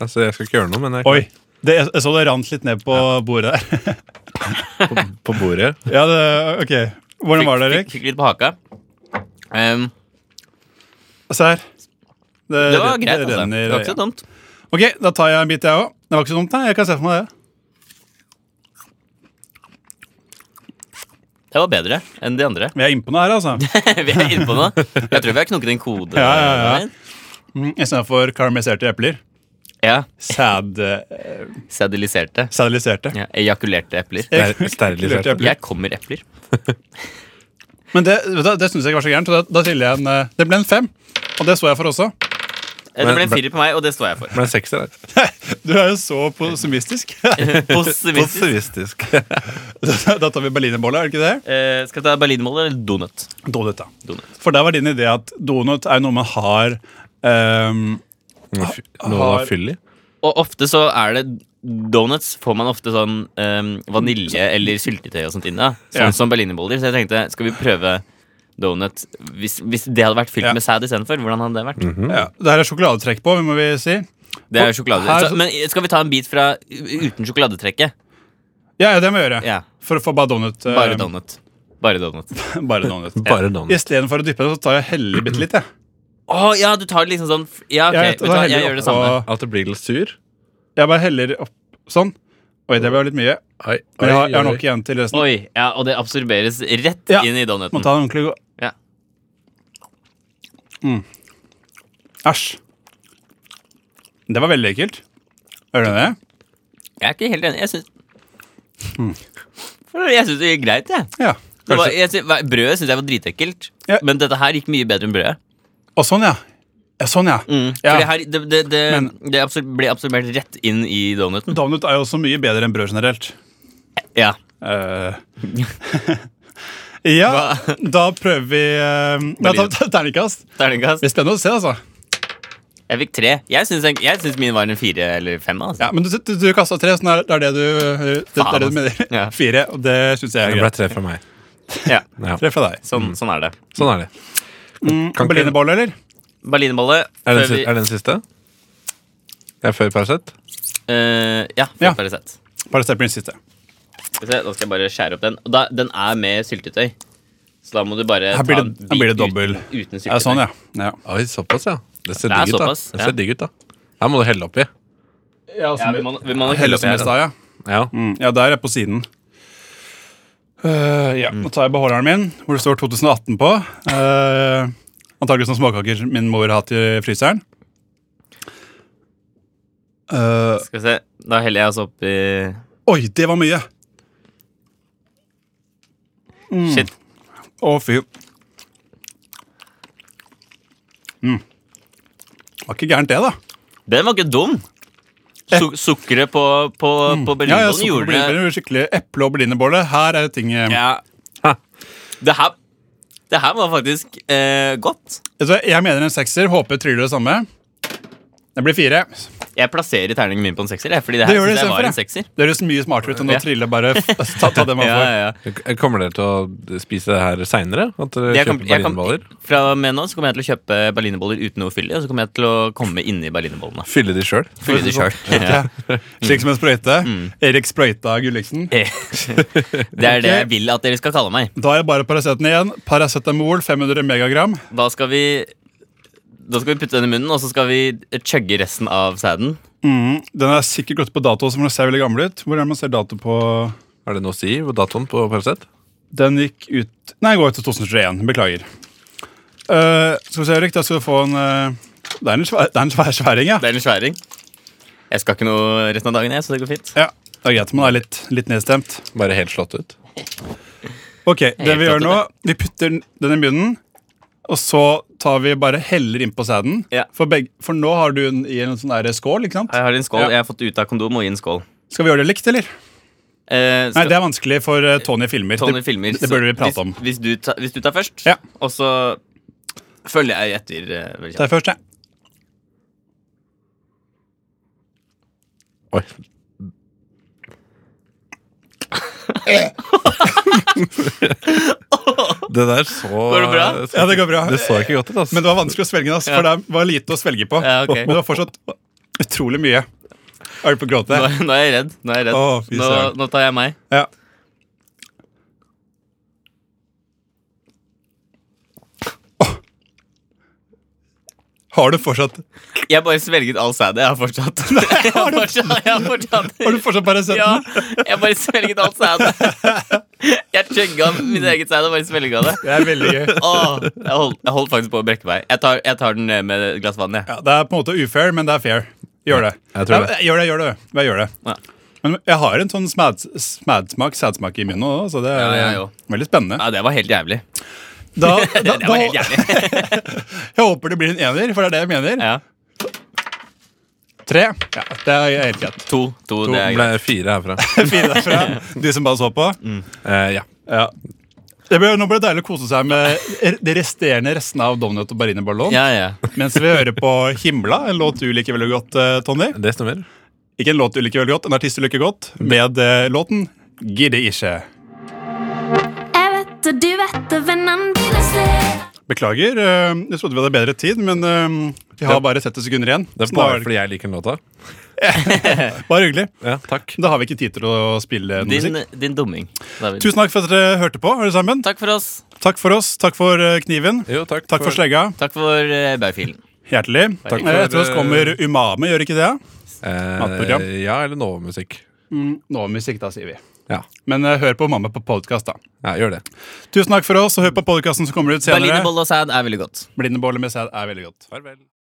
B: Altså, jeg skal ikke gjøre noe, men jeg er
D: Oi. Det, jeg så det rant litt ned på bordet der.
B: klar på, på bordet.
D: ja, det, ok. Hvordan var det,
E: Fikk-
D: Erik?
E: Fikk, fikk litt på haka. Em,
D: Se her. Det,
E: det var greit,
D: det
E: altså.
D: renner,
E: Det var ikke så
D: ja.
E: dumt.
D: Ok, da tar jeg en bit, jeg òg. Det var ikke så dumt, nei. Jeg kan se for meg det.
E: Det var bedre enn de andre.
D: Vi er innpå noe her, altså.
E: vi er inne på noe. Jeg tror vi har knukket en kode.
D: Ja, ja, ja.
E: der.
D: Mm, Istedenfor karamelliserte epler.
E: ja.
D: Sad, eh,
E: Sediliserte.
D: sadaliserte.
E: Ja, ejakulerte epler.
B: Ster- Sterilisert.
D: Epler.
E: Jeg kommer epler.
D: Men det, vet du hva, det syns jeg ikke var så gærent. så Da, da triller jeg en eh, Det ble en fem. Og det så jeg for også.
E: Eh, Det ble en firer på meg, og det står jeg for.
B: Det ble en sekser her.
D: Du er jo så pessimistisk.
E: Positivistisk.
B: Positivistisk.
D: da tar vi berlinerbolle, er det ikke det?
E: Eh, skal vi ta berlinmål eller donut?
D: Donut, da.
E: Donut.
D: For der var din idé at donut er noe man har ehm,
B: Noe fy- noe å fylle i.
E: Og ofte så er det Donuts får man ofte sånn eh, vanilje eller syltetøy og sånt inn. da. Sånn
D: Ja.
E: som berlinerboller. Så jeg tenkte, skal vi prøve donut. Hvis, hvis det hadde vært fylt
D: Ja.
E: med sæd istedenfor, hvordan hadde det vært?
D: Ja, det her er sjokoladetrekk på, må vi si.
E: Det er sjokolade.
D: Her-
E: Så, men skal vi ta en bit fra uten sjokoladetrekket?
D: Ja, ja, det må vi gjøre.
E: Ja.
D: For å få bare donut. eh,
E: Bare donut. Bare donut.
D: bare donut.
B: Bare donut.
D: Istedenfor å dyppe den, så tar jeg og heller bitte litt. Jeg.
E: Å ja, du tar det liksom sånn f- Ja, ok,
D: Jeg
E: vet du hva,
D: heller
E: jeg gjør det
D: oppå-
E: samme.
B: At det blir litt sur?
D: Jeg bare heller opp sånn. Oi, det ble litt mye.
B: Oi,
D: Men jeg har, jeg har
B: oi,
D: nok igjen til resten.
E: Oi, ja, Og det absorberes rett
D: Ja.
E: inn i
D: Må
E: donuten.
D: ta en ordentlig god
E: Ja.
D: Mm. Æsj. Det var veldig ekkelt. Hører du det?
E: Jeg er ikke helt enig. Jeg syns Jeg syns det gikk greit, jeg.
D: Ja.
E: Det var,
D: Kanskje.
E: jeg sy- hva- brødet syns jeg var dritekkelt,
D: Ja.
E: men dette her gikk mye bedre enn brødet.
D: Og sånn, ja. ja sånn, ja.
E: For det,
D: ja.
E: her, det, det, det,
D: Men-
E: det absor ble absorbert rett inn i donuten.
D: Donut er jo også mye bedre enn brød generelt.
E: Ja.
D: Eh. ja, da prøver vi uh, Nei, ta, ta, terningkast. Det
E: Terningkast.
D: blir spennende å se, altså.
E: Jeg fikk tre. Jeg syns jeg- jeg syns min var en fire eller fem. Altså.
D: Ja, men du, du, du kasta tre, så det er det er det du, det, det, er det du mener.
E: Ja.
D: Fire, og det syns jeg
B: Det
D: er
B: ble
D: greit.
B: tre fra meg.
E: Ja.
B: Ja.
D: Tre fra deg.
E: Sånn, sånn er det.
B: Sånn er det. Kan ikke-
D: Berlinerbolle, eller?
E: Berlinerbolle.
B: Er
E: før
B: det,
E: vi-
B: er det den siste? Det er før Paracet?
E: Eh, ja,
D: Ja.
E: før Paracet.
D: Bare se på den siste.
E: Skal vi se, Da skal jeg bare skjære opp den. Og da, den er med syltetøy. Så da må du bare
D: Her blir det-
E: ta en
D: her blir det
E: bit
D: dobbel.
E: Uten, uten syltetøy.
D: Ja, sånn, ja. ja.
B: Oi, såpass, ja. Det ser
E: Det er
B: digg ut, da.
E: såpass,
B: Det
E: ja.
B: ser digg ut, da. Her må du helle oppi.
E: Ja, vi må, vi må nok
D: Helle
E: opp
D: som
E: her,
D: helst,
E: da.
D: da, ja.
B: Ja.
D: Mm, ja, der er på siden. Eh, ja, Nå tar jeg beholderen min, hvor det står 2018 på. Uh, antakelig som småkaker min mor har hatt i fryseren. Eh,
E: Skal vi se. Da heller jeg altså oppi
D: oi, det var mye! Mm.
E: Shit.
D: Å, fy. Mm. Var ikke gærent, Mm. det, da.
E: Den var ikke dum! Su sukkeret på, på, på
D: Eh. Mm. Ja, ja,
E: berlinerbollen
D: sukker og
E: gjorde det
D: berlinerboller, skikkelig Eple- og berlinerbolle. Her er ting eh,
E: Ja. Det her, det her var faktisk eh, godt.
D: altså, Jeg mener en sekser. Håper tryller det samme. Det blir fire.
E: Jeg plasserer terningen min på en sekser. jeg, Fordi det her
D: Det gjør det
E: synes jeg
D: istedenfor,
E: var
D: ja.
E: en sekser.
D: Det høres mye smartere ut enn
E: Ja.
D: å trille bare ta, ta det man
E: Ja,
D: får.
E: ja, ja.
B: Kommer dere til å spise det her seinere? At dere
E: Jeg
B: kjøper
E: kan, jeg kan,
B: berlinerboller?
E: fra og med nå så kommer jeg til å kjøpe berlinerboller uten noe fyll i, og så kommer jeg til å komme inni berlinerbollene.
B: Fylle de sjøl?
E: Fylle de selv.
D: sånn.
E: Ja. Mm.
D: Slik som en sprøyte. Erik Sprøyta Gulliksen.
E: Det er det jeg vil at dere skal kalle meg.
D: Da er det bare Paraceten igjen. Paracetamol 500 megagram.
E: Da skal vi da skal vi putte den i munnen, og så skal vi chugge resten av sæden.
D: Den er sikkert gått på dato, som ser veldig gammel ut. Hvor er det man ser dato på
B: Har det noe å si hvor datoen på Paracet?
D: Den gikk ut Nei, den går ut til 2021. Beklager. Eh, skal vi se, Erik. Da skal du få en eh, Det er en svær, det er en svær sværing, ja.
E: Det er en sværing. Jeg skal ikke noe resten av dagen, jeg, så det går fint.
D: ja. Det er greit om man er litt, litt nedstemt.
B: Bare helt slått ut?
D: Ok, det vi
E: flott,
D: gjør nå, vi putter den i munnen, og så tar vi bare heller innpå sæden.
E: Ja.
D: For, begge, for nå har du den i en sånn der skål, ikke sant?
E: Jeg har en skål.
D: Ja.
E: Jeg har fått ut av kondom og i en skål.
D: Skal vi gjøre det likt, eller?
E: Eh, skal-
D: Nei, det er vanskelig for eh, Tony filmer.
E: Tony
D: Det-
E: filmer.
D: det,
E: så
D: burde vi prate om.
E: Hvis, hvis, du, ta, hvis du tar først,
D: Ja.
E: og så følger jeg etter. eh, veldig
D: Det
E: kjapt.
D: er først, ja.
B: Oi. det der så
E: Går det bra?
B: så-
D: Ja, det går bra.
B: Det så ikke godt ut, altså.
D: Men det var vanskelig å svelge, den, ass, for det var lite å svelge på.
E: Ja, ok.
D: Men det var fortsatt utrolig mye. Er du på å gråte?
E: Nå, nå er jeg redd. Nå, er jeg redd.
D: Å, fy
E: nå,
D: søren.
E: nå tar jeg meg.
D: Ja. Åh. Har du fortsatt
E: Jeg bare svelget all sædet. Jeg har fortsatt. Jeg har fortsatt, jeg har fortsatt.
D: Har du fortsatt bare sett
E: Ja,
D: den?
E: jeg bare svelget all sædet. Jeg chugga mitt eget sæd og bare svelga det.
D: Det er veldig gøy.
E: Åh, jeg, holdt, jeg holdt faktisk på å brekke meg. Jeg tar, jeg tar den ned med et glass vann. Jeg.
D: Ja, det er på en måte ufair, men det er fair. Gjør det.
B: Jeg tror det.
D: Nei, gjør det, gjør det. Jeg gjør det.
E: Ja.
D: Men jeg har en sånn smad- smadsmak, sædsmak i munnen òg, så det er
E: Ja, jeg òg.
D: veldig spennende.
E: Ja, det var helt jævlig.
D: Da, da,
E: Det var
D: da,
E: helt jævlig.
D: jeg håper det blir en ener, for det er det jeg mener.
E: Ja.
D: Tre. Ja, det er helt greit.
E: To, to, det er
B: Det
E: greit.
B: ble fire herfra.
D: Fire derfra. De som bare så på.
B: Eh, ja.
D: Ja. Det ble, nå ble det deilig å kose seg med r- de resterende restene av Donut og Berlinerballon.
E: Ja, ja.
D: Mens vi hører på Himla, en låt du liker veldig godt, eh, Tony.
B: Det stemmer.
D: Ikke en låt du liker veldig godt, en artist du liker godt, med eh, låten Gidde ikke.
I: Jeg vet det, du vet det, vennen din er snill.
D: Beklager, eh, jeg trodde vi hadde bedre tid, men eh, vi har bare 30 sekunder igjen.
B: Det er
D: så da
B: bare
D: er
B: fordi jeg liker den låta.
D: bare hyggelig.
B: Ja, takk.
D: Da har vi ikke tid til å spille noe musikk.
E: Din, eh, din dumming. David.
D: Tusen takk for at dere hørte på. alle sammen.
E: Takk for oss.
D: Takk for oss. Takk for eh, kniven.
B: Jo, takk,
D: Takk for slegga.
E: Takk for uh, baufilen.
D: Hjertelig.
E: Takk
D: Eh,
B: for,
D: Etter oss
B: eh,
D: kommer Umame, gjør ikke det? matprogram.
B: Eh, ja, eller Nova-musikk.
D: Nå musikk, da, sier vi.
B: Ja.
D: Men eh, hør på Umame på podkast, da.
B: ja, gjør det.
D: Tusen takk for oss, og hør på podkasten som kommer ut senere.
E: Berlinerbolle og sæd er veldig godt.
D: Blindebolle med sæd er veldig godt.
B: Farvel.